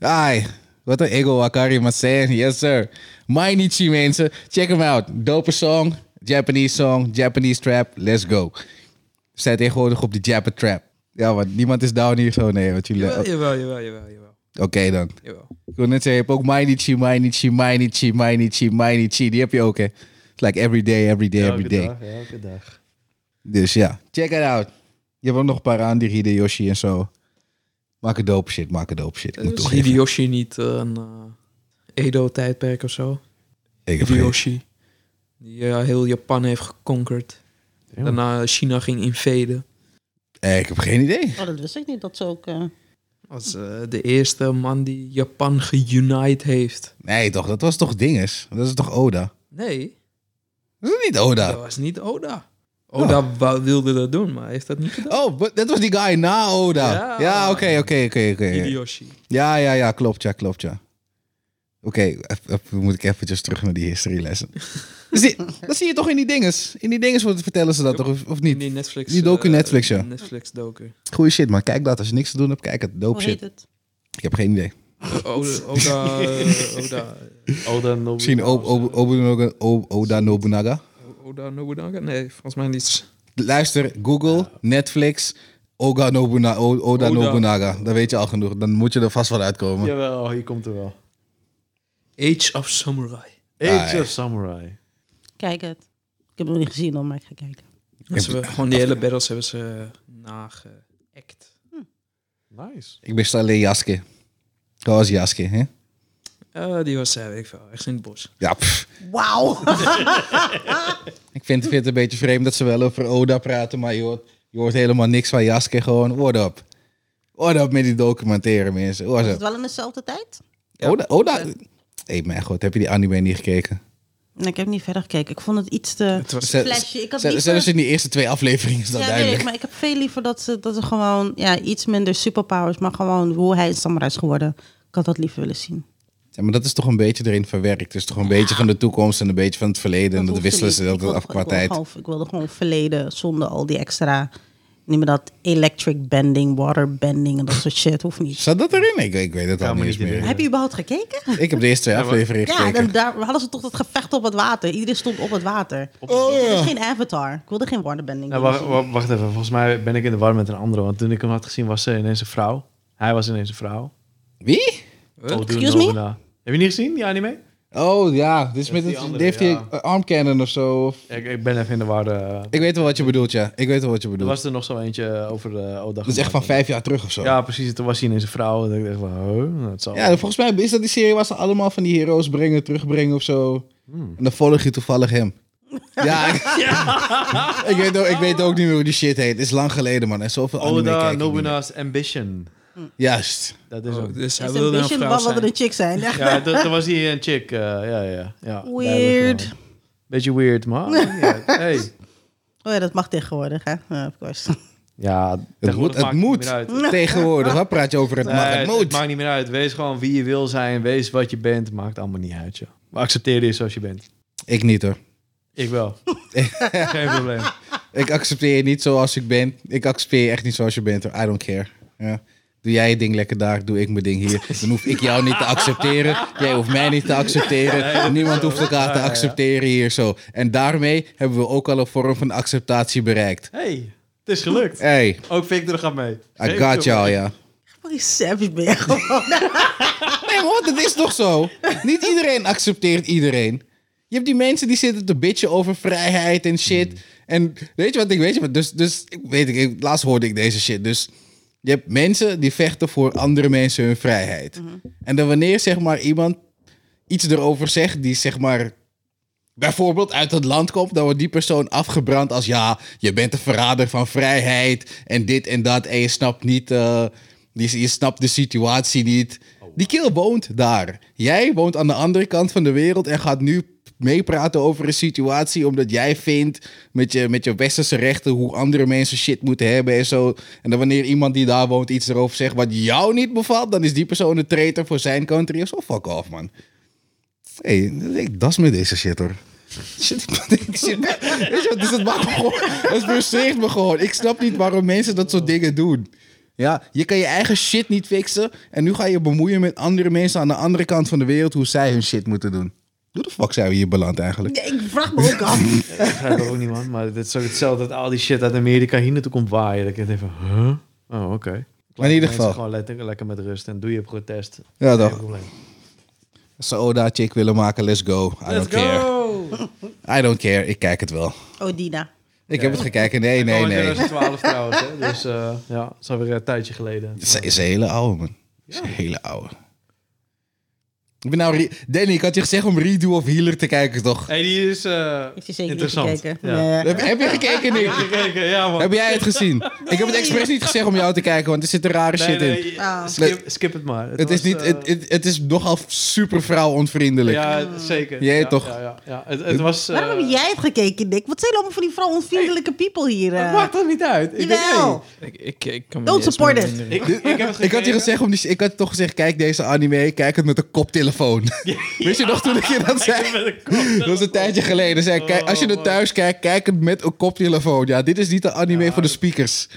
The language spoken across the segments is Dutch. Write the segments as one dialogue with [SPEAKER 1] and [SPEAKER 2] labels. [SPEAKER 1] Ai, wat een ego Wakari Masen. Yes, sir. Mainichi, mensen. Check hem out. Dope song. Japanese song. Japanese trap. Let's go. We zijn tegenwoordig op de Japan trap. Ja, want niemand is down hier zo. Nee, wat jullie...
[SPEAKER 2] Jawel,
[SPEAKER 1] Oké
[SPEAKER 2] jawel, jawel, jawel, jawel.
[SPEAKER 1] dan.
[SPEAKER 2] jawel.
[SPEAKER 1] Ik wil net zeggen, je hebt ook Mainichi, Mainichi, Mainichi, Mainichi, Mainichi. Die heb je ook, hè. It's like every day, every day, every
[SPEAKER 3] Elke
[SPEAKER 1] day.
[SPEAKER 3] dag, elke dag.
[SPEAKER 1] Dus ja, check it out. Je hebt ook nog een paar aan, die Hideyoshi en zo. Maak het dope shit, maak het dope shit. Ik moet
[SPEAKER 2] Is
[SPEAKER 1] toch even...
[SPEAKER 2] Dus Hideyoshi niet eh, een eh, Edo-tijdperk of zo?
[SPEAKER 1] Ik heb geen-
[SPEAKER 2] Hideyoshi. Die eh, heel Japan heeft geconquerd.
[SPEAKER 3] Ja.
[SPEAKER 2] Daarna China ging invaden.
[SPEAKER 1] eh, ik heb geen idee.
[SPEAKER 4] Oh, dat wist ik niet. Dat ze ook... eh,
[SPEAKER 2] Als eh, de eerste man die Japan geunite heeft.
[SPEAKER 1] Nee, toch? Dat was toch dinges? Dat is toch Oda?
[SPEAKER 2] Nee,
[SPEAKER 1] Dat is niet Oda.
[SPEAKER 2] dat was niet Oda. Oda wou- wilde dat doen, maar hij heeft dat niet gedaan.
[SPEAKER 1] Oh, but- dat was die guy na Oda.
[SPEAKER 2] Ja.
[SPEAKER 1] Ja, oké, oké, oké, oké.
[SPEAKER 2] Hideyoshi.
[SPEAKER 1] Ja, ja, ja, klopt, ja, klopt, ja. Oké, eff- eff- moet ik eventjes terug naar die history lessen. dat, zie, dat zie je toch in die dinges? In die dinges wordt- vertellen ze dat toch, of, of
[SPEAKER 2] In
[SPEAKER 1] niet?
[SPEAKER 2] die Netflix.
[SPEAKER 1] Die docu
[SPEAKER 2] eh,
[SPEAKER 1] Netflix, ja.
[SPEAKER 2] Netflix docu.
[SPEAKER 1] Goeie shit, man. Kijk dat. Als je niks te doen hebt, kijk het. Dope
[SPEAKER 4] hoe heet
[SPEAKER 1] shit.
[SPEAKER 4] het?
[SPEAKER 1] Ik heb geen idee.
[SPEAKER 2] Oda, Oda, eh, Oda,
[SPEAKER 3] Oda Nobunaga.
[SPEAKER 1] Misschien Ob- Ob- Obunaga- Ob- Oda Nobunaga.
[SPEAKER 2] Oda Nobunaga? Nee, volgens mij niet.
[SPEAKER 1] Luister, Google, Netflix, Oga Nobuna, O- Oda,
[SPEAKER 2] Oda.
[SPEAKER 1] Nobunaga. Dan weet je al genoeg. Dan moet je er vast wel uitkomen.
[SPEAKER 3] Jawel, hier komt er wel.
[SPEAKER 2] Age of Samurai.
[SPEAKER 3] Age
[SPEAKER 1] Ah,
[SPEAKER 3] of Samurai.
[SPEAKER 4] Kijk het. Ik heb het nog niet gezien, dan maar ik ga kijken.
[SPEAKER 2] Dat ze gewoon die hele battles hebben ze nageact.
[SPEAKER 3] Nice.
[SPEAKER 1] Ik ben alleen Jaske. Dat was Jaske, hè?
[SPEAKER 2] Eh die was, eh, weet ik veel, echt in het bos.
[SPEAKER 1] Ja, pff.
[SPEAKER 4] Wauw!
[SPEAKER 1] Ik vind, vind het een beetje vreemd dat ze wel over Oda praten, maar je hoort, je hoort helemaal niks van Jaske. Gewoon, what up? What up met die documentaire, mensen? What
[SPEAKER 4] Is
[SPEAKER 1] up?
[SPEAKER 4] het wel in dezelfde tijd?
[SPEAKER 1] Oda, Oda... hey, mijn god, heb je die anime niet gekeken?
[SPEAKER 4] Nee, ik heb niet verder gekeken. Ik vond het iets te...
[SPEAKER 2] Het was,
[SPEAKER 1] Ze-
[SPEAKER 4] Flesje, ik had
[SPEAKER 1] ze-
[SPEAKER 4] liever-
[SPEAKER 1] Zelfs in die eerste twee afleveringen is dat
[SPEAKER 4] Ja, weet
[SPEAKER 1] duidelijk.
[SPEAKER 4] ik, maar ik heb veel liever dat ze, dat ze gewoon ja, iets minder superpowers, maar gewoon hoe hij een samurai is geworden. Ik had dat liever willen zien.
[SPEAKER 1] Ja, maar dat is toch een beetje erin verwerkt. Het is toch een beetje van de toekomst en een beetje van het verleden. en dat
[SPEAKER 4] hoefde
[SPEAKER 1] wisselen
[SPEAKER 4] niet.
[SPEAKER 1] ze
[SPEAKER 4] Ik
[SPEAKER 1] dat
[SPEAKER 4] wilde-
[SPEAKER 1] af qua
[SPEAKER 4] ik wilde
[SPEAKER 1] tijd.
[SPEAKER 4] gewoon- Ik wilde gewoon verleden zonder al die extra, noem je dat, electric bending, water bending en dat soort shit. Hoeft niet.
[SPEAKER 1] Zat dat erin? Ik, ik weet het
[SPEAKER 3] Kan
[SPEAKER 1] al
[SPEAKER 3] me
[SPEAKER 1] niet eens meer.
[SPEAKER 3] niet herinneren.
[SPEAKER 4] Heb je überhaupt gekeken?
[SPEAKER 1] Ik heb de eerste twee
[SPEAKER 3] maar-
[SPEAKER 1] afleveringen
[SPEAKER 4] Ja,
[SPEAKER 1] gekeken.
[SPEAKER 4] dan, daar hadden ze toch dat gevecht op het water. Iedereen stond op het water.
[SPEAKER 1] Oh,
[SPEAKER 4] Ik
[SPEAKER 1] ja.
[SPEAKER 4] wilde geen avatar. Ik wilde geen waterbending.
[SPEAKER 3] Nou, wacht, wa- wacht even. Volgens mij ben ik in de war met een andere. Want toen ik hem had gezien, was ze ineens een vrouw. Hij was ineens een vrouw.
[SPEAKER 1] Wie?
[SPEAKER 2] Huh?
[SPEAKER 3] Oda
[SPEAKER 4] Excuse me?
[SPEAKER 3] Nobuna. Heb je niet gezien, die anime?
[SPEAKER 1] Oh ja, dit is
[SPEAKER 3] Dat
[SPEAKER 1] met het,
[SPEAKER 3] is die andere,
[SPEAKER 1] die heeft die
[SPEAKER 3] ja.
[SPEAKER 1] eh, armcannon of zo. of-
[SPEAKER 3] Ik, ik ben even in de war. eh.
[SPEAKER 1] Ik weet wel wat je bedoelt, ja. Ik weet wel wat je
[SPEAKER 3] er
[SPEAKER 1] bedoelt.
[SPEAKER 3] was er nog zo eentje over de Oda.
[SPEAKER 1] Dat is echt van vijf jaar terug of zo.
[SPEAKER 3] Ja, precies. Toen was hij ineens een vrouw. En ik dacht van, huh, dat zal...
[SPEAKER 1] Ja, volgens mij is dat die serie waar ze allemaal van die heroes brengen, terugbrengen of zo. En dan volg je toevallig hem. Ja, ik, ik, weet ook, ik weet ook niet meer hoe die shit heet. Het is lang geleden, man. En zoveel anime kijk
[SPEAKER 3] Oda
[SPEAKER 1] ik niet meer.
[SPEAKER 3] Nobuna's Ambition.
[SPEAKER 1] Juist.
[SPEAKER 3] Dat is
[SPEAKER 2] Oh,
[SPEAKER 3] hem.
[SPEAKER 2] dus hij
[SPEAKER 4] Is
[SPEAKER 2] wilde
[SPEAKER 4] een
[SPEAKER 2] een
[SPEAKER 4] beetje
[SPEAKER 2] vrouw
[SPEAKER 4] wat wilde
[SPEAKER 2] zijn.
[SPEAKER 4] een chick zijn. Ja.
[SPEAKER 3] Ja, toen toen was hij een chick. eh, ja, ja, ja.
[SPEAKER 4] Weird.
[SPEAKER 3] Duidelijk, man. Beetje weird, man. Ja, hey.
[SPEAKER 4] Oh ja, dat mag tegenwoordig, hè? Ja, of course.
[SPEAKER 3] ja
[SPEAKER 1] Het
[SPEAKER 3] tegenwoordig
[SPEAKER 1] moet, het
[SPEAKER 3] maakt niet
[SPEAKER 1] moet.
[SPEAKER 3] meer uit.
[SPEAKER 1] tegenwoordig. Wat praat je over het mag?
[SPEAKER 3] Nee,
[SPEAKER 1] Het
[SPEAKER 3] het, het
[SPEAKER 1] moet.
[SPEAKER 3] maakt niet meer uit. Wees gewoon wie je wil zijn. Wees wat je bent. Maakt allemaal niet uit, joh. Maar accepteer je zoals je bent.
[SPEAKER 1] Ik niet hoor.
[SPEAKER 3] Ik wel. Geen probleem.
[SPEAKER 1] Ik accepteer je niet zoals ik ben. Ik accepteer je echt niet zoals je bent hoor. I don't care. Ja. Doe jij je ding lekker daar, doe ik mijn ding hier. Dan hoef ik jou niet te accepteren. Jij hoeft mij niet te accepteren. Niemand hoeft elkaar te accepteren hier zo. En daarmee hebben we ook al een vorm van acceptatie bereikt.
[SPEAKER 3] Hey, het is gelukt.
[SPEAKER 1] Hey,
[SPEAKER 3] Ook Victor gaat mee.
[SPEAKER 1] I got jou, ja.
[SPEAKER 4] Fucking savage ben je gewoon.
[SPEAKER 1] Nee, maar wat, het is toch zo? Niet iedereen accepteert iedereen. Je hebt die mensen die zitten te bitchen over vrijheid en shit. En weet je wat ik weet? Je, wat, dus, dus ik weet ik, ik- laatst hoorde ik deze shit. Dus je hebt mensen die vechten voor andere mensen hun vrijheid. En dan wanneer zeg maar iemand iets erover zegt die zeg maar bijvoorbeeld uit het land komt, dan wordt die persoon afgebrand als ja, je bent een verrader van vrijheid en dit en dat en je snapt niet, eh, je, je snapt de situatie niet. Die kill woont daar. Jij woont aan de andere kant van de wereld en gaat nu meepraten over een situatie omdat jij vindt met je, met je westerse rechten hoe andere mensen shit moeten hebben en zo. En dan wanneer iemand die daar woont iets erover zegt wat jou niet bevalt, dan is die persoon een traitor voor zijn country of zo. Fuck off, man. Hé, ik das met deze shit hoor. Shit, ik zit- weet je wat, dus het maakt me gewoon, het frustreert me gewoon. Ik snap niet waarom mensen dat soort dingen doen. Ja, je kan je eigen shit niet fixen. En nu ga je bemoeien met andere mensen aan de andere kant van de wereld hoe zij hun shit moeten doen. Hoe de fuck zijn we hier beland eigenlijk?
[SPEAKER 4] Ja, ik vraag me ook af.
[SPEAKER 3] Ik begrijp het ook niet, man. Maar het is ook hetzelfde dat al die shit uit Amerika hier naartoe komt waaien. Dat ik denk van, huh? Oh, oké.
[SPEAKER 1] Maar in ieder
[SPEAKER 3] Mensen
[SPEAKER 1] geval.
[SPEAKER 3] Gewoon lekker, lekker met rust en doe je protest.
[SPEAKER 1] Ja,
[SPEAKER 3] Geen
[SPEAKER 1] toch.
[SPEAKER 3] probleem.
[SPEAKER 1] Saoda chick willen maken, let's go. I don't care. I don't care, ik kijk het wel.
[SPEAKER 4] Oh, Dina.
[SPEAKER 1] Ik heb het gekeken, nee, nee,
[SPEAKER 3] Gewoon
[SPEAKER 1] nee.
[SPEAKER 3] 2012 trouwens, hè. Dus eh, ja, dat is alweer een tijdje geleden.
[SPEAKER 1] Het is, is een hele oude, man. Het is een hele oude. Ik ben nou... re- Danny, ik had je gezegd om Redo of Healer te kijken, toch?
[SPEAKER 3] hey, die is eh,
[SPEAKER 4] Heeft hij zeker niet
[SPEAKER 3] interessant.
[SPEAKER 4] gekeken.
[SPEAKER 3] Ja. Eh,
[SPEAKER 4] Ja.
[SPEAKER 1] Heb, heb je gekeken, Nick?
[SPEAKER 3] Gekeken, ja, man.
[SPEAKER 1] Heb jij het gezien? Ik heb het expres niet gezegd om jou te kijken, want er zit een rare
[SPEAKER 3] Nee,
[SPEAKER 1] shit in.
[SPEAKER 3] nee, je-
[SPEAKER 4] Ah.
[SPEAKER 3] skip, skip het maar.
[SPEAKER 1] Het is,
[SPEAKER 3] was,
[SPEAKER 1] niet,
[SPEAKER 3] eh,
[SPEAKER 1] het, het, het is nogal super vrouwonvriendelijk.
[SPEAKER 3] Ja, zeker.
[SPEAKER 1] Jij
[SPEAKER 3] ja,
[SPEAKER 1] toch?
[SPEAKER 3] Ja, ja, ja. Het, het was... eh,
[SPEAKER 4] Waarom heb jij het gekeken, Nick? Wat zijn allemaal van die vrouwonvriendelijke people hier? eh?
[SPEAKER 3] Het maakt toch niet uit? Ik denk,
[SPEAKER 4] Jawel.
[SPEAKER 3] hey,
[SPEAKER 2] Ik, ik, ik kan me
[SPEAKER 4] Don't
[SPEAKER 2] niet eens
[SPEAKER 4] support
[SPEAKER 2] meer
[SPEAKER 4] it.
[SPEAKER 2] herinneren.
[SPEAKER 3] Ik, ik, heb het
[SPEAKER 1] Ik had je
[SPEAKER 3] gekeken.
[SPEAKER 1] gezegd om die, ik had toch gezegd, kijk deze anime, kijk het met een koptelefoon. Weet je nog toen ik je dat zei?
[SPEAKER 3] Met een kop.
[SPEAKER 1] Dat was een tijdje geleden. Zei, ik, kijk, als je
[SPEAKER 3] Oh,
[SPEAKER 1] het
[SPEAKER 3] man.
[SPEAKER 1] thuis kijkt, kijk het met een koptelefoon. Ja, dit is niet de anime voor de speakers.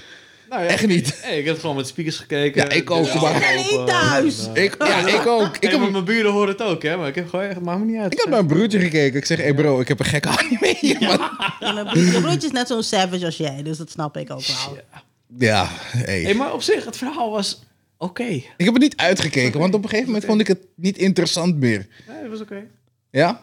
[SPEAKER 3] Nou ja,
[SPEAKER 1] Echt niet.
[SPEAKER 3] Hey, ik heb gewoon met speakers gekeken. Dus
[SPEAKER 1] Ja, ik ook,
[SPEAKER 3] Ja,
[SPEAKER 1] maar-
[SPEAKER 4] Ik ben niet thuis.
[SPEAKER 3] Ja.
[SPEAKER 1] Ik, ja, ik ook. Ik
[SPEAKER 3] Hey, maar
[SPEAKER 1] heb,
[SPEAKER 3] mijn buren horen het ook, hè? Maar ik heb gewoon echt, maakt me niet uit.
[SPEAKER 1] ik had mijn broertje gekeken. Ik zeg, hé hey bro, ik heb een gekke anime. hier, man.
[SPEAKER 4] Ja, mijn broertje- mijn broertje is net zo'n savage als jij, dus dat snap ik ook wel.
[SPEAKER 1] Ja, hey.
[SPEAKER 3] Hey, maar op zich, het verhaal was oké.
[SPEAKER 1] Ik heb het niet uitgekeken, want op een gegeven moment vond ik het niet interessant meer.
[SPEAKER 3] Ja, het was oké.
[SPEAKER 1] Ja?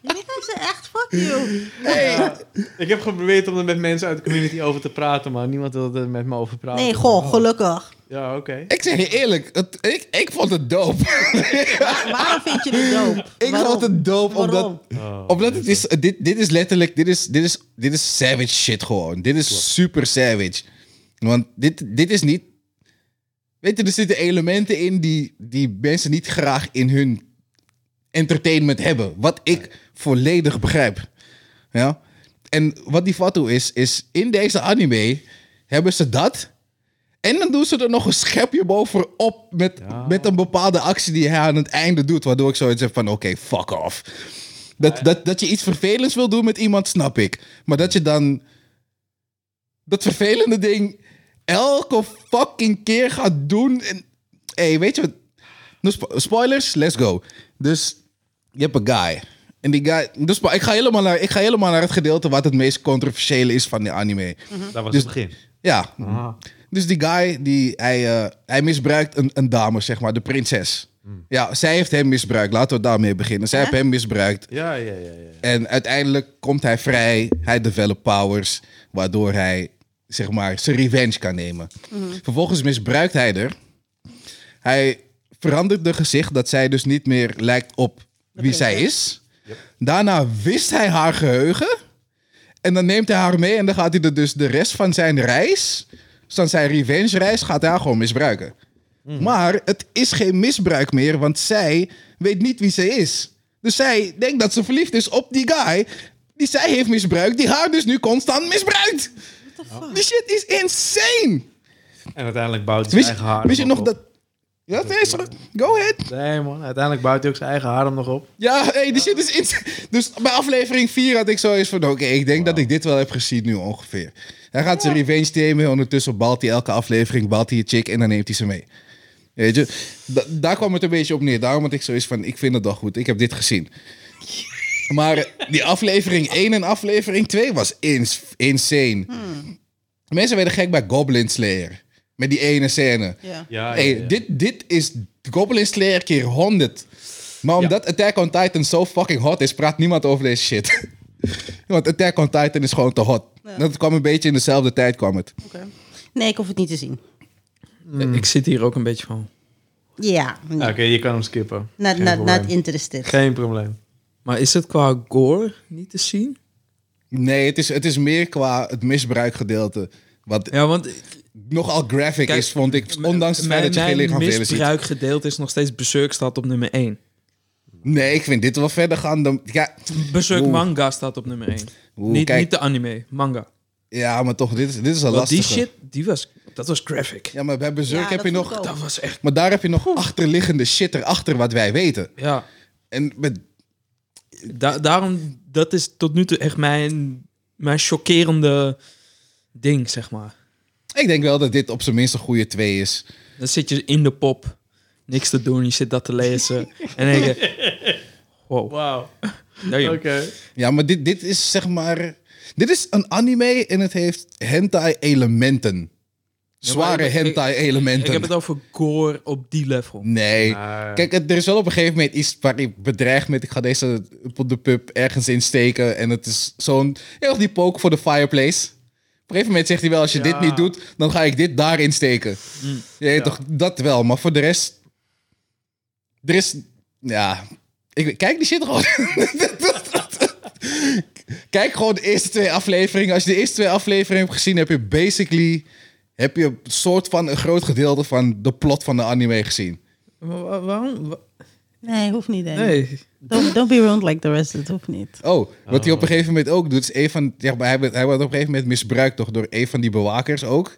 [SPEAKER 4] Jullie gaan ze echt fuck you.
[SPEAKER 3] Ja. ik heb geprobeerd om er met mensen uit de community over te praten, maar niemand wilde er met me over praten.
[SPEAKER 4] Nee, goh, gelukkig.
[SPEAKER 3] Ja, oké.
[SPEAKER 1] Ik zeg je eerlijk, het- ik, ik vond het dope.
[SPEAKER 4] Waarom vind je dit doop?
[SPEAKER 1] Ik
[SPEAKER 4] Waarom?
[SPEAKER 1] vond het dope omdat...
[SPEAKER 4] Waarom?
[SPEAKER 3] Oh.
[SPEAKER 1] Omdat het is, dit, dit is letterlijk, dit is, dit, is, dit is savage shit gewoon. Dit is super savage. Want dit, dit is niet... Weet je, er zitten elementen in die, die mensen niet graag in hun entertainment hebben. Wat ik volledig begrijp. Ja? En wat die fatu is, is in deze anime hebben ze dat... En dan doen ze er nog een schepje bovenop met, met een bepaalde actie die hij aan het einde doet. Waardoor ik zoiets heb van, oké, fuck off. Dat, dat, dat je iets vervelends wil doen met iemand, snap ik. Maar dat je dan dat vervelende ding elke fucking keer gaat doen. En, hey, weet je wat? No spo- spoilers, let's go. Dus je hebt een guy. En die guy... Dus, maar ik, ga helemaal naar, ik ga helemaal naar het gedeelte wat het meest controversiële is van de anime.
[SPEAKER 3] Mhm. Dat was
[SPEAKER 1] Dus-
[SPEAKER 3] het begin.
[SPEAKER 1] Ja.
[SPEAKER 3] Ah.
[SPEAKER 1] Dus die guy, die, hij, eh, hij misbruikt een, een dame, zeg maar, de prinses. Ja, zij heeft hem misbruikt. Laten we daarmee beginnen. Zij heeft hem misbruikt.
[SPEAKER 3] Ja, ja, ja. ja.
[SPEAKER 1] En uiteindelijk komt hij vrij. Hij develop powers, waardoor hij zeg maar zijn revenge kan nemen. Vervolgens misbruikt hij er. Hij verandert de gezicht dat zij dus niet meer lijkt op wie zij is. Daarna wist hij haar geheugen. En dan neemt hij haar mee en dan gaat hij er dus de rest van zijn reis, van zijn revenge reis, gaat hij haar gewoon misbruiken.
[SPEAKER 3] Hmm.
[SPEAKER 1] Maar het is geen misbruik meer, want zij weet niet wie zij is. Dus zij denkt dat ze verliefd is op die guy die zij heeft misbruikt, die haar dus nu constant misbruikt. Die shit is insane.
[SPEAKER 3] En uiteindelijk bouwt hij zijn
[SPEAKER 1] Wist,
[SPEAKER 3] eigen haar
[SPEAKER 1] wist je nog
[SPEAKER 3] op.
[SPEAKER 1] dat... Ja, nee, sorry. go ahead.
[SPEAKER 3] Nee, man. Uiteindelijk bouwt hij ook zijn eigen haar nog op.
[SPEAKER 1] Ja, hey, die shit is insane. Dus bij aflevering 4 had ik zo eens van... Oké, ik denk dat ik dit wel heb gezien nu ongeveer. Hij gaat zijn revenge nemen. Ondertussen balt hij elke aflevering, balt hij je chick en dan neemt hij ze mee. Weet je, da- daar kwam het een beetje op neer. Daarom had ik zoiets van, ik vind het wel goed. Ik heb dit gezien. Maar die aflevering 1 en aflevering 2 was ins- insane. Mensen werden gek bij Goblin Slayer. Met die ene scène.
[SPEAKER 4] Ja.
[SPEAKER 3] Ja,
[SPEAKER 1] Hey,
[SPEAKER 3] ja, ja.
[SPEAKER 1] Dit, dit is Goblin Slayer keer 100. Maar omdat Attack on Titan zo fucking hot is, praat niemand over deze shit. Want Attack on Titan is gewoon te hot. Dat kwam een beetje in dezelfde tijd kwam het.
[SPEAKER 4] Nee, ik hoef het niet te zien.
[SPEAKER 2] Ik zit hier ook een beetje van.
[SPEAKER 4] Ja,
[SPEAKER 3] Ja,
[SPEAKER 4] nee.
[SPEAKER 3] Nou, Oké, je kan hem skippen.
[SPEAKER 4] not,
[SPEAKER 3] Geen
[SPEAKER 4] not, not
[SPEAKER 3] probleem.
[SPEAKER 4] interested.
[SPEAKER 3] Geen probleem.
[SPEAKER 2] Maar is het qua gore niet te zien?
[SPEAKER 1] Nee, het is, het is meer qua het misbruikgedeelte. Wat
[SPEAKER 2] Ja, want
[SPEAKER 1] nogal graphic
[SPEAKER 2] Kijk,
[SPEAKER 1] is, vond ik. Ondanks het feit dat je geen lichaamsdelen ziet.
[SPEAKER 2] misbruikgedeelte is nog steeds Berserk staat op nummer 1.
[SPEAKER 1] Nee, ik vind dit wel verder gaan dan... Ja,
[SPEAKER 2] Berserk
[SPEAKER 1] Oeh.
[SPEAKER 2] manga staat op nummer 1.
[SPEAKER 1] Oeh,
[SPEAKER 2] niet,
[SPEAKER 1] kijk.
[SPEAKER 2] niet de anime, manga.
[SPEAKER 1] ja maar toch, dit is, dit is al
[SPEAKER 2] Want die
[SPEAKER 1] lastig.
[SPEAKER 2] shit, die was, dat was graphic.
[SPEAKER 1] Ja, maar bij Berserk
[SPEAKER 4] Ja,
[SPEAKER 1] heb
[SPEAKER 4] dat
[SPEAKER 1] je
[SPEAKER 4] vond
[SPEAKER 1] nog...
[SPEAKER 4] ik ook.
[SPEAKER 2] Dat was echt,
[SPEAKER 1] Maar daar heb je nog achterliggende shit erachter wat wij weten.
[SPEAKER 2] ja.
[SPEAKER 1] En met
[SPEAKER 2] Da- daarom, dat is tot nu toe echt mijn, mijn chockerende ding, zeg maar.
[SPEAKER 1] Ik denk wel dat dit op zijn minst een goede twee is.
[SPEAKER 2] Dan zit je in de pop, niks te doen, je zit dat te lezen. en dan denk je, wow.
[SPEAKER 3] Wauw.
[SPEAKER 2] Nou, joh.
[SPEAKER 1] Ja, maar dit, dit is zeg maar... Dit is een anime en het heeft hentai-elementen. Zware
[SPEAKER 2] ik- ik- Ik
[SPEAKER 1] hentai-elementen.
[SPEAKER 2] heb het over gore op die level.
[SPEAKER 1] Nee.
[SPEAKER 3] Ah.
[SPEAKER 1] Kijk, het- er is wel op een gegeven moment iets waar ik bedreigd met... ik ga deze op de pub ergens insteken en het is zo'n... Heel die poke voor de fireplace. Op een gegeven moment zegt hij wel, als je
[SPEAKER 3] Ja. Mm.
[SPEAKER 1] dit niet doet, dan ga ik dit daarin steken. Je weet
[SPEAKER 3] Ja.
[SPEAKER 1] toch, dat wel. Maar voor de rest... Er is... Ja... Ik, kijk die shit gewoon. kijk gewoon de eerste twee afleveringen. Als je de eerste twee afleveringen hebt gezien, heb je basically... Heb je een soort van een groot gedeelte van de plot van de anime gezien.
[SPEAKER 2] Maar wa- waarom? Wa-
[SPEAKER 4] Nee, hoeft niet. Danny.
[SPEAKER 2] Nee.
[SPEAKER 4] Don't, don't be wrong like the rest. Het hoeft niet.
[SPEAKER 1] Oh, wat hij op een gegeven moment ook doet, is een van. Ja, maar hij, werd- hij wordt op een gegeven moment misbruikt toch door een van die bewakers ook.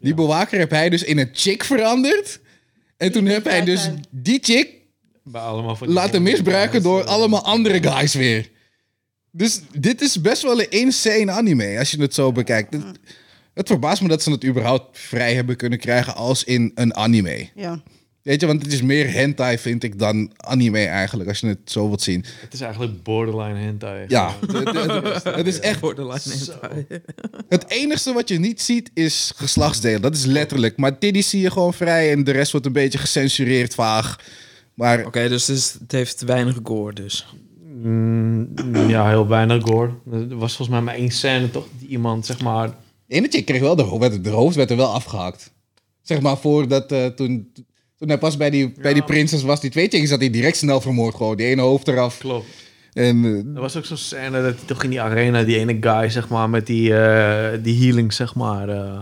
[SPEAKER 1] Die bewaker heb hij dus in een chick veranderd. En toen heb hij dus
[SPEAKER 4] misbruikt
[SPEAKER 1] die chick
[SPEAKER 3] Bij allemaal van die
[SPEAKER 1] laten
[SPEAKER 3] dingen.
[SPEAKER 1] misbruiken door
[SPEAKER 3] Ja,
[SPEAKER 1] allemaal andere guys weer. Dus dit is best wel een insane anime als je het zo bekijkt. Het, het verbaast me dat ze het überhaupt vrij hebben kunnen krijgen als in een anime.
[SPEAKER 4] Ja.
[SPEAKER 1] Weet je, want het is meer hentai vind ik dan anime eigenlijk, als je het zo wilt zien.
[SPEAKER 3] Het is eigenlijk borderline hentai.
[SPEAKER 1] Ja, het- het- het- het is echt
[SPEAKER 2] Borderline
[SPEAKER 3] Zo.
[SPEAKER 2] hentai.
[SPEAKER 1] Het enige wat je niet ziet is geslachtsdelen. Dat is letterlijk. Maar Tiddy zie je gewoon vrij en de rest wordt een beetje gecensureerd vaag. Maar
[SPEAKER 2] Oké, dus het, is- het heeft weinig gore dus.
[SPEAKER 3] Mm, ja, heel weinig gore. Er was volgens mij maar één scène toch? Die iemand, zeg maar...
[SPEAKER 1] de ene chick kreeg wel de, ho- werd, de hoofd werd er wel afgehakt. Zeg maar voordat eh, toen, toen hij pas bij die, bij die prinses was, die twee chicks, had hij direct snel vermoord. Gewoon die ene hoofd eraf.
[SPEAKER 3] Klopt.
[SPEAKER 1] En eh,
[SPEAKER 3] Er was ook zo'n scène dat hij toch in die arena, die ene guy, zeg maar, met die, eh, die healing, zeg maar, eh,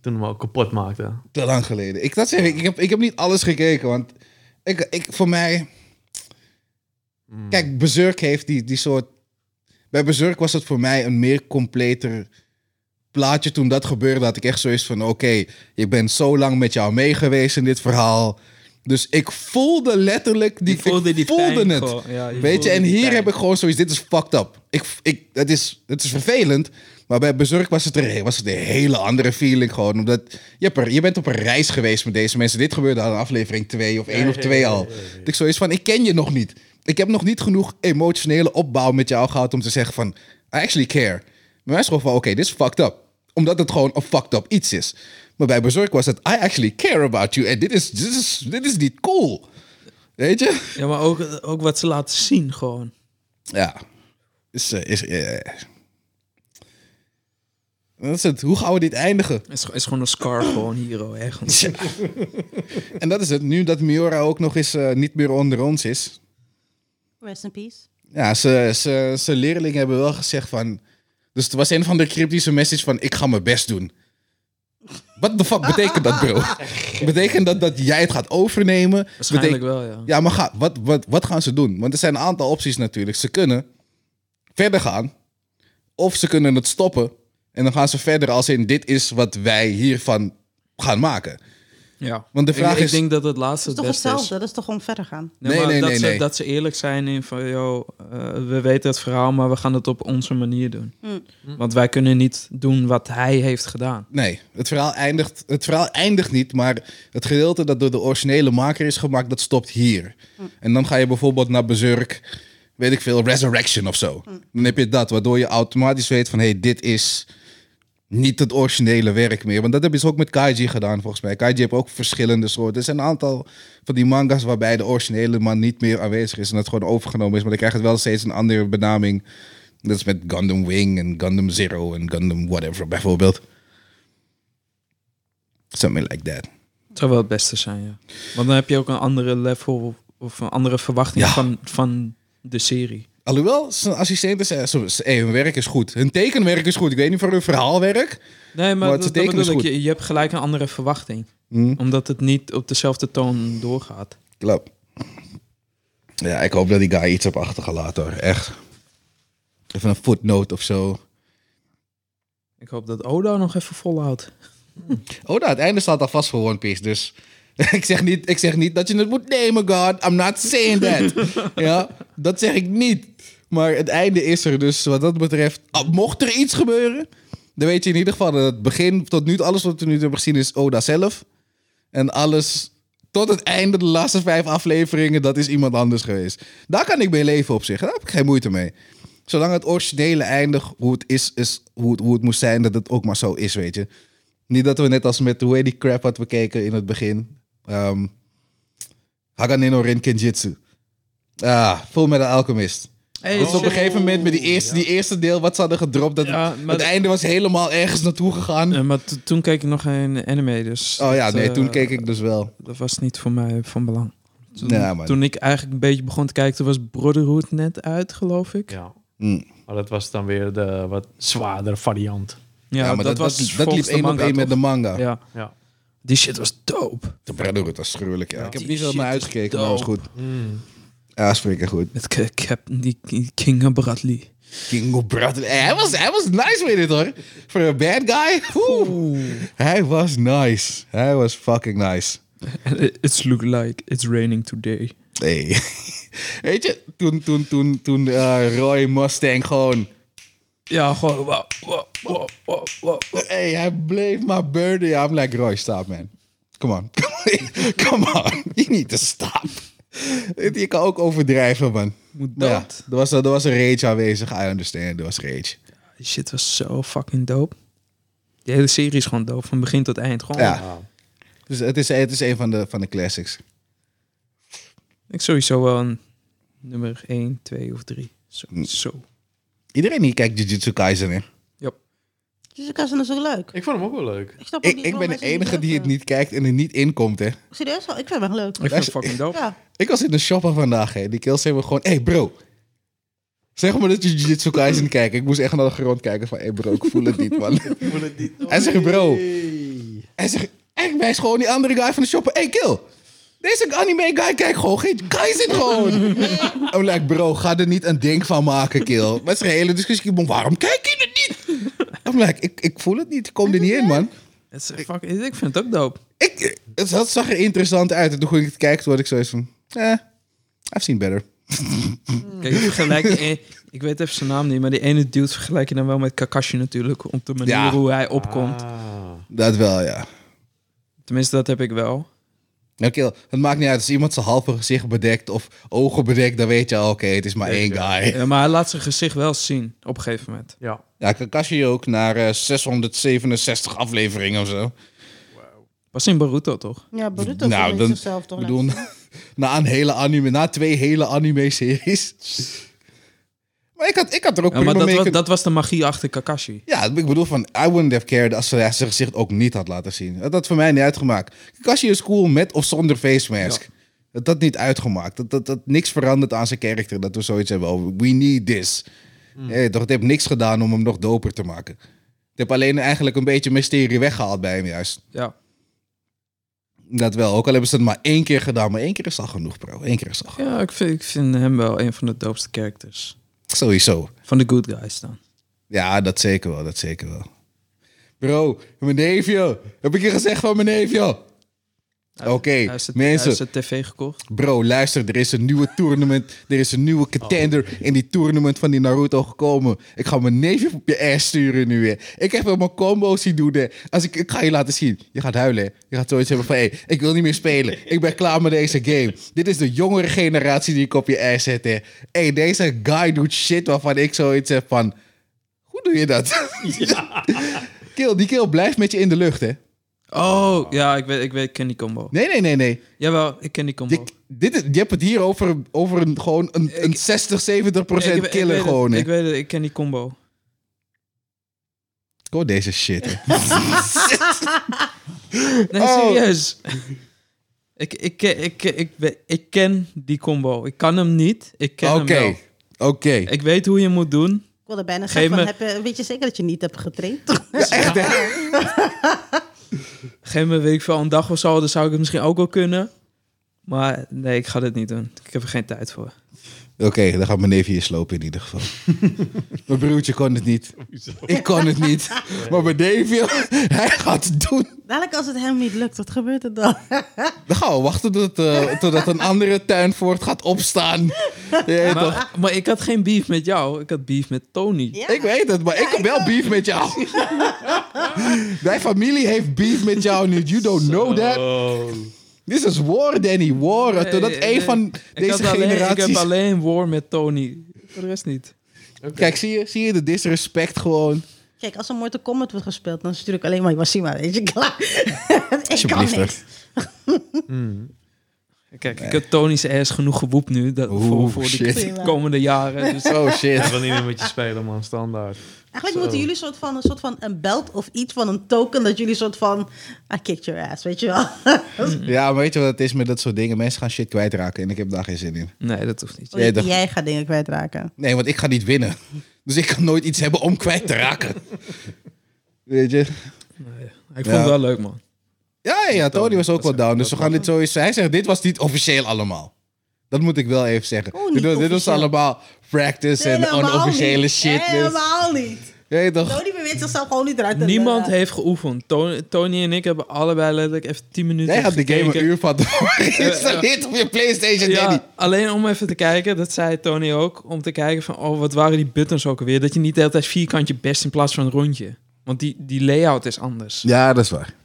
[SPEAKER 3] toen hem ook kapot maakte.
[SPEAKER 1] te lang geleden. Ik, dat zeg ik, ik, heb, ik heb niet alles gekeken, want ik, ik, voor mij...
[SPEAKER 2] Hmm.
[SPEAKER 1] Kijk, Berserk heeft die, die soort... Bij Berserk was het voor mij een meer completer plaatje toen dat gebeurde. Had ik echt zoiets van, oké, je bent zo lang met jou mee geweest in dit verhaal. Dus ik voelde letterlijk... Die,
[SPEAKER 2] Je voelde
[SPEAKER 1] ik
[SPEAKER 2] die
[SPEAKER 1] voelde
[SPEAKER 2] pijn
[SPEAKER 1] het.
[SPEAKER 2] gewoon. Ja, je
[SPEAKER 1] Weet
[SPEAKER 2] voelde
[SPEAKER 1] je, en
[SPEAKER 2] die
[SPEAKER 1] hier
[SPEAKER 2] pijn.
[SPEAKER 1] heb ik gewoon zoiets, dit is fucked up. Ik, ik, het, is, het is vervelend, maar bij Berserk was het, er, was het een hele andere feeling gewoon. Omdat je, hebt er- je bent op een reis geweest met deze mensen. Dit gebeurde aan aflevering 2 of 1 of 2 al. Dat ik zoiets van, ik ken je nog niet. Ik heb nog niet genoeg emotionele opbouw met jou gehad om te zeggen van, I actually care. Maar mij is gewoon van, oké, dit is fucked up. Omdat het gewoon een fucked up iets is. Maar bij Berserk was het, I actually care about you. En dit is, dit is, dit is niet cool. Weet je?
[SPEAKER 2] Ja, maar ook, ook wat ze laten zien gewoon.
[SPEAKER 1] Ja. Is, eh, is, eh. Dat is het. Hoe gaan we dit eindigen?
[SPEAKER 2] Het is, is gewoon een scar gewoon hier oh, ergens.
[SPEAKER 1] En dat is het. Nu dat Miora ook nog eens eh, niet meer onder ons is.
[SPEAKER 4] Rest in peace.
[SPEAKER 1] Ja, ze, ze, ze leerlingen hebben wel gezegd van... Dus het was een van de cryptische message van... Ik ga mijn best doen. What the fuck betekent dat, bro? betekent dat dat jij het gaat overnemen?
[SPEAKER 2] Waarschijnlijk
[SPEAKER 1] Betek-
[SPEAKER 2] wel, ja.
[SPEAKER 1] Ja, maar ga, wat, wat, wat gaan ze doen? Want er zijn een aantal opties natuurlijk. Ze kunnen verder gaan. Of ze kunnen het stoppen. En dan gaan ze verder als in... Dit is wat wij hiervan gaan maken.
[SPEAKER 2] ja.
[SPEAKER 1] Want de vraag
[SPEAKER 2] ik,
[SPEAKER 1] is-
[SPEAKER 2] Ik denk dat het laatste
[SPEAKER 4] Dat is
[SPEAKER 2] het
[SPEAKER 4] toch
[SPEAKER 2] beste is.
[SPEAKER 4] hetzelfde? Dat is toch om verder gaan?
[SPEAKER 2] Nee,
[SPEAKER 1] Nee,
[SPEAKER 2] maar
[SPEAKER 1] nee,
[SPEAKER 2] dat,
[SPEAKER 1] nee,
[SPEAKER 2] ze,
[SPEAKER 1] nee.
[SPEAKER 2] dat ze eerlijk zijn in van, joh, eh, we weten het verhaal, maar we gaan het op onze manier doen.
[SPEAKER 4] Mm.
[SPEAKER 2] Want wij kunnen niet doen wat hij heeft gedaan.
[SPEAKER 1] Nee, het verhaal, eindigt, het verhaal eindigt niet, maar het gedeelte dat door de originele maker is gemaakt, dat stopt hier. En dan ga je bijvoorbeeld naar Berserk, weet ik veel, Resurrection of zo. Dan heb je dat, waardoor je automatisch weet van, hé, hey, dit is niet het originele werk meer. Want dat hebben ze ook met Kaiji gedaan, volgens mij. Kaiji heeft ook verschillende soorten. Er zijn een aantal van die mangas waarbij de originele man niet meer aanwezig is en dat gewoon overgenomen is. Maar dan krijgt het wel steeds een andere benaming. Dat is met Gundam Wing en Gundam Zero en Gundam whatever, bijvoorbeeld. Something like that.
[SPEAKER 2] Het zou wel het beste zijn, ja. Want dan heb je ook een andere level of een andere verwachting
[SPEAKER 1] Ja.
[SPEAKER 2] van, van de serie.
[SPEAKER 1] Alhoewel, zijn assistenten zijn... eh, zo- ze- hey, hun werk is goed. Hun tekenwerk is goed. Ik weet niet van hun verhaalwerk.
[SPEAKER 2] Nee, maar,
[SPEAKER 1] Maar het
[SPEAKER 2] dat, dat
[SPEAKER 1] teken is
[SPEAKER 2] bedoel ik.
[SPEAKER 1] goed.
[SPEAKER 2] Je, je hebt gelijk een andere verwachting.
[SPEAKER 1] Hm,
[SPEAKER 2] Omdat het niet op dezelfde toon doorgaat.
[SPEAKER 1] klopt. Ja, ik hoop dat die guy iets heb achtergelaten hoor. Echt. Even een footnote of zo.
[SPEAKER 2] Ik hoop dat Oda nog even volhoudt.
[SPEAKER 1] Oh, nou, het einde staat al vast voor One Piece, dus... Ik zeg, niet, ik zeg niet dat je het moet nemen, God. I'm not saying that. ja, dat zeg ik niet. Maar het einde is er, dus wat dat betreft... ah, Mocht er iets gebeuren, Dan weet je in ieder geval dat het begin tot nu toe, alles wat we nu toe hebben gezien is Oda zelf. En alles tot het einde, de laatste vijf afleveringen, dat is iemand anders geweest. Daar kan ik mee leven op zich. Daar heb ik geen moeite mee. Zolang het originele eindig hoe het is, is hoe het, hoe het moest zijn, dat het ook maar zo is, weet je. Niet dat we net als met hoe heet die crap wat we keken in het begin. Ehm Hagane no Ren Kenjutsu. Ah, vol met de alchemist. Dus op een gegeven moment met die eerste, die eerste deel wat ze hadden gedropt, dat
[SPEAKER 2] Ja, maar
[SPEAKER 1] het
[SPEAKER 2] dat-
[SPEAKER 1] einde was helemaal ergens naartoe gegaan.
[SPEAKER 2] Eh, maar t- toen keek ik nog geen anime, dus...
[SPEAKER 1] oh ja,
[SPEAKER 2] dat,
[SPEAKER 1] nee,
[SPEAKER 2] eh,
[SPEAKER 1] toen keek ik dus wel.
[SPEAKER 2] Dat was niet voor mij van belang. Toen,
[SPEAKER 1] Ja, man.
[SPEAKER 2] toen ik eigenlijk een beetje begon te kijken, toen was Brotherhood net uit, geloof ik. Ja,
[SPEAKER 3] Ja.
[SPEAKER 1] Mm.
[SPEAKER 3] Maar dat was dan weer de wat zwaardere variant.
[SPEAKER 1] Ja, maar
[SPEAKER 2] dat,
[SPEAKER 1] dat,
[SPEAKER 2] was
[SPEAKER 1] dat, dat
[SPEAKER 2] volgens
[SPEAKER 1] liep
[SPEAKER 2] de
[SPEAKER 1] één op
[SPEAKER 2] manga,
[SPEAKER 1] één met de
[SPEAKER 2] toch?
[SPEAKER 1] manga.
[SPEAKER 2] Ja.
[SPEAKER 3] Ja.
[SPEAKER 2] Die shit was dope.
[SPEAKER 1] De Brotherhood was gruwelijk, ja. Hmm. Ik heb
[SPEAKER 2] Die
[SPEAKER 1] niet veel
[SPEAKER 2] shit
[SPEAKER 1] naar
[SPEAKER 2] is
[SPEAKER 1] uitgekeken, maar was
[SPEAKER 2] dope.
[SPEAKER 1] goed. Ja, is freaking goed.
[SPEAKER 2] Met K- Captain die K- King en Bradley.
[SPEAKER 1] King of Brother. Hey, hij, was, hij was nice with it, hoor. Voor een bad guy. Oeh. Hij was nice. Hij was fucking nice.
[SPEAKER 2] It's look like it's raining today.
[SPEAKER 1] Nee. Weet je, toen, toen, toen, toen eh, Roy Mustang gewoon...
[SPEAKER 2] Ja, gewoon wow, wow, wow, wow, wow.
[SPEAKER 1] Hey, hij bleef maar burden. Ja, I'm like, Roy, stop, man. Come on. Come on. You need to stop. Je kan ook overdrijven, man.
[SPEAKER 2] Moet
[SPEAKER 1] Maar Ja,
[SPEAKER 2] dat?
[SPEAKER 1] er was, er was een rage aanwezig. I understand, er was rage.
[SPEAKER 2] Die shit was zo fucking dope. Die hele serie is gewoon dope, van begin tot eind. Gewoon.
[SPEAKER 1] Ja. Dus het is, het is een van de, van de classics.
[SPEAKER 2] Ik sowieso wel een nummer 1, 2 of 3.
[SPEAKER 1] Mm.
[SPEAKER 2] Sowieso.
[SPEAKER 1] Iedereen hier kijkt Jujutsu Kaisen, hè?
[SPEAKER 4] Dus ik was zo leuk.
[SPEAKER 3] Ik vond hem ook wel leuk.
[SPEAKER 4] Ik, snap ook
[SPEAKER 1] Ik,
[SPEAKER 4] niet
[SPEAKER 1] ik ben
[SPEAKER 4] waarom
[SPEAKER 1] de
[SPEAKER 4] mensen
[SPEAKER 1] enige die het
[SPEAKER 4] durven.
[SPEAKER 1] niet kijkt en er niet in komt, hè?
[SPEAKER 4] Serieus wel? Ik vind hem echt leuk.
[SPEAKER 2] Ik vind het fucking dope.
[SPEAKER 4] Ja.
[SPEAKER 1] Ik was in de shopper vandaag, hè. Die kills hebben gewoon... Hé, hey, bro. Zeg maar dat je Jujutsu Kaisen kijkt. Ik moest echt naar de grond kijken van... Hé, hey, bro, ik voel het niet, man. Hij zegt, bro. Hij zegt... Hij wijst gewoon die andere guy van de shopper. Hé, hey, kill. Deze anime guy kijkt gewoon geen Kaisen gewoon. I'm like, bro, ga er niet een ding van maken, kill. Met zijn hele discussie. Ik ben, Waarom kijk je het niet? I'm like, ik, ik voel het niet. Ik kom er niet in, man.
[SPEAKER 2] Het is fucking, ik vind het ook dope.
[SPEAKER 1] Ik, het zag- zag er interessant uit. En toen ging ik het kijken, toen had ik zoiets van... Eh, I've seen better.
[SPEAKER 2] Kijk, ik vergelijk... eh, ik weet even zijn naam niet, maar die ene dude vergelijk je dan wel met Kakashi natuurlijk. Op de manier
[SPEAKER 1] Ja.
[SPEAKER 2] hoe hij opkomt.
[SPEAKER 3] Ah.
[SPEAKER 1] Dat wel, ja.
[SPEAKER 2] Tenminste, dat heb ik wel.
[SPEAKER 1] Nou, kill. Het maakt niet uit. Als iemand zijn halve gezicht bedekt of ogen bedekt, dan weet je al, oké, het is maar één guy.
[SPEAKER 2] Ja, maar hij laat zijn gezicht wel zien op een gegeven moment.
[SPEAKER 3] Ja.
[SPEAKER 1] Ja, Kakashi ook naar eh, 667 afleveringen of zo.
[SPEAKER 2] Pas in Baruto, toch?
[SPEAKER 4] Ja, Boruto
[SPEAKER 1] Nou,
[SPEAKER 4] nou,
[SPEAKER 1] dan-
[SPEAKER 4] zichzelf toch
[SPEAKER 1] Ik bedoel, na, na een hele anime, na twee hele anime-series. Maar ik had, ik had er ook
[SPEAKER 2] Ja,
[SPEAKER 1] prima
[SPEAKER 2] maar dat,
[SPEAKER 1] mee
[SPEAKER 2] wa-
[SPEAKER 1] kun-
[SPEAKER 2] dat was de magie achter Kakashi.
[SPEAKER 1] Ja, ik bedoel van, I wouldn't have cared als ze zijn gezicht ook niet had laten zien. Dat had voor mij niet uitgemaakt. Kakashi is cool met of zonder face mask. Dat had niet uitgemaakt. Dat, dat, dat niks verandert aan zijn karakter. Dat we zoiets hebben over, we need this. Hé, toch, het heeft niks gedaan om hem nog doper te maken. Het heeft alleen eigenlijk een beetje mysterie weggehaald bij hem juist.
[SPEAKER 2] Ja.
[SPEAKER 1] Dat wel, ook al hebben ze het maar één keer gedaan. Maar één keer is al genoeg, bro. Eén keer is al genoeg.
[SPEAKER 2] Ja, ik vind, ik vind hem wel een van de doopste characters.
[SPEAKER 1] Sowieso.
[SPEAKER 2] Van de good guys dan.
[SPEAKER 1] Ja, dat zeker wel, dat zeker wel. Bro, mijn neefje. Heb ik je gezegd van mijn neefje? Oké,
[SPEAKER 2] Hij is het,
[SPEAKER 1] mensen.
[SPEAKER 2] Hij is het tv gekocht.
[SPEAKER 1] Bro, luister, er is een nieuwe tournament. Er is een nieuwe contender in die tournament van die Naruto gekomen. Ik ga mijn neefje op je ass sturen nu weer. Ik heb hem een combo zien doen. hè. Als ik, ik ga je laten zien. Je gaat huilen. hè. Je gaat zoiets hebben van, hé, ik wil niet meer spelen. Ik ben klaar met deze game. Dit is de jongere generatie die ik op je ass zet. Hé, hey, deze guy doet shit waarvan ik zoiets heb van... Hoe doe je dat? Kill, die kill blijft met je in de lucht, hè?
[SPEAKER 2] Oh, ja, ik weet, ik weet, ik ken die combo.
[SPEAKER 1] Nee, nee, nee, nee.
[SPEAKER 2] Jawel, ik ken die combo.
[SPEAKER 1] Je, dit is, je hebt het hier over, over een, gewoon een, een 60, 70
[SPEAKER 2] Ik- ik-
[SPEAKER 1] procent
[SPEAKER 2] ik
[SPEAKER 1] killer
[SPEAKER 2] weet het,
[SPEAKER 1] gewoon. hè.
[SPEAKER 2] Ik weet het, ik ken die combo.
[SPEAKER 1] Ik hoor deze shit. hè.
[SPEAKER 2] Nee,
[SPEAKER 1] Oh.
[SPEAKER 2] serieus. ik, ik, ik, ik, ik, weet- ik ken die combo. Ik kan hem niet. Ik ken
[SPEAKER 1] Oké,
[SPEAKER 2] hem wel.
[SPEAKER 1] oké.
[SPEAKER 2] Ik weet hoe je hem moet doen.
[SPEAKER 4] Ik wilde bijna
[SPEAKER 2] Geef
[SPEAKER 4] zeggen, van,
[SPEAKER 2] me-
[SPEAKER 4] heb je, weet je zeker dat je niet hebt getraind?
[SPEAKER 1] Ja, echt hè?
[SPEAKER 2] Op een gegeven moment, weet ik veel, een dag of zo, dan zou ik het misschien ook wel kunnen. Maar nee, ik ga dit niet doen. Ik heb er geen tijd voor.
[SPEAKER 1] Oké, dan gaat mijn neef hier slopen in ieder geval. mijn broertje kon het niet. Ik kon het niet. Maar mijn neef, joh, hij gaat het doen.
[SPEAKER 4] Dadelijk als het hem niet lukt, wat gebeurt er dan?
[SPEAKER 1] Dan gaan we wachten tot, eh, totdat een andere tuinvoort gaat opstaan. Je weet toch?
[SPEAKER 2] Maar, maar ik had geen beef met jou. Ik had beef met Tony.
[SPEAKER 4] Ja.
[SPEAKER 1] Ik weet het, maar ik heb wel beef met jou. Mijn familie heeft beef met jou nu. You don't know that. This is war, Danny. War.
[SPEAKER 2] Nee,
[SPEAKER 1] Totdat
[SPEAKER 2] nee,
[SPEAKER 1] een van
[SPEAKER 2] ik
[SPEAKER 1] deze
[SPEAKER 2] had alleen-
[SPEAKER 1] generaties...
[SPEAKER 2] Ik heb alleen war met Tony. Voor de rest niet.
[SPEAKER 1] Kijk, zie je, zie je de disrespect gewoon?
[SPEAKER 4] Kijk, als er Mortal Kombat wordt gespeeld, dan stuur ik alleen maar Wasima, weet je, klaar. ik kan
[SPEAKER 1] Alsjeblieft,
[SPEAKER 4] niks.
[SPEAKER 2] Kijk, ik heb Tony's ass genoeg gewoept nu. Dat, voor,
[SPEAKER 1] Oeh,
[SPEAKER 2] voor
[SPEAKER 1] shit.
[SPEAKER 2] de komende jaren. Dus
[SPEAKER 1] Oh shit.
[SPEAKER 3] Ik wil niet meer met je spelen, man. Standaard.
[SPEAKER 4] Eigenlijk
[SPEAKER 3] Zo.
[SPEAKER 4] moeten jullie soort van, een soort van een belt of iets van een token dat jullie soort van, I kicked your ass, weet je wel.
[SPEAKER 1] Ja, maar weet je wat het is met dat soort dingen? Mensen gaan shit kwijtraken en ik heb daar geen zin in.
[SPEAKER 2] nee, dat hoeft niet.
[SPEAKER 1] Jij toch?
[SPEAKER 4] Jij gaat dingen kwijtraken.
[SPEAKER 1] Nee, want ik ga niet winnen. Dus ik kan nooit iets hebben om kwijt te raken. Weet je?
[SPEAKER 2] Nee. Ik vond
[SPEAKER 1] Ja.
[SPEAKER 2] het wel leuk, man.
[SPEAKER 1] Ja, ja, Tony was ook
[SPEAKER 2] Dat
[SPEAKER 1] wel
[SPEAKER 2] is-
[SPEAKER 1] down. Dus we
[SPEAKER 2] dat
[SPEAKER 1] gaan dit zo eens... Hij zegt, dit was niet officieel allemaal. Dat moet ik wel even zeggen.
[SPEAKER 4] Oh, niet
[SPEAKER 1] dit, was, dit was
[SPEAKER 4] officieel.
[SPEAKER 1] allemaal practice en
[SPEAKER 4] Helemaal
[SPEAKER 1] onofficiële
[SPEAKER 4] niet.
[SPEAKER 1] shit. Dus,
[SPEAKER 4] Helemaal niet.
[SPEAKER 1] weet je toch?
[SPEAKER 4] Tony beweert zichzelf gewoon niet eruit te
[SPEAKER 2] Niemand
[SPEAKER 4] lullen.
[SPEAKER 2] heeft geoefend. Tony, Tony en ik hebben allebei letterlijk even 10 minuten
[SPEAKER 1] Jij gaat de game een
[SPEAKER 2] gekeken.
[SPEAKER 1] uur van geïnstalleerd op je Playstation, Danny.
[SPEAKER 2] Ja, alleen om even te kijken, dat zei Tony ook, om te kijken van, oh, wat waren die buttons ook alweer? Dat je niet de hele tijd vierkantje best in plaats van een rondje. Want die, die layout is anders.
[SPEAKER 1] Ja, dat is waar.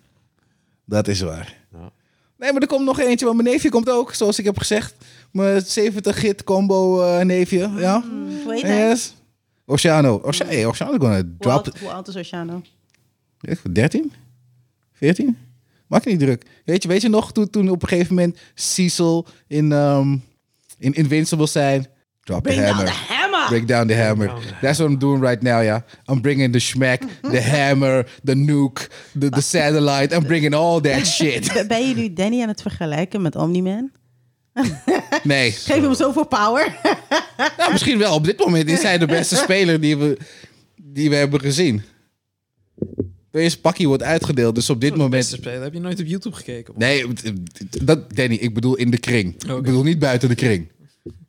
[SPEAKER 1] Dat is waar.
[SPEAKER 3] Ja.
[SPEAKER 1] Nee, maar er komt nog eentje, want mijn neefje komt ook, zoals ik heb gezegd. Mijn 70-git combo eh, neefje, ja.
[SPEAKER 4] Hoe heet hij?
[SPEAKER 1] Yes. Oceano. Oce hey, Oceano gonna
[SPEAKER 4] Hoe
[SPEAKER 1] drop...
[SPEAKER 4] oud, hoe oud is Oceano?
[SPEAKER 1] Ik- 13? 14? Maak je niet druk. Weet je, weet je nog, toen, toen op een gegeven moment Cecil in, ehm, in Invincible zijn... Drop the
[SPEAKER 4] Bring down the
[SPEAKER 1] hammer.
[SPEAKER 4] hammer!
[SPEAKER 1] Break down the hammer.
[SPEAKER 3] down the
[SPEAKER 1] That's what I'm doing right now, yeah. I'm bringing the schmack, the hammer, the nuke, the, the satellite. I'm bringing all that shit.
[SPEAKER 4] Ben- Ben je nu Danny aan het vergelijken met Omni-Man?
[SPEAKER 1] Nee.
[SPEAKER 4] Geef hem zoveel power.
[SPEAKER 1] Nou, misschien wel. Op dit moment is hij de beste speler die we, die we hebben gezien. Deze pakkie wordt uitgedeeld, dus op dit moment...
[SPEAKER 2] Beste speler, heb je nooit op YouTube gekeken? man?
[SPEAKER 1] Nee, het- het- dat, Danny, ik bedoel in de kring.
[SPEAKER 2] Oké.
[SPEAKER 1] Ik bedoel niet buiten de kring.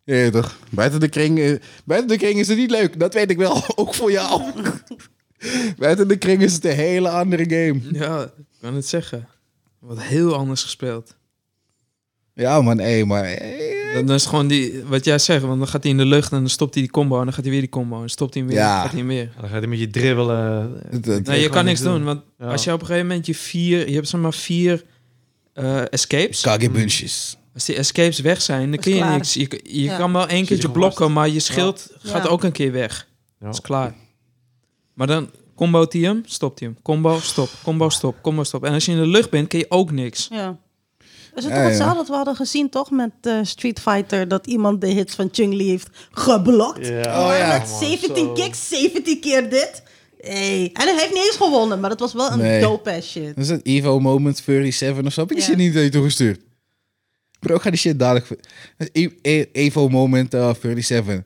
[SPEAKER 1] Ja, toch? Buiten de kring, eh, buiten de kring is het niet leuk. Dat weet ik wel, ook voor jou. buiten de kring is het een hele andere game.
[SPEAKER 2] Ja, ik kan het zeggen. Wat heel anders gespeeld.
[SPEAKER 1] Ja, man, hé, maar... eh,
[SPEAKER 2] Dan is het gewoon die, wat jij zegt, want dan gaat hij in de lucht en dan stopt hij die combo en dan gaat hij weer die combo en stopt hij hem weer en
[SPEAKER 1] Ja.
[SPEAKER 2] dan gaat hij hem weer.
[SPEAKER 3] Dan gaat hij een beetje dribbelen.
[SPEAKER 1] het- het-
[SPEAKER 2] Nee, je
[SPEAKER 3] gewoon
[SPEAKER 2] kan niks
[SPEAKER 3] niks
[SPEAKER 2] doen,
[SPEAKER 3] doen.
[SPEAKER 2] want
[SPEAKER 3] Ja.
[SPEAKER 2] als je op een gegeven moment je vier, je hebt zeg maar vier eh, escapes.
[SPEAKER 1] Kagebunches.
[SPEAKER 2] Als die escapes weg zijn, dan
[SPEAKER 4] Is
[SPEAKER 2] kun je
[SPEAKER 4] klaar.
[SPEAKER 2] niks. Je, je
[SPEAKER 4] Ja.
[SPEAKER 2] kan wel één
[SPEAKER 3] je
[SPEAKER 2] keertje
[SPEAKER 3] gewoon vast. Oh,
[SPEAKER 2] blokken, maar je schild gaat
[SPEAKER 4] Ja.
[SPEAKER 2] ook een keer weg.
[SPEAKER 3] Ja.
[SPEAKER 2] Dat is klaar. Maar dan combo hij hem, stopt hij hem. Combo, stop, combo, stop, combo, stop. En als je in de lucht bent, kun je ook niks.
[SPEAKER 4] Ja. Is het
[SPEAKER 1] Ja,
[SPEAKER 4] toch
[SPEAKER 1] ja.
[SPEAKER 4] hetzelfde dat we hadden gezien, toch? Met eh, Street Fighter, dat iemand de hits van Chung-Li heeft geblokt.
[SPEAKER 1] Oh, ja.
[SPEAKER 4] Met 17 kicks, 17 keer dit. Hey. En hij heeft niet eens gewonnen, maar dat was wel een
[SPEAKER 1] Nee.
[SPEAKER 4] dope-ass shit.
[SPEAKER 1] Dat is het Evo Moment 37 of zo. Heb ik die
[SPEAKER 4] Ja.
[SPEAKER 1] shit niet naar je toegestuurd? Bro, ik ga die shit dadelijk... ver- E- E- Evo Moment eh, 37.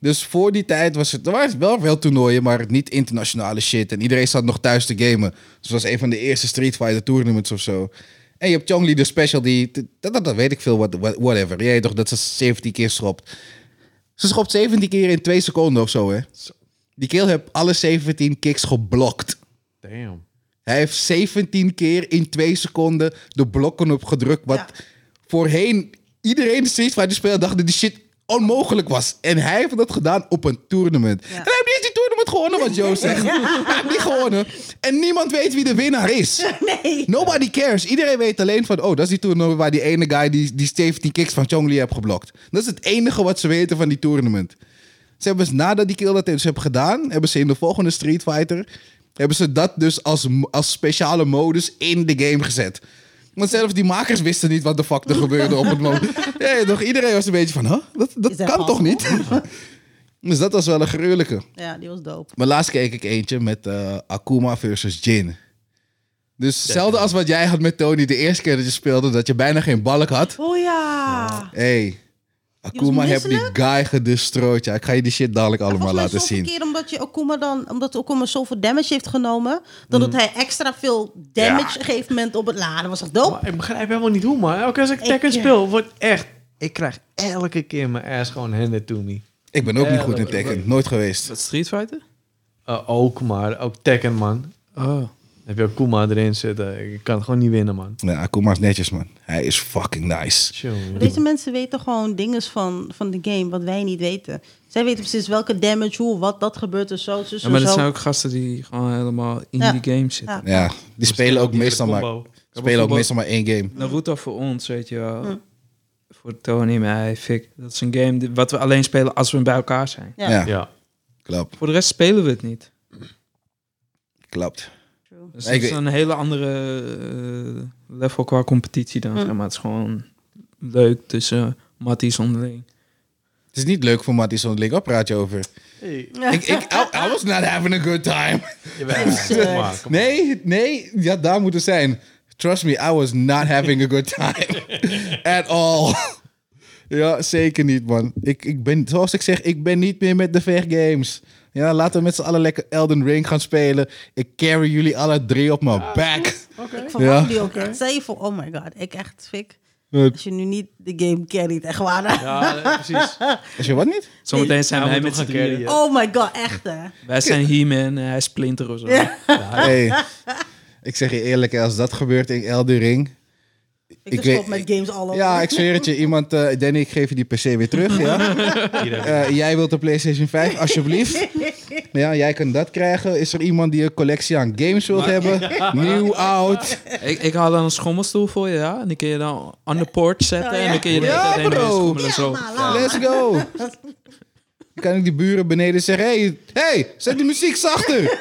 [SPEAKER 1] Dus voor die tijd was het... Er waren wel veel toernooien, maar niet internationale shit. En iedereen zat nog thuis te gamen. Dus het was een van de eerste Street Fighter tournaments of zo. En je hebt Chongli de special die... Dat, dat, dat weet ik veel, what, what- whatever. Jij weet toch dat ze 17 keer schopt. Ze schopt 17 keer in 2 seconden of zo, hè? Die keel heeft alle 17 kicks geblokt.
[SPEAKER 3] Damn.
[SPEAKER 1] Hij heeft 17 keer in 2 seconden de blokken opgedrukt. Wat
[SPEAKER 4] Ja.
[SPEAKER 1] voorheen iedereen steeds Street Fighter speelde dacht dat die shit onmogelijk was. En hij heeft dat gedaan op een tournament. En hij heeft niet eens die tournament gewonnen, wat Joe zegt. Hij heeft niet gewonnen. En niemand weet wie de winnaar is.
[SPEAKER 4] Nee.
[SPEAKER 1] Nobody cares. Iedereen weet alleen van... Oh, dat is die toernooi waar die ene guy die, die 17 kicks van Chongli heeft geblokt. Dat is het enige wat ze weten van die tournament. Ze hebben, dus nadat die kill dat ze hebben gedaan... hebben ze in de volgende Street Fighter... hebben ze dat dus als, mo- als speciale modus in de game gezet. Want zelfs die makers wisten niet wat de fuck er gebeurde op het moment. Ja, toch, iedereen was een beetje van... Huh? Dat, dat
[SPEAKER 4] Is dat
[SPEAKER 1] kan toch niet? dus dat was wel een gruwelijke.
[SPEAKER 4] Ja, die was dope.
[SPEAKER 1] Maar laatst keek ik eentje met eh, Akuma versus Jin. Dus hetzelfde als wat jij had met Tony de eerste keer dat je speelde, dat je bijna geen balk had.
[SPEAKER 4] Oh ja.
[SPEAKER 1] Hé, hey, Akuma heeft die
[SPEAKER 4] misselijk?
[SPEAKER 1] guy gedestrooid. Ja, ik ga je die shit dadelijk allemaal
[SPEAKER 4] Volgens mij
[SPEAKER 1] laten
[SPEAKER 4] zoveel
[SPEAKER 1] zien.
[SPEAKER 4] keer omdat je Okuma dan, omdat Okuma zoveel damage heeft genomen, dan
[SPEAKER 1] Mm.
[SPEAKER 4] doet hij extra veel damage op een gegeven moment op het laden. Was echt dope.
[SPEAKER 3] Maar ik begrijp helemaal niet hoe, maar elke keer als ik
[SPEAKER 4] Ik-
[SPEAKER 3] Tekken
[SPEAKER 1] eh,
[SPEAKER 4] ja.
[SPEAKER 3] speel, wordt echt... Ik krijg elke keer mijn ass gewoon handed to me.
[SPEAKER 1] Ik ben ook niet
[SPEAKER 3] Ja,
[SPEAKER 1] goed in
[SPEAKER 3] dat-
[SPEAKER 1] Tekken. Nooit geweest.
[SPEAKER 2] Wat Street Fighter?
[SPEAKER 3] Eh, ook, maar ook Tekken, man.
[SPEAKER 2] Oh.
[SPEAKER 3] Dan heb je ook Kuma erin zitten. Ik kan het gewoon niet winnen, man.
[SPEAKER 1] Nee, Akuma is netjes, man. Hij is fucking nice.
[SPEAKER 3] Chill, man.
[SPEAKER 4] Deze mensen weten gewoon dingen van, van de game wat wij niet weten. Zij weten precies welke damage, hoe, wat, dat gebeurt en zo. zo, zo,
[SPEAKER 2] Ja, maar
[SPEAKER 4] zo.
[SPEAKER 2] dat zijn ook gasten die gewoon helemaal in
[SPEAKER 4] Ja.
[SPEAKER 2] die game zitten.
[SPEAKER 4] Ja.
[SPEAKER 1] Ja, die spelen ook
[SPEAKER 3] Die
[SPEAKER 1] meestal maar,
[SPEAKER 3] combo.
[SPEAKER 1] spelen ook
[SPEAKER 2] combo.
[SPEAKER 1] meestal maar één game.
[SPEAKER 2] Naruto voor ons, weet je wel.
[SPEAKER 4] Hm.
[SPEAKER 2] Voor Tony, mij, Fik. Dat is een game die- wat we alleen spelen als we bij elkaar zijn.
[SPEAKER 4] Ja.
[SPEAKER 1] Ja,
[SPEAKER 3] Ja.
[SPEAKER 1] klopt.
[SPEAKER 2] Voor de rest spelen we het niet.
[SPEAKER 1] Klopt.
[SPEAKER 2] Dus
[SPEAKER 1] Ik
[SPEAKER 2] het is
[SPEAKER 1] weet-
[SPEAKER 2] een hele andere eh, level qua competitie dan,
[SPEAKER 4] Hm.
[SPEAKER 2] zeg maar. Het is gewoon leuk tussen matties onderling.
[SPEAKER 1] Het is niet leuk voor Matty zo'n link. Op praat je over.
[SPEAKER 3] Hey.
[SPEAKER 1] Ik, ik, I, I was not having a good time.
[SPEAKER 3] Jawel, kom maar, kom maar.
[SPEAKER 1] Nee, nee, ja, daar moet het zijn. Trust me, I was not having a good time. At all. Ja, zeker niet, man. Ik, ik ben, zoals ik zeg, ik ben niet meer met de vergames. Ja, laten we met z'n allen lekker Elden Ring gaan spelen. Ik carry jullie alle drie op mijn back.
[SPEAKER 4] Ik verwacht
[SPEAKER 1] Ja.
[SPEAKER 4] die ook. echt. Stel je voor, oh my god, ik echt fik.
[SPEAKER 1] Wat?
[SPEAKER 4] Als je nu niet de game carryt, echt waar. hè?
[SPEAKER 3] Ja, eh, precies.
[SPEAKER 1] Is je wat niet?
[SPEAKER 2] Zometeen zijn
[SPEAKER 3] Ja,
[SPEAKER 2] wij
[SPEAKER 3] we
[SPEAKER 2] met z'n
[SPEAKER 3] moeten gaan
[SPEAKER 2] drieën.
[SPEAKER 3] carryen.
[SPEAKER 4] Oh my god, echt hè.
[SPEAKER 2] Wij zijn He-Man en hij is Splinter of zo.
[SPEAKER 1] Hey, ik zeg je eerlijk, als dat gebeurt in Elden Ring...
[SPEAKER 4] Ik,
[SPEAKER 1] Ik
[SPEAKER 4] dus stop
[SPEAKER 1] weet-
[SPEAKER 4] met games al over.
[SPEAKER 1] Ja, ik zweer het je. Iemand, eh Danny, ik geef je die PC weer terug. Ja?
[SPEAKER 3] Hier heb je-
[SPEAKER 1] Eh, jij wilt de PlayStation 5, alsjeblieft. Ja, jij kan dat krijgen. Is er iemand die een collectie aan games wilt hebben? Nieuw, oud.
[SPEAKER 2] Ik, ik haal dan een schommelstoel voor je, ja. En die kun je dan aan de poort zetten.
[SPEAKER 4] Oh, ja.
[SPEAKER 2] En dan kun je
[SPEAKER 1] Ja,
[SPEAKER 2] ja,
[SPEAKER 1] bro.
[SPEAKER 2] schommelen zo.
[SPEAKER 4] maar laat.
[SPEAKER 1] Let's go. Dan kan ik die buren beneden zeggen: hey, hey, zet die muziek zachter.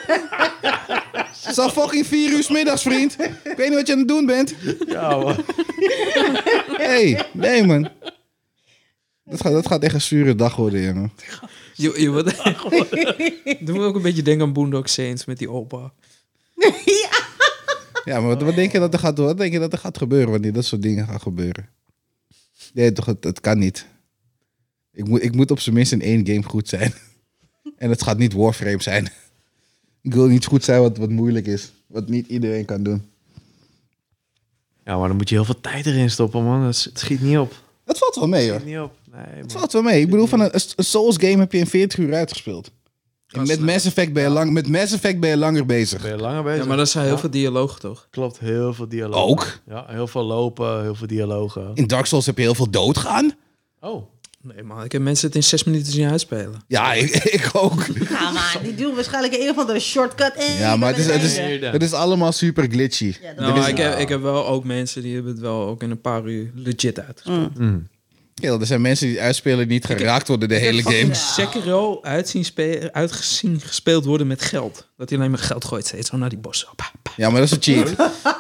[SPEAKER 1] Het is al fucking vier uur 's middags, vriend. Ik weet niet wat je aan het doen bent.
[SPEAKER 3] Ja, man.
[SPEAKER 1] hey, nee, man. Dat gaat, dat gaat echt een zure dag worden, jongen.
[SPEAKER 2] Je, je wordt... Doe me ook een beetje denken aan Boondock Saints met die opa.
[SPEAKER 1] Ja, maar wat, wat denk je dat er gaat, wat denk je dat er gaat gebeuren wanneer dat soort dingen gaan gebeuren? Nee, toch, het, het kan niet. Ik moet, ik moet op zijn minst in één game goed zijn. En het gaat niet Warframe zijn. Ik wil niet goed zijn wat, wat moeilijk is. Wat niet iedereen kan doen.
[SPEAKER 3] ja, maar dan moet je heel veel tijd erin stoppen, man. Het s- het schiet niet op. Het
[SPEAKER 1] Dat valt wel mee, hoor.
[SPEAKER 3] schiet niet op. Nee,
[SPEAKER 1] Het
[SPEAKER 3] man.
[SPEAKER 1] valt wel mee. Ik bedoel, van een, een Souls game heb je in 40 uur uitgespeeld. En met Mass, Effect ben je lang, met Mass Effect ben je langer bezig.
[SPEAKER 3] Ben je langer bezig?
[SPEAKER 2] Ja, maar dat zijn heel
[SPEAKER 3] Ja.
[SPEAKER 2] veel dialoog toch?
[SPEAKER 3] Klopt, heel veel dialogen.
[SPEAKER 1] Ook.
[SPEAKER 3] Ja, heel veel lopen, heel veel dialogen.
[SPEAKER 1] In Dark Souls heb je heel veel doodgaan.
[SPEAKER 3] Oh,
[SPEAKER 2] Nee man, ik heb mensen het in zes minuten zien uitspelen.
[SPEAKER 1] Ja, ik, ik ook.
[SPEAKER 4] Ja, maar die doen waarschijnlijk een of andere shortcut. En
[SPEAKER 1] Ja, maar het is, het is, het is allemaal super glitchy.
[SPEAKER 4] Ja, dat
[SPEAKER 2] Nou,
[SPEAKER 4] is-
[SPEAKER 2] ik, heb, ik heb wel ook mensen die hebben het wel ook in een paar uur legit uit.
[SPEAKER 4] Mm.
[SPEAKER 1] Kerel, er zijn mensen die het uitspelen die niet geraakt worden de hele game.
[SPEAKER 2] Fucking Sekiro uitzien spe- uitgezien gespeeld worden met geld. Dat hij alleen maar geld gooit steeds zo naar die bossen. Pa, pa.
[SPEAKER 1] Ja, maar dat is een cheat.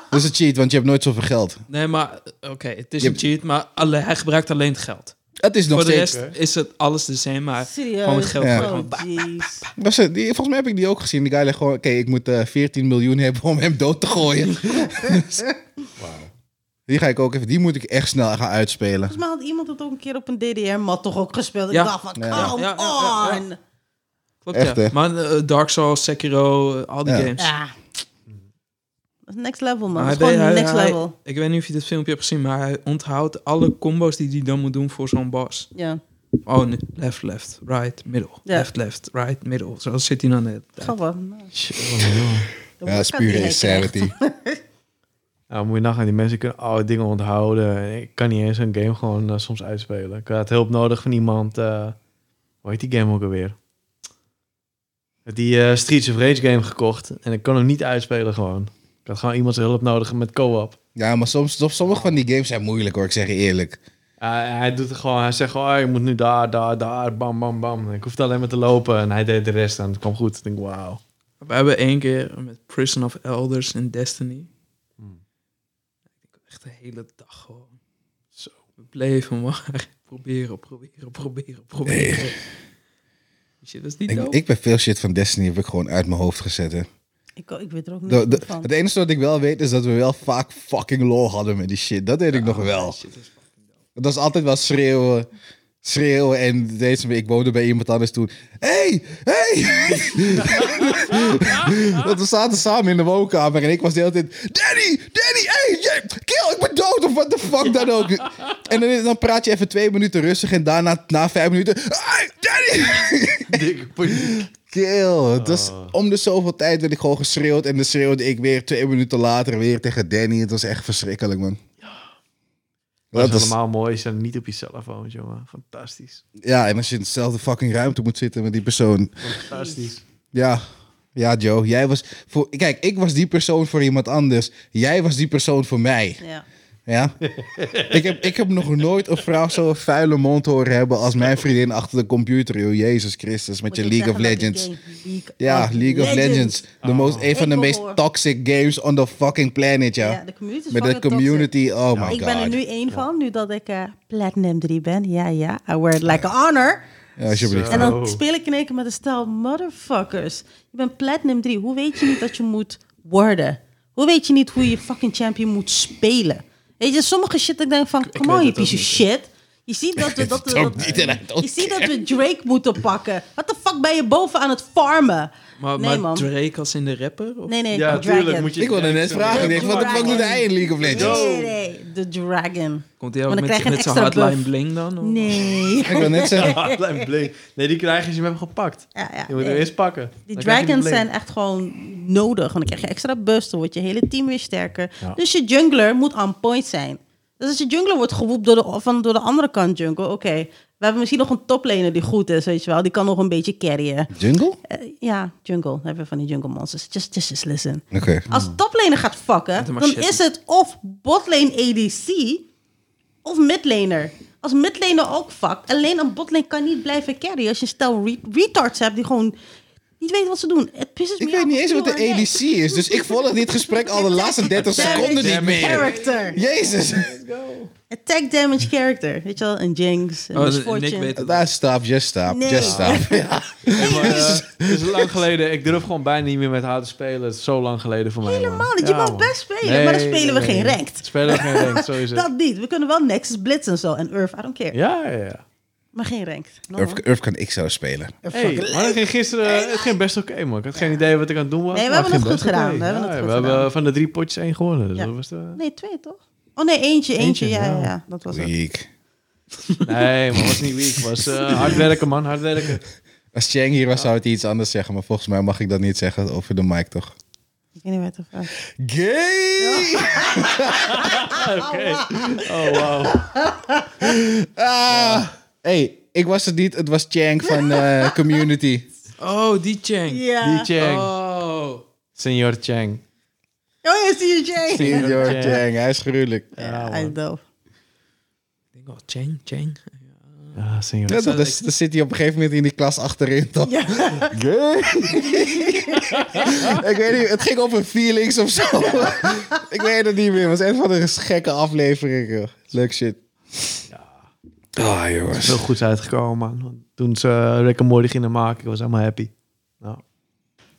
[SPEAKER 1] Dat is een cheat, want je hebt nooit zoveel geld.
[SPEAKER 2] Nee, maar oké, het is
[SPEAKER 1] Je
[SPEAKER 2] een cheat, maar alle, hij gebruikt alleen het geld.
[SPEAKER 1] Het is nog
[SPEAKER 2] Voor de
[SPEAKER 1] steeds...
[SPEAKER 2] rest is het alles de same, maar
[SPEAKER 4] Serieus?
[SPEAKER 2] gewoon het geld.
[SPEAKER 1] Ja.
[SPEAKER 2] gooit.
[SPEAKER 4] Oh,
[SPEAKER 2] Gewoon pa,
[SPEAKER 4] jeez.
[SPEAKER 1] Was het- die, volgens mij heb ik die ook gezien. Die guy legt gewoon... Oké, ik moet eh, 14 miljoen hebben om hem dood te gooien. Dus- Die ga ik ook even... Die moet ik echt snel gaan uitspelen.
[SPEAKER 4] Volgens mij had iemand het ook een keer op een DDR-mat toch ook gespeeld. Ik
[SPEAKER 2] Ja.
[SPEAKER 4] dacht van,
[SPEAKER 1] Ja.
[SPEAKER 4] come
[SPEAKER 2] Ja, ja, ja, ja.
[SPEAKER 4] on! Ja,
[SPEAKER 2] Klopt,
[SPEAKER 1] Echt,
[SPEAKER 2] ja.
[SPEAKER 1] hè?
[SPEAKER 2] Maar eh, Dark Souls, Sekiro, eh, al die
[SPEAKER 1] Ja.
[SPEAKER 2] games.
[SPEAKER 4] Dat is next level, man.
[SPEAKER 2] Maar
[SPEAKER 4] Dat
[SPEAKER 2] hij
[SPEAKER 4] is gewoon
[SPEAKER 2] weet- hij-
[SPEAKER 4] next
[SPEAKER 2] hij-
[SPEAKER 4] level.
[SPEAKER 2] ik weet niet of je dit filmpje hebt gezien, maar hij onthoudt alle combo's die hij dan moet doen voor zo'n boss.
[SPEAKER 4] Ja,
[SPEAKER 2] Oh, nee. left, left, right, middle.
[SPEAKER 4] Ja.
[SPEAKER 2] Left, left, right, middle. Zo zit hij dan net.
[SPEAKER 4] grappig.
[SPEAKER 1] Ja, dat is pure insanity.
[SPEAKER 3] Ja, dan Nou, moet je nagaan, die mensen kunnen oude dingen onthouden. Ik kan niet eens een game gewoon eh, soms uitspelen. Ik had hulp nodig van iemand. eh hoe heet die game ook alweer? Ik had die eh, Streets of Rage game gekocht en ik kon hem niet uitspelen gewoon. Ik had gewoon iemands hulp nodig met co-op.
[SPEAKER 1] Ja, maar soms, soms- sommige van die games zijn moeilijk hoor, ik zeg je eerlijk.
[SPEAKER 3] Eh, hij doet het gewoon, hij zegt gewoon, "Ah, je moet nu daar, daar, daar, bam, bam, bam. Ik hoefde alleen maar te lopen en hij deed de rest en het kwam goed. Ik denk, wauw.
[SPEAKER 2] We hebben één keer met Prison of Elders in Destiny. Ik had echt de hele dag gewoon.
[SPEAKER 3] Zo.
[SPEAKER 2] We bleven maar proberen, proberen, proberen, proberen. Shit, dat is niet
[SPEAKER 1] Ik,
[SPEAKER 2] dope.
[SPEAKER 1] ik ben veel shit van Destiny heb ik gewoon uit mijn hoofd gezet. Hè.
[SPEAKER 4] Ik, oh, ik weet er ook
[SPEAKER 1] De, de-
[SPEAKER 4] niet van.
[SPEAKER 1] het enige wat ik wel weet is dat we wel vaak fucking lol hadden met die shit. Dat weet ik nog wel.
[SPEAKER 2] Shit, dat is-
[SPEAKER 1] Dat was altijd wel schreeuwen. schreeuwen. En deze, ik woonde bij iemand anders toen. hey, Hey! Want we zaten samen in de woonkamer en ik was de hele tijd... Danny, Danny, hey, jij- kill, ik ben dood of what the fuck dan ook. En dan, dan praat je even twee minuten rustig en daarna na vijf minuten... Hey, Danny!
[SPEAKER 3] Dikke paniek.
[SPEAKER 1] Kill. Het was om de zoveel tijd werd ik gewoon geschreeuwd. En dan schreeuwde ik weer twee minuten later weer tegen Danny. Het was echt verschrikkelijk, man.
[SPEAKER 3] Dat
[SPEAKER 1] Dat
[SPEAKER 3] is
[SPEAKER 1] is-
[SPEAKER 3] allemaal mooi. Ze zijn niet op je telefoon, jongen. Fantastisch.
[SPEAKER 1] Ja, en als je in dezelfde fucking ruimte moet zitten met die persoon.
[SPEAKER 3] Fantastisch.
[SPEAKER 1] Ja, ja Joe. Jij was voor... Kijk, ik was die persoon voor iemand anders. Jij was die persoon voor mij.
[SPEAKER 4] Ja.
[SPEAKER 1] Ja? ik, heb, ik heb nog nooit een vrouw zo'n vuile mond horen hebben als mijn vriendin achter de computer. Joh, Jezus Christus, met je
[SPEAKER 4] Moet ik
[SPEAKER 1] League of
[SPEAKER 4] zeggen dat
[SPEAKER 1] Legends.
[SPEAKER 4] die game League
[SPEAKER 1] Ja, League of Legends. De most, een van de
[SPEAKER 4] Oh, Ik
[SPEAKER 1] meest
[SPEAKER 4] hoor.
[SPEAKER 1] toxic games on the fucking planet, ja.
[SPEAKER 4] Ja, de community is
[SPEAKER 1] Met de
[SPEAKER 4] fucking
[SPEAKER 1] community, oh my god.
[SPEAKER 4] ik ben er nu één van, nu dat ik eh, Platinum 3 ben. Ja, ja, I wear it like a honor.
[SPEAKER 1] Ja, alsjeblieft.
[SPEAKER 3] Zo.
[SPEAKER 4] En dan
[SPEAKER 3] Oh.
[SPEAKER 4] speel ik in één keer met een stel motherfuckers. Je bent Platinum 3. Hoe weet je niet dat je moet worden? Hoe weet je niet hoe je fucking champion moet spelen? Weet je, sommige shit, ik denk van, come on,
[SPEAKER 3] weet
[SPEAKER 4] je
[SPEAKER 3] het ook
[SPEAKER 4] piece of shit. Je ziet dat we, dat, we-
[SPEAKER 1] weet het ook
[SPEAKER 4] dat-
[SPEAKER 1] niet en I don't
[SPEAKER 4] je ziet dat we Drake moeten pakken. Wat de fuck ben je boven aan het farmen?
[SPEAKER 2] Maar,
[SPEAKER 4] nee,
[SPEAKER 2] maar
[SPEAKER 4] man.
[SPEAKER 2] Drake als in de rapper? Of?
[SPEAKER 4] Nee, nee,
[SPEAKER 3] Ja,
[SPEAKER 4] de dragon.
[SPEAKER 3] tuurlijk moet je...
[SPEAKER 1] Ik wilde net vragen, ik denk, wat de fuck doet hij in League of Legends?
[SPEAKER 4] Nee, nee, de dragon.
[SPEAKER 2] Komt hij ook
[SPEAKER 4] Want dan
[SPEAKER 2] met,
[SPEAKER 4] krijg je
[SPEAKER 2] met
[SPEAKER 4] een
[SPEAKER 2] zijn
[SPEAKER 4] extra
[SPEAKER 2] hardline
[SPEAKER 4] buff.
[SPEAKER 2] bling dan? Of-
[SPEAKER 4] Nee.
[SPEAKER 1] Ik wil net zeggen,
[SPEAKER 3] Ah, blijf bling. Nee, die krijg je als je hem hebt gepakt.
[SPEAKER 4] Ja, ja,
[SPEAKER 3] Je moet
[SPEAKER 4] nee.
[SPEAKER 3] hem eerst pakken.
[SPEAKER 4] Die
[SPEAKER 3] Dan krijg je
[SPEAKER 4] dragons
[SPEAKER 3] bling.
[SPEAKER 4] zijn echt gewoon nodig. Want dan krijg je extra bust, dan wordt je hele team weer sterker. Dus je jungler moet on point zijn. Dus als je jungler wordt gewoept door de, van, door de andere kant jungle, oké. We hebben misschien nog een toplaner die goed is, weet je wel. Die kan nog een beetje carryen.
[SPEAKER 1] jungle?
[SPEAKER 4] Eh, ja, jungle. Dan hebben we van die jungle monsters. Just, just, just listen.
[SPEAKER 1] Oké.
[SPEAKER 4] Als toplaner gaat fucken,
[SPEAKER 2] Met een
[SPEAKER 4] dan
[SPEAKER 2] machete.
[SPEAKER 4] is het of botlane ADC of midlaner. Als midlaner ook fuckt, alleen een botlane kan niet blijven carry. Als je stel re- retards hebt die gewoon niet weten wat ze doen. Het pisses
[SPEAKER 1] Ik
[SPEAKER 4] me
[SPEAKER 1] weet
[SPEAKER 4] af
[SPEAKER 1] niet
[SPEAKER 4] als
[SPEAKER 1] eens wat de
[SPEAKER 4] iemand-
[SPEAKER 1] ADC is, dus ik volg dit gesprek al de laatste 30
[SPEAKER 4] Attack
[SPEAKER 1] seconden niet
[SPEAKER 4] damage
[SPEAKER 1] meer.
[SPEAKER 4] Character.
[SPEAKER 1] Jezus.
[SPEAKER 4] Attack damage character. Weet je wel, een Jinx, een
[SPEAKER 2] Oh, Nick
[SPEAKER 4] misfortune.
[SPEAKER 2] weet het.
[SPEAKER 1] Daar stop, just stop,
[SPEAKER 4] Nee.
[SPEAKER 1] just stop. Ja.
[SPEAKER 3] Ja, maar, eh, Het is lang geleden. Ik durf gewoon bijna niet meer met haar te spelen. Het is zo lang geleden voor mij.
[SPEAKER 4] Helemaal
[SPEAKER 3] man.
[SPEAKER 4] niet. Je
[SPEAKER 3] Ja,
[SPEAKER 4] mag
[SPEAKER 3] man.
[SPEAKER 4] best spelen, maar dan spelen we
[SPEAKER 3] nee,
[SPEAKER 4] geen
[SPEAKER 3] nee.
[SPEAKER 4] ranked.
[SPEAKER 3] Spelen we geen ranked, zo is het.
[SPEAKER 4] Dat niet. We kunnen wel Nexus Blitz en zo en Earth, I don't care.
[SPEAKER 3] Ja, ja, ja.
[SPEAKER 4] Maar geen ranked. No,
[SPEAKER 1] Urf, Urf kan ik zo spelen.
[SPEAKER 3] Hey, maar het ging gisteren het ging best oké, man. Ik had geen idee wat ik aan het doen was.
[SPEAKER 4] Nee, we
[SPEAKER 3] maar
[SPEAKER 4] hebben
[SPEAKER 3] ging
[SPEAKER 4] het goed
[SPEAKER 3] best
[SPEAKER 4] gedaan.
[SPEAKER 3] oké.
[SPEAKER 4] We hebben het
[SPEAKER 3] Ja,
[SPEAKER 4] goed
[SPEAKER 3] we
[SPEAKER 4] gedaan.
[SPEAKER 3] hebben van de drie potjes één gewonnen. Dus
[SPEAKER 4] Ja.
[SPEAKER 3] dat was de...
[SPEAKER 4] Nee, twee toch? Oh nee, eentje, eentje.
[SPEAKER 3] Eentje,
[SPEAKER 4] ja, ja.
[SPEAKER 3] ja.
[SPEAKER 4] ja, dat was het.
[SPEAKER 1] Weak.
[SPEAKER 3] Nee, maar was niet weak. was eh, hard werken, man. Hard werken.
[SPEAKER 1] Als Chang hier was, zou het iets anders zeggen, maar volgens mij mag ik dat niet zeggen over de mic, toch?
[SPEAKER 4] Ik weet niet wat het was.
[SPEAKER 1] Gay!
[SPEAKER 3] Oké. Oh, wow.
[SPEAKER 1] Ah. Hey, ik was het niet, het was Chang van eh, Community.
[SPEAKER 2] Oh, die Chang.
[SPEAKER 4] Ja.
[SPEAKER 3] Die Chang.
[SPEAKER 2] Oh.
[SPEAKER 3] Senior Chang.
[SPEAKER 4] Oh, je ziet je Jay.
[SPEAKER 1] Senior
[SPEAKER 3] Chang.
[SPEAKER 1] Chang, hij is gruwelijk.
[SPEAKER 4] Ja, hij is doof.
[SPEAKER 2] Ik denk oh, wel, Chang, Chang.
[SPEAKER 3] Ah, senior
[SPEAKER 1] Ja, dan, dan zit hij op een gegeven moment in die klas achterin, toch?
[SPEAKER 4] Ja.
[SPEAKER 1] Gay! ik weet niet, het ging over feelings of zo. ik weet het niet meer, het was een van de gekke afleveringen. joh. Leuk shit. Ah, jongens.
[SPEAKER 3] Heel goed uitgekomen, man. Want Toen ze eh, Rick en Morty gingen maken, ik was helemaal happy. Nou,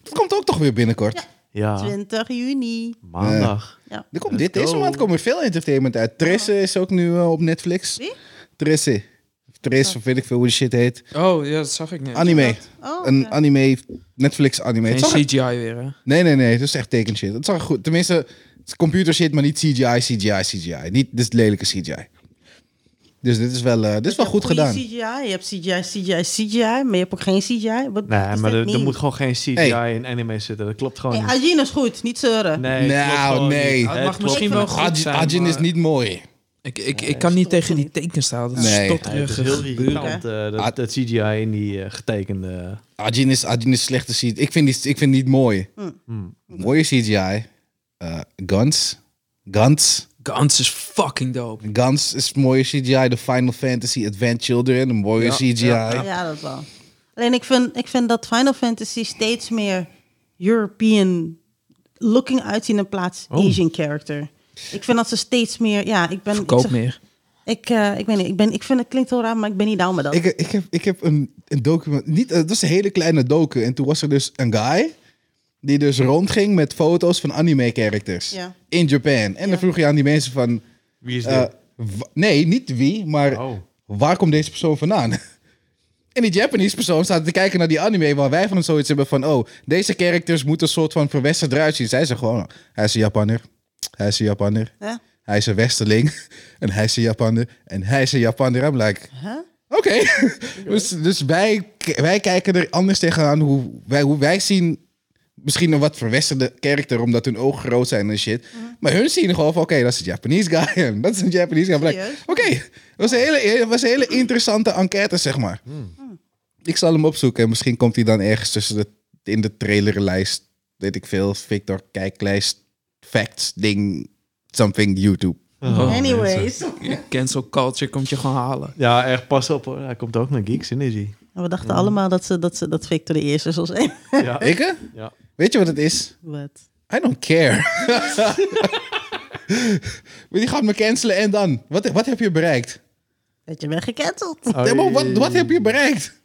[SPEAKER 1] Dat komt ook toch weer binnenkort.
[SPEAKER 3] ja,
[SPEAKER 4] 20 juni.
[SPEAKER 3] maandag.
[SPEAKER 4] Ja.
[SPEAKER 1] Er komt
[SPEAKER 3] Let's
[SPEAKER 1] dit, deze
[SPEAKER 3] go.
[SPEAKER 1] maand komt er veel entertainment uit. Trisse is ook nu eh, op Netflix.
[SPEAKER 4] Wie?
[SPEAKER 1] Trisse. Of Tris, of weet ik veel hoe die shit heet.
[SPEAKER 2] Oh, ja, dat zag ik net.
[SPEAKER 1] Anime.
[SPEAKER 4] Oh, oké.
[SPEAKER 1] Een anime, Netflix anime. Het
[SPEAKER 2] Geen
[SPEAKER 1] zag er-
[SPEAKER 2] CGI weer, hè?
[SPEAKER 1] Nee, nee, nee. Het is echt tekenshit. Het zag er goed. Tenminste, het is computer shit, maar niet CGI, CGI, CGI. Niet, dit is lelijke CGI. Dus dit is wel, eh, dit is wel
[SPEAKER 4] Je
[SPEAKER 1] goed
[SPEAKER 4] hebt goede
[SPEAKER 1] gedaan.
[SPEAKER 4] CGI. Je hebt CGI, CGI, CGI, maar je hebt ook geen CGI. Wat
[SPEAKER 3] Nee, maar er, er moet gewoon geen CGI
[SPEAKER 1] Hey.
[SPEAKER 3] in anime zitten. Dat klopt gewoon
[SPEAKER 4] Hey,
[SPEAKER 3] niet.
[SPEAKER 4] Ajin is goed, niet zeuren.
[SPEAKER 3] Nee, het klopt
[SPEAKER 1] Nou,
[SPEAKER 3] gewoon
[SPEAKER 1] nee.
[SPEAKER 3] niet.
[SPEAKER 1] Het
[SPEAKER 2] Het
[SPEAKER 3] Het
[SPEAKER 2] mag
[SPEAKER 3] klopt
[SPEAKER 2] misschien wel
[SPEAKER 4] Ik
[SPEAKER 2] goed
[SPEAKER 1] Ajin,
[SPEAKER 2] zijn,
[SPEAKER 1] Ajin is
[SPEAKER 2] maar
[SPEAKER 1] niet mooi.
[SPEAKER 2] Ik, ik, ik kan niet tegen die tekenstaal. Dat
[SPEAKER 1] Nee.
[SPEAKER 2] is
[SPEAKER 3] Nee, het
[SPEAKER 2] stotterig
[SPEAKER 3] is heel
[SPEAKER 2] gebeuren.
[SPEAKER 3] irritant, eh,
[SPEAKER 1] Ah.
[SPEAKER 3] dat, dat CGI in die eh, getekende...
[SPEAKER 1] Ajin is, Ajin is slechte CGI. Ik vind die, ik vind die niet mooi.
[SPEAKER 2] Hmm.
[SPEAKER 1] Hmm. Mooie CGI. Eh, Guns. Guns.
[SPEAKER 2] Gans is fucking dope.
[SPEAKER 1] Guns is mooie CGI. De Final Fantasy Advent Children. Een mooie
[SPEAKER 2] Ja,
[SPEAKER 1] CGI.
[SPEAKER 2] ja,
[SPEAKER 1] Ja,
[SPEAKER 4] Ja, dat wel. Alleen ik vind, ik vind dat Final Fantasy steeds meer European looking uitzien in plaats
[SPEAKER 3] Oh.
[SPEAKER 4] Asian character. Ik vind dat ze steeds meer, ja, ik ben... ik,
[SPEAKER 2] Verkoop
[SPEAKER 4] zeg-
[SPEAKER 2] meer.
[SPEAKER 4] Ik, eh, ik weet niet, ik, ben, ik vind het klinkt heel raar, maar ik ben niet down met dat.
[SPEAKER 1] Ik, ik, heb, ik heb een, een document. Niet, het was een hele kleine docu. En toen was er dus een guy. Die dus rondging met foto's van anime-characters.
[SPEAKER 4] Ja.
[SPEAKER 1] In Japan. En dan vroeg je aan die mensen van.
[SPEAKER 3] Wie is
[SPEAKER 1] eh, wa- nee, niet wie, maar
[SPEAKER 3] Oh.
[SPEAKER 1] waar komt deze persoon vandaan? En die Japanese persoon staat te kijken naar die anime waar wij van zoiets hebben van, oh, deze characters moeten een soort van verwesterd eruit zien. Zij zeggen gewoon, oh, hij is een Japanner, hij is een Japanner,
[SPEAKER 4] Huh?
[SPEAKER 1] hij is een westerling, en hij is een Japanner, en hij is een Japanner. I'm like,
[SPEAKER 4] Huh?
[SPEAKER 1] Oké. dus dus wij, wij kijken er anders tegenaan hoe wij, hoe wij zien. Misschien een wat verwesterde karakter, omdat hun ogen groot zijn en shit. Maar hun zien gewoon van, oké, dat is een Japanese guy. En dat is een Japanese guy. Maar like,
[SPEAKER 4] Serieus?
[SPEAKER 1] Oké, dat was, een hele- eh, dat was een hele interessante enquête, zeg maar. Ik zal hem opzoeken en misschien komt hij dan ergens tussen de, in de trailerlijst, weet ik veel, Victor kijklijst, facts, ding, something, YouTube.
[SPEAKER 2] Oh, mensen.
[SPEAKER 4] Anyways.
[SPEAKER 2] Je cancel culture komt je gewoon halen.
[SPEAKER 3] Ja, echt pas op hoor. Hij komt ook naar Geeks Energy.
[SPEAKER 4] We dachten allemaal dat, ze, dat, ze, dat Victor de eerste zou zijn.
[SPEAKER 3] Ja.
[SPEAKER 1] Ik? hè?
[SPEAKER 3] Ja.
[SPEAKER 1] Weet je wat het is?
[SPEAKER 4] Wat?
[SPEAKER 1] I don't care. maar die gaat me cancelen en dan? Wat, wat heb je bereikt?
[SPEAKER 4] Dat je bent gecanceld.
[SPEAKER 1] Ja, maar wat, wat heb je bereikt?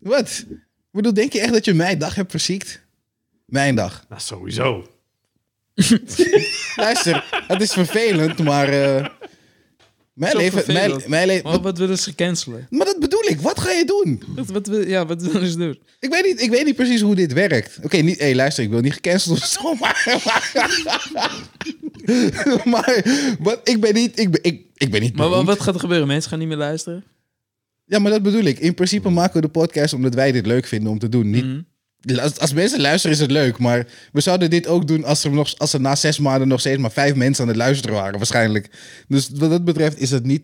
[SPEAKER 1] Wat? Ik bedoel, denk je echt dat je mijn dag hebt verziekt? Mijn dag.
[SPEAKER 3] Nou, sowieso.
[SPEAKER 1] Luister, het is vervelend, maar... eh, mijn
[SPEAKER 2] Zo
[SPEAKER 1] leven... Mijn,
[SPEAKER 2] vervelend.
[SPEAKER 1] mijn leven
[SPEAKER 2] Maar wat willen ze cancelen?
[SPEAKER 1] maar dat bedoel ik. Wat ga je doen?
[SPEAKER 2] Wat, wat, wil- ja, wat willen ze doen?
[SPEAKER 1] Ik weet niet, ik weet niet precies hoe dit werkt. Oké, niet. hey, luister, ik wil niet gecanceld of zo, maar... maar, maar ik ben niet... Ik ben, ik, ik ben niet
[SPEAKER 2] Maar wa-
[SPEAKER 1] beroemd.
[SPEAKER 2] wat gaat er gebeuren? Mensen gaan niet meer luisteren?
[SPEAKER 1] Ja, maar dat bedoel ik. In
[SPEAKER 2] Hmm.
[SPEAKER 1] principe maken we de podcast omdat wij dit leuk vinden om te doen. Niet, als, als mensen luisteren is het leuk, maar we zouden dit ook doen als er, nog, als er na zes maanden nog steeds maar vijf mensen aan het luisteren waren, waarschijnlijk. Dus wat dat betreft is het niet...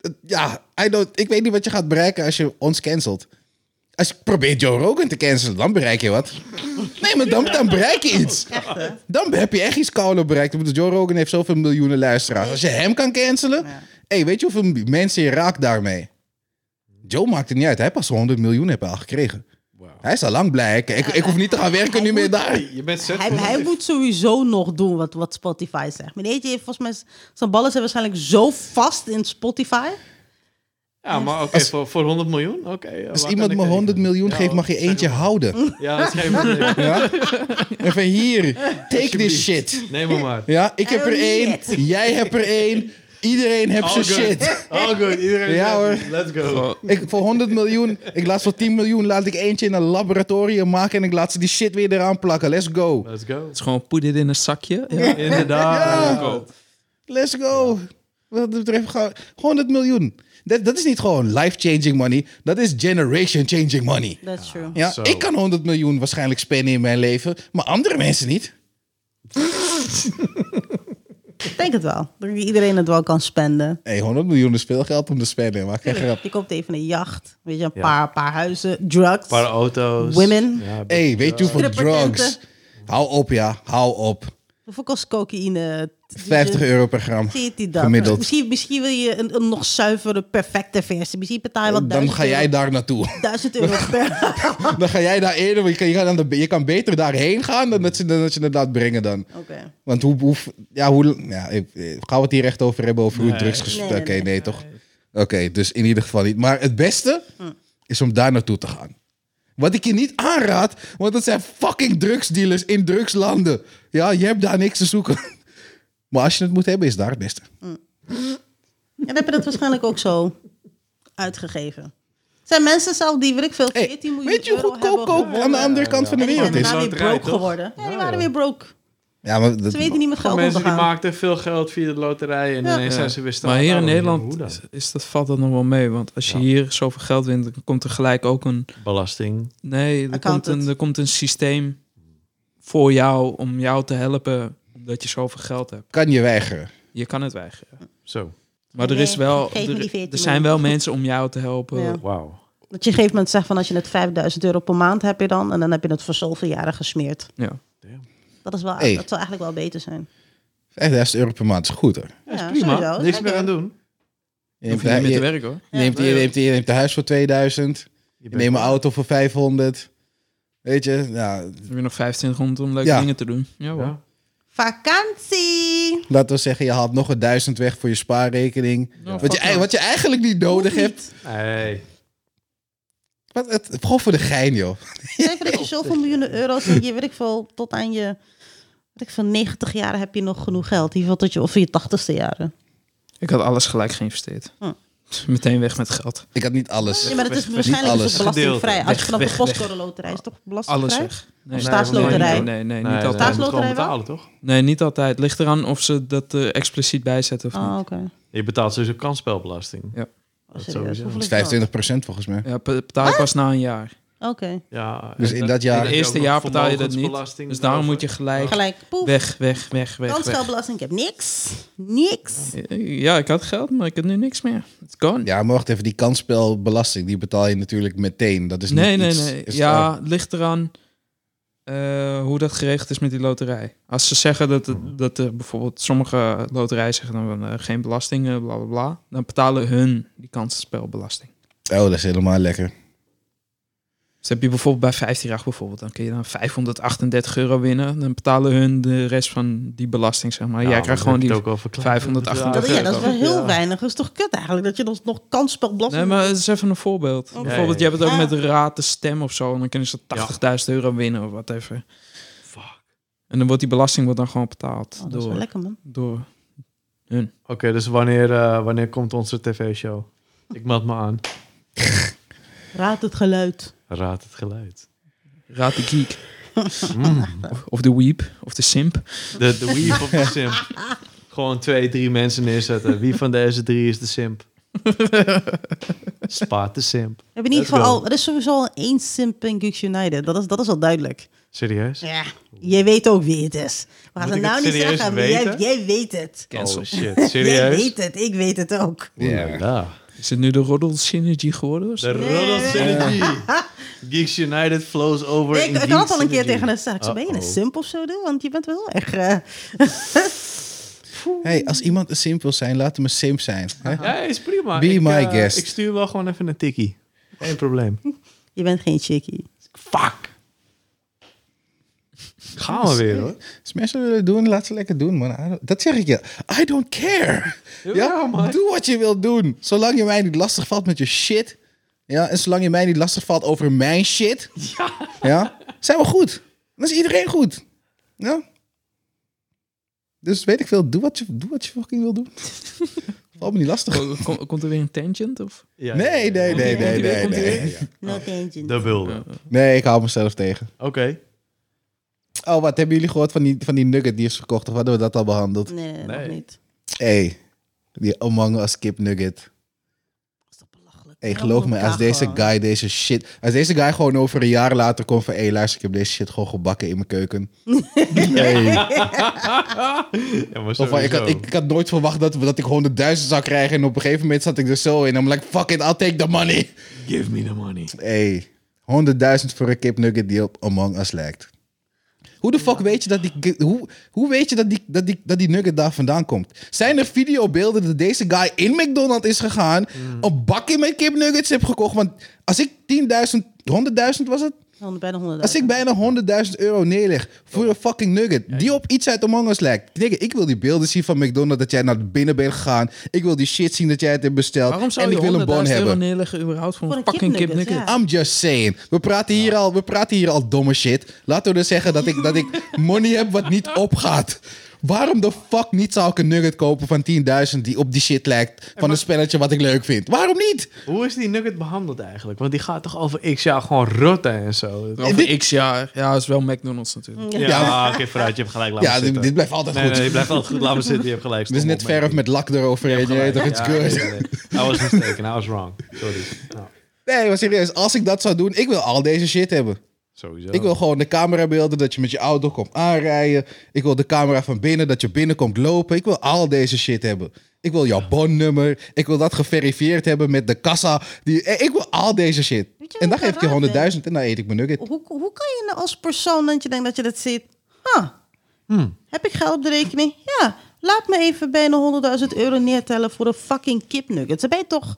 [SPEAKER 1] het- ja, I don't, ik weet niet wat je gaat bereiken als je ons cancelt. Als je probeert Joe Rogan te cancelen, dan bereik je wat. Nee, maar dan, dan bereik je iets. Dan heb je echt iets kouder bereikt. Ik bedoel, Joe Rogan heeft zoveel miljoenen luisteraars. Als je hem kan cancelen...
[SPEAKER 4] Ja.
[SPEAKER 1] hey, weet je hoeveel mensen je raakt daarmee? Joe maakt het niet uit. Hij heeft pas 100 miljoen heb hij al gekregen. Hij is al lang blij. Ik, ik, ik hoef niet te gaan werken nu meer daar.
[SPEAKER 3] Je bent
[SPEAKER 4] Hij, hij moet sowieso nog doen wat, wat Spotify zegt. Meneer, heeft volgens mij z- zijn ballen zijn waarschijnlijk zo vast in Spotify.
[SPEAKER 3] Ja, maar oké,
[SPEAKER 1] Als-
[SPEAKER 3] voor, voor 100 miljoen? Oké. ja,
[SPEAKER 1] Als
[SPEAKER 3] waar
[SPEAKER 1] iemand
[SPEAKER 3] kan
[SPEAKER 1] me
[SPEAKER 3] ik
[SPEAKER 1] 100
[SPEAKER 3] tegen?
[SPEAKER 1] miljoen
[SPEAKER 3] Ja,
[SPEAKER 1] geeft, mag je
[SPEAKER 3] zeg
[SPEAKER 1] eentje
[SPEAKER 3] maar.
[SPEAKER 1] houden.
[SPEAKER 3] Ja, dat is geen probleem.
[SPEAKER 1] Ja? Even hier, take this shit.
[SPEAKER 3] Neem hem maar.
[SPEAKER 1] Ja, ik heb er
[SPEAKER 4] Oh,
[SPEAKER 1] één,
[SPEAKER 4] shit.
[SPEAKER 1] jij hebt er één, iedereen heeft zijn shit.
[SPEAKER 3] All good. Iedereen
[SPEAKER 1] Ja,
[SPEAKER 3] is happy. Let's go.
[SPEAKER 2] Gewoon-
[SPEAKER 1] Ik, voor 100 miljoen, ik laat voor 10 miljoen, laat ik eentje in een laboratorium maken en ik laat ze die shit weer eraan plakken. Let's go.
[SPEAKER 3] Let's go.
[SPEAKER 2] Het is gewoon put it in een zakje. Ja.
[SPEAKER 3] Inderdaad.
[SPEAKER 1] Ja. Let's go. Wat dat betreft, gaan we- 100 miljoen. Dat, dat is niet gewoon life-changing money, dat is generation-changing money.
[SPEAKER 4] That's true.
[SPEAKER 1] Ja,
[SPEAKER 3] Zo.
[SPEAKER 1] ik kan 100 miljoen waarschijnlijk spenden in mijn leven, maar andere mensen niet.
[SPEAKER 4] Ik denk het wel. Dat iedereen het wel kan spenden.
[SPEAKER 1] Hey, 100 miljoen is veel geld om te spenden, maar geen grap.
[SPEAKER 4] Je koopt even een jacht, weet je, een
[SPEAKER 3] Ja.
[SPEAKER 4] paar, paar huizen, drugs.
[SPEAKER 3] Een paar auto's.
[SPEAKER 4] Women.
[SPEAKER 3] Ja,
[SPEAKER 1] hey, weet je hoeveel
[SPEAKER 4] Iedere patenten.
[SPEAKER 1] drugs? Hou op, ja, hou op.
[SPEAKER 4] Hoeveel kost cocaïne?
[SPEAKER 1] 50 euro per gram.
[SPEAKER 4] Zie je het niet dan?
[SPEAKER 1] Gemiddeld.
[SPEAKER 4] Misschien, misschien wil je een, een nog zuivere, perfecte versie. Misschien betaal je wel
[SPEAKER 1] Dan ga jij daar naartoe.
[SPEAKER 4] 1000 euro per.
[SPEAKER 1] Dan ga jij daar eerder, want je kan, je, kan aan de, je kan beter daarheen gaan dan dat ze, dan dat ze het laat brengen dan.
[SPEAKER 4] Oké.
[SPEAKER 1] Want hoe, hoe ja, hoe, ja, ik- eh, gaan we het hier echt over hebben over hoe
[SPEAKER 3] Nee.
[SPEAKER 1] drugs gespeeld?
[SPEAKER 4] Nee,
[SPEAKER 1] Oké,
[SPEAKER 4] nee,
[SPEAKER 1] nee,
[SPEAKER 4] nee.
[SPEAKER 1] toch? Oké, dus in ieder geval niet. Maar het beste
[SPEAKER 4] Hm.
[SPEAKER 1] is om daar naartoe te gaan. Wat ik je niet aanraad, want dat zijn fucking drugsdealers in drugslanden. Ja, je hebt daar niks te zoeken. Maar als je het moet hebben, is daar het beste.
[SPEAKER 4] En dan heb je dat waarschijnlijk ook zo uitgegeven. Het zijn mensen zelf die, weet ik veel,
[SPEAKER 1] Hey,
[SPEAKER 4] 14 miljoen
[SPEAKER 1] weet je hoe
[SPEAKER 4] euro
[SPEAKER 1] goedkoop
[SPEAKER 4] hebben
[SPEAKER 1] kook aan de andere kant van de
[SPEAKER 4] En die zijn
[SPEAKER 1] wereld is?
[SPEAKER 4] daarna
[SPEAKER 3] Zo
[SPEAKER 4] weer
[SPEAKER 3] draait
[SPEAKER 4] broke
[SPEAKER 3] toch?
[SPEAKER 4] geworden. Ja, die
[SPEAKER 3] Ja,
[SPEAKER 4] waren
[SPEAKER 3] joh.
[SPEAKER 4] weer broke.
[SPEAKER 1] Ja, maar dat,
[SPEAKER 4] Ze weten niet met
[SPEAKER 3] Gewoon
[SPEAKER 4] geld om te
[SPEAKER 3] mensen die
[SPEAKER 4] gaan.
[SPEAKER 3] maakten veel geld via de loterij en
[SPEAKER 4] Ja.
[SPEAKER 3] ineens
[SPEAKER 2] Ja.
[SPEAKER 3] zijn ze weer
[SPEAKER 2] Maar hier in
[SPEAKER 3] staatsouder.
[SPEAKER 2] Nederland
[SPEAKER 3] Hoe dan?
[SPEAKER 2] is, is dat, valt dat nog wel mee. Want als je
[SPEAKER 3] Ja.
[SPEAKER 2] hier zoveel geld wint, dan komt er gelijk ook een...
[SPEAKER 3] Belasting.
[SPEAKER 2] Nee, er komt
[SPEAKER 4] Accountant.
[SPEAKER 2] een, er komt een systeem voor jou om jou te helpen omdat je zoveel geld hebt.
[SPEAKER 1] kan je weigeren.
[SPEAKER 2] Je kan het weigeren.
[SPEAKER 3] Zo.
[SPEAKER 2] Maar er is wel...
[SPEAKER 4] Geef me Eh, die
[SPEAKER 2] Er,
[SPEAKER 4] 14
[SPEAKER 2] er zijn wel
[SPEAKER 4] miljoen.
[SPEAKER 2] mensen om jou te helpen.
[SPEAKER 4] Ja.
[SPEAKER 3] Wauw.
[SPEAKER 4] Dat je op een gegeven moment zegt van als je net 5000 euro per maand hebt je dan. En dan heb je het voor zoveel jaren gesmeerd.
[SPEAKER 2] Ja.
[SPEAKER 4] Dat, is wel,
[SPEAKER 1] Hey.
[SPEAKER 4] dat zou eigenlijk wel beter zijn.
[SPEAKER 1] 5000 euro per maand is goed hoor.
[SPEAKER 4] Ja, ja
[SPEAKER 3] Prima. Niks meer aan doen.
[SPEAKER 1] Je
[SPEAKER 2] Dan
[SPEAKER 1] neemt,
[SPEAKER 2] hoef je niet meer te
[SPEAKER 1] je,
[SPEAKER 2] werken hoor.
[SPEAKER 1] je neemt, je, neemt, je neemt de huis voor 2000.
[SPEAKER 3] Je
[SPEAKER 1] Je
[SPEAKER 3] bent-
[SPEAKER 1] neemt een auto voor 500. Weet je, nou, ja,
[SPEAKER 2] Dan heb je nog 25 rond om leuke
[SPEAKER 1] Ja.
[SPEAKER 2] dingen te doen. Ja, hoor.
[SPEAKER 3] Ja.
[SPEAKER 4] Vakantie!
[SPEAKER 1] Laten we zeggen, je haalt nog een duizend weg voor je spaarrekening.
[SPEAKER 2] Nou,
[SPEAKER 1] wat, je,
[SPEAKER 2] fuck
[SPEAKER 1] ei-
[SPEAKER 2] no.
[SPEAKER 1] wat je eigenlijk niet nodig hebt.
[SPEAKER 3] Hey.
[SPEAKER 1] Wat, het, gewoon voor de gein, joh.
[SPEAKER 4] Zeg dat je zoveel miljoenen euro's en je weet ik veel, tot aan je weet ik veel, 90 jaar heb je nog genoeg geld. In ieder geval tot je, of je 80ste jaren.
[SPEAKER 2] Ik Ik had alles gelijk geïnvesteerd.
[SPEAKER 4] Hm.
[SPEAKER 2] Meteen weg met geld.
[SPEAKER 1] Ik had niet alles.
[SPEAKER 4] Ja, maar dat is
[SPEAKER 1] Niet
[SPEAKER 4] waarschijnlijk is
[SPEAKER 1] alles.
[SPEAKER 4] het belastingvrij.
[SPEAKER 2] Gedeelte. Weg,
[SPEAKER 4] Als je vanaf
[SPEAKER 2] weg,
[SPEAKER 4] een
[SPEAKER 2] weg.
[SPEAKER 4] postcode loterij is toch
[SPEAKER 2] Alles
[SPEAKER 4] belastingvrij?
[SPEAKER 2] weg.
[SPEAKER 4] Of
[SPEAKER 3] Nee,
[SPEAKER 2] Nee,
[SPEAKER 4] staatsloterij?
[SPEAKER 2] nee, nee, niet
[SPEAKER 3] dat
[SPEAKER 2] altijd.
[SPEAKER 3] moet je
[SPEAKER 4] nee.
[SPEAKER 3] gewoon
[SPEAKER 4] Staatsloterij wel?
[SPEAKER 3] betalen, toch?
[SPEAKER 2] Nee, niet altijd. Ligt eraan of ze dat eh, expliciet bijzetten of
[SPEAKER 4] Oh,
[SPEAKER 2] niet.
[SPEAKER 4] oké.
[SPEAKER 3] Je betaalt sowieso kansspelbelasting.
[SPEAKER 4] Oh, serieus?
[SPEAKER 3] sowieso.
[SPEAKER 4] Hoeveel is dat?
[SPEAKER 1] 25 volgens mij.
[SPEAKER 2] Ja, pe- betaal ik pas na een jaar.
[SPEAKER 4] Oké.
[SPEAKER 3] Ja,
[SPEAKER 1] Dus
[SPEAKER 3] en
[SPEAKER 1] in dat jaar-
[SPEAKER 3] en
[SPEAKER 2] Het
[SPEAKER 3] je
[SPEAKER 2] eerste
[SPEAKER 3] ook nog
[SPEAKER 2] jaar betaal je dat niet.
[SPEAKER 3] vermogensbelasting
[SPEAKER 2] Dus daarom
[SPEAKER 3] erover.
[SPEAKER 2] moet je gelijk
[SPEAKER 4] Gelijk, poef.
[SPEAKER 2] weg, weg, weg, weg, weg.
[SPEAKER 4] Kansspelbelasting, ik heb niks. Niks.
[SPEAKER 2] Ja, ik had geld, maar ik heb nu niks meer. Het kan.
[SPEAKER 1] Ja, maar wacht even. Die kansspelbelasting, die betaal je natuurlijk meteen. Dat is niet
[SPEAKER 2] nee, nee,
[SPEAKER 1] iets-
[SPEAKER 2] nee.
[SPEAKER 1] is-
[SPEAKER 2] ja, het ligt eraan eh, hoe dat geregeld is met die loterij. Als ze zeggen dat, het- dat er bijvoorbeeld sommige loterijen zeggen dan van, eh, geen belasting, eh, bla bla bla. Dan betalen hun die kansspelbelasting.
[SPEAKER 1] Oh, dat is helemaal lekker.
[SPEAKER 2] Dus heb je bijvoorbeeld bij 15 jaar bijvoorbeeld, dan kun je dan 538 euro winnen. Dan betalen hun de rest van die belasting, zeg maar. Jij
[SPEAKER 3] maar
[SPEAKER 2] krijgt gewoon
[SPEAKER 3] dan heb je
[SPEAKER 2] die...
[SPEAKER 3] het ook al verklaard.
[SPEAKER 2] 538
[SPEAKER 4] Dat, Oh ja, dat is wel heel
[SPEAKER 3] Ja.
[SPEAKER 4] weinig. Dat is toch kut eigenlijk, dat je dan nog kansspelbelasting...
[SPEAKER 2] Nee, maar het is even een voorbeeld.
[SPEAKER 4] Ja,
[SPEAKER 2] bijvoorbeeld,
[SPEAKER 3] ja, ja.
[SPEAKER 2] je hebt het ook
[SPEAKER 4] Ja.
[SPEAKER 2] met de raad, de stem of zo. En dan kunnen ze 80.000 euro winnen of wat even.
[SPEAKER 3] Fuck.
[SPEAKER 2] En dan wordt die belasting wordt dan gewoon betaald
[SPEAKER 4] Oh, dat is wel
[SPEAKER 2] door,
[SPEAKER 4] lekker, man.
[SPEAKER 2] door
[SPEAKER 3] Oké, dus wanneer, eh, wanneer komt onze tv-show? Ik meld me aan.
[SPEAKER 4] Raad het geluid.
[SPEAKER 3] Raad het geluid.
[SPEAKER 2] Raad de Geek.
[SPEAKER 3] Mm.
[SPEAKER 2] Of de Weep. Of de Simp.
[SPEAKER 3] De, de weep of de simp. Gewoon twee, drie mensen neerzetten. Wie van deze drie is de simp? Spaat de simp.
[SPEAKER 4] We hebben in ieder
[SPEAKER 3] Let's
[SPEAKER 4] geval
[SPEAKER 3] go.
[SPEAKER 4] al... Er is sowieso al één simp in Geeks United. Dat is, dat is al duidelijk.
[SPEAKER 3] Serieus?
[SPEAKER 4] Ja, je weet ook wie het is. We gaan
[SPEAKER 3] Moet
[SPEAKER 4] het
[SPEAKER 3] ik het
[SPEAKER 4] nou niet
[SPEAKER 3] serieus
[SPEAKER 4] zeggen, maar jij,
[SPEAKER 3] weten?
[SPEAKER 4] jij weet het.
[SPEAKER 2] Cancel.
[SPEAKER 3] Oh shit,
[SPEAKER 4] Jij
[SPEAKER 3] serieus?
[SPEAKER 4] weet het, ik weet het ook.
[SPEAKER 1] Ja.
[SPEAKER 3] Oeh la la.
[SPEAKER 2] Is het nu de Roddel Synergy geworden? of zo?
[SPEAKER 3] De roddel synergy. Geeks United flows over
[SPEAKER 4] Ik,
[SPEAKER 3] in
[SPEAKER 4] ik had
[SPEAKER 3] Geeks
[SPEAKER 4] het al een keer
[SPEAKER 3] Synergy.
[SPEAKER 4] tegen haar gezegd. Ik zei, ben je een
[SPEAKER 3] Uh-oh.
[SPEAKER 4] simp of zo? dude? Want je bent wel echt... eh,
[SPEAKER 1] Hey, als iemand een simp wil zijn, laat hem een simp zijn. Hè?
[SPEAKER 3] Ja, is prima.
[SPEAKER 1] Be
[SPEAKER 3] ik,
[SPEAKER 1] my
[SPEAKER 3] eh,
[SPEAKER 1] guest.
[SPEAKER 3] Ik stuur wel gewoon even een tikkie. Geen probleem.
[SPEAKER 4] je bent geen chickie.
[SPEAKER 3] Fuck. Gaan we weer hoor.
[SPEAKER 1] Als mensen willen doen, laat ze lekker doen, man. I don't- Dat zeg ik je. I don't care. Ja, Doe wat je wilt doen. Zolang je mij niet lastig valt met je shit. Ja, en zolang je mij niet lastig valt over mijn shit. Ja. Zijn we goed. Dan is iedereen goed. Ja. Dus weet ik veel. Doe wat je, doe wat je fucking wil doen. Valt me niet lastig.
[SPEAKER 2] Ko- ko- komt er weer een tangent? Of?
[SPEAKER 3] Oh, Ja, ja,
[SPEAKER 1] Nee,
[SPEAKER 3] ja.
[SPEAKER 1] nee, nee, nee,
[SPEAKER 2] Komt-ie weer,
[SPEAKER 1] nee.
[SPEAKER 2] komt-ie weer?
[SPEAKER 1] Nee,
[SPEAKER 4] No tangent.
[SPEAKER 3] Oh. De wilde.
[SPEAKER 1] nee ik hou mezelf tegen.
[SPEAKER 3] Oké.
[SPEAKER 1] Oh, wat hebben jullie gehoord van die, van die nugget die is verkocht? Of hadden we dat al behandeld?
[SPEAKER 4] Nee, nee, nee,
[SPEAKER 3] Nee.
[SPEAKER 4] nog niet.
[SPEAKER 1] hey, die Among Us kip nugget.
[SPEAKER 4] Dat is toch belachelijk.
[SPEAKER 1] Hey,
[SPEAKER 4] Ja,
[SPEAKER 1] geloof
[SPEAKER 4] we
[SPEAKER 1] me, als
[SPEAKER 4] elkaar
[SPEAKER 1] deze
[SPEAKER 4] gewoon.
[SPEAKER 1] guy deze shit... Als deze guy gewoon over een jaar later komt van... Hé, hey, luister, ik heb deze shit gewoon gebakken in mijn keuken. hey.
[SPEAKER 3] Ja, maar
[SPEAKER 1] Zo van, ik, had,
[SPEAKER 3] sowieso.
[SPEAKER 1] ik, ik had nooit verwacht dat, dat ik gewoon de duizend zou krijgen. En op een gegeven moment zat ik er zo in. I'm like, fuck it, I'll take the money.
[SPEAKER 3] Give me the money.
[SPEAKER 1] Hey, 100.000 voor een kipnugget die op Among Us lijkt. Hoe de fuck weet je dat die, hoe, hoe weet je dat die, dat, die, dat die nugget daar vandaan komt? Zijn er videobeelden dat deze guy in McDonald's is gegaan,
[SPEAKER 2] Mm.
[SPEAKER 1] een bakje met kipnuggets heeft gekocht? Want als ik 10.000, 100.000 was het?
[SPEAKER 4] Honderd- Bijna honderd.
[SPEAKER 1] Als ik bijna 100.000 euro neerleg
[SPEAKER 2] Oh.
[SPEAKER 1] voor een fucking nugget die op iets uit Among Us lijkt. Knikken, ik wil die beelden zien van McDonald's dat jij naar binnen bent gegaan. Ik wil die shit zien dat jij het hebt besteld.
[SPEAKER 2] Waarom zou
[SPEAKER 1] en
[SPEAKER 2] je
[SPEAKER 1] ik wil een bon
[SPEAKER 2] 100.000 euro
[SPEAKER 1] hebben.
[SPEAKER 2] neerleggen überhaupt voor,
[SPEAKER 4] Voor
[SPEAKER 2] een
[SPEAKER 4] een
[SPEAKER 2] fucking
[SPEAKER 4] kipnugget,
[SPEAKER 2] kipnugget?
[SPEAKER 3] Ah.
[SPEAKER 4] ja.
[SPEAKER 1] I'm just saying. We praten hier al, we praten hier al domme shit. Laten we dus zeggen dat ik, dat ik money heb wat niet opgaat. Waarom de fuck niet zou ik een nugget kopen van 10.000 die op die shit lijkt van een spelletje wat ik leuk vind? Waarom niet?
[SPEAKER 3] Hoe is die nugget behandeld eigenlijk? Want die gaat toch over x jaar gewoon rotten en zo.
[SPEAKER 2] Over x jaar. Ja, is wel McDonald's natuurlijk.
[SPEAKER 4] Mm,
[SPEAKER 3] Ja,
[SPEAKER 1] Ja.
[SPEAKER 3] oké, vooruit. Je hebt gelijk. Laat
[SPEAKER 1] Ja,
[SPEAKER 3] me
[SPEAKER 1] dit,
[SPEAKER 3] zitten.
[SPEAKER 1] dit blijft altijd
[SPEAKER 3] nee,
[SPEAKER 1] goed.
[SPEAKER 3] nee, je blijft altijd goed. Laat me zitten. Je hebt gelijk.
[SPEAKER 1] Dit is net verf met lak eroverheen. Je weet toch, it's good.
[SPEAKER 3] I was mistaken. I was wrong. Sorry. Nou,
[SPEAKER 1] Nee, maar serieus, als ik dat zou doen, ik wil al deze shit hebben.
[SPEAKER 3] sowieso.
[SPEAKER 1] Ik wil gewoon de camerabeelden dat je met je auto komt aanrijden. Ik wil de camera van binnen dat je binnenkomt lopen. Ik wil al deze shit hebben. Ik wil jouw bonnummer. Ik wil dat geverifieerd hebben met de kassa. Die, eh, ik wil al deze shit.
[SPEAKER 4] Weet je
[SPEAKER 1] En dan
[SPEAKER 4] wat ik
[SPEAKER 1] geef ik je
[SPEAKER 4] raar vind?
[SPEAKER 1] 100.000 en dan eet ik mijn nugget.
[SPEAKER 4] hoe, hoe kan je nou als persoon dat je denkt dat je dat ziet? Huh,
[SPEAKER 3] Hmm.
[SPEAKER 4] Heb ik geld op de rekening? Ja, laat me even bijna 100.000 euro neertellen voor een fucking kipnugget. Dan ben je toch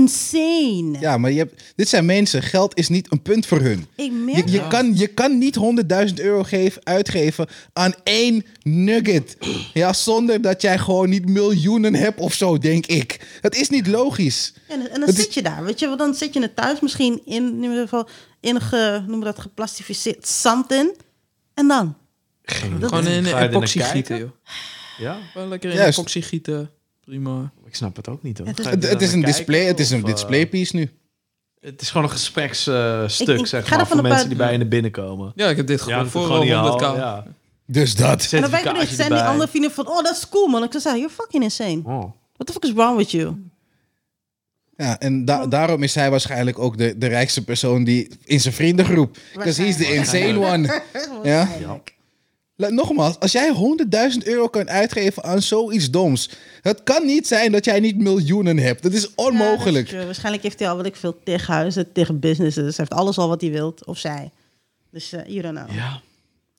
[SPEAKER 4] insane?
[SPEAKER 1] Ja, maar je hebt, dit zijn mensen. Geld is niet een punt voor hun.
[SPEAKER 4] Ik
[SPEAKER 1] Je,
[SPEAKER 4] merk
[SPEAKER 1] je,
[SPEAKER 4] dat.
[SPEAKER 1] kan, je kan niet 100.000 euro geef, uitgeven aan één nugget. Ja, zonder dat jij gewoon niet miljoenen hebt of zo, denk ik. Dat is niet logisch.
[SPEAKER 4] En, en dan
[SPEAKER 1] Het is-
[SPEAKER 4] zit je daar, weet je, want dan zit je het thuis misschien in, in ieder geval in ge, noem dat geplastificeerd zand in. En dan?
[SPEAKER 2] Gewoon in
[SPEAKER 3] Ga je er
[SPEAKER 2] epoxy
[SPEAKER 3] naar
[SPEAKER 2] gieten, joh.
[SPEAKER 3] Ja?
[SPEAKER 2] Gewoon lekker in
[SPEAKER 1] Juist.
[SPEAKER 2] epoxy gieten. prima.
[SPEAKER 3] Ik snap het ook niet. Hoor.
[SPEAKER 4] Het is-
[SPEAKER 3] Ga je
[SPEAKER 1] Het,
[SPEAKER 3] er
[SPEAKER 1] het is
[SPEAKER 3] dan
[SPEAKER 1] een
[SPEAKER 3] naar
[SPEAKER 1] display,
[SPEAKER 3] kijken,
[SPEAKER 1] het is een
[SPEAKER 3] of, eh,
[SPEAKER 1] displaypiece nu.
[SPEAKER 3] Het is gewoon een gespreksstuk,
[SPEAKER 4] Ik- ik
[SPEAKER 3] zeg
[SPEAKER 4] ga er
[SPEAKER 3] maar,
[SPEAKER 4] van
[SPEAKER 3] voor
[SPEAKER 4] een
[SPEAKER 3] mensen
[SPEAKER 4] paar-
[SPEAKER 3] die bij je naar binnen komen.
[SPEAKER 2] Ja, ik heb dit
[SPEAKER 3] Ja,
[SPEAKER 2] gewoon
[SPEAKER 3] dat
[SPEAKER 2] voor
[SPEAKER 3] het gewoon
[SPEAKER 2] al
[SPEAKER 3] niet
[SPEAKER 2] 100k.
[SPEAKER 3] haalt, ja.
[SPEAKER 1] Dus dat.
[SPEAKER 4] En dan ben ik
[SPEAKER 3] Certificaatje
[SPEAKER 4] benieuwd, zijn die
[SPEAKER 3] erbij.
[SPEAKER 4] andere vrienden van, oh, dat is cool, man. Ik zou zeggen, you're fucking insane.
[SPEAKER 3] Oh.
[SPEAKER 4] What the fuck is wrong with you?
[SPEAKER 1] Ja, en da- daarom is hij waarschijnlijk ook de, de rijkste persoon die, in zijn vriendengroep. Because he's the insane one. Ja. La- Nogmaals, als jij 100.000 euro kan uitgeven aan zoiets doms. Het kan niet zijn dat jij niet miljoenen hebt. Dat is onmogelijk.
[SPEAKER 4] Ja, dat is true. Waarschijnlijk heeft hij al wat ik veel tegen huizen, tegen businesses. Hij heeft alles al wat hij wilt, of zij. Dus eh you don't know.
[SPEAKER 3] Ja.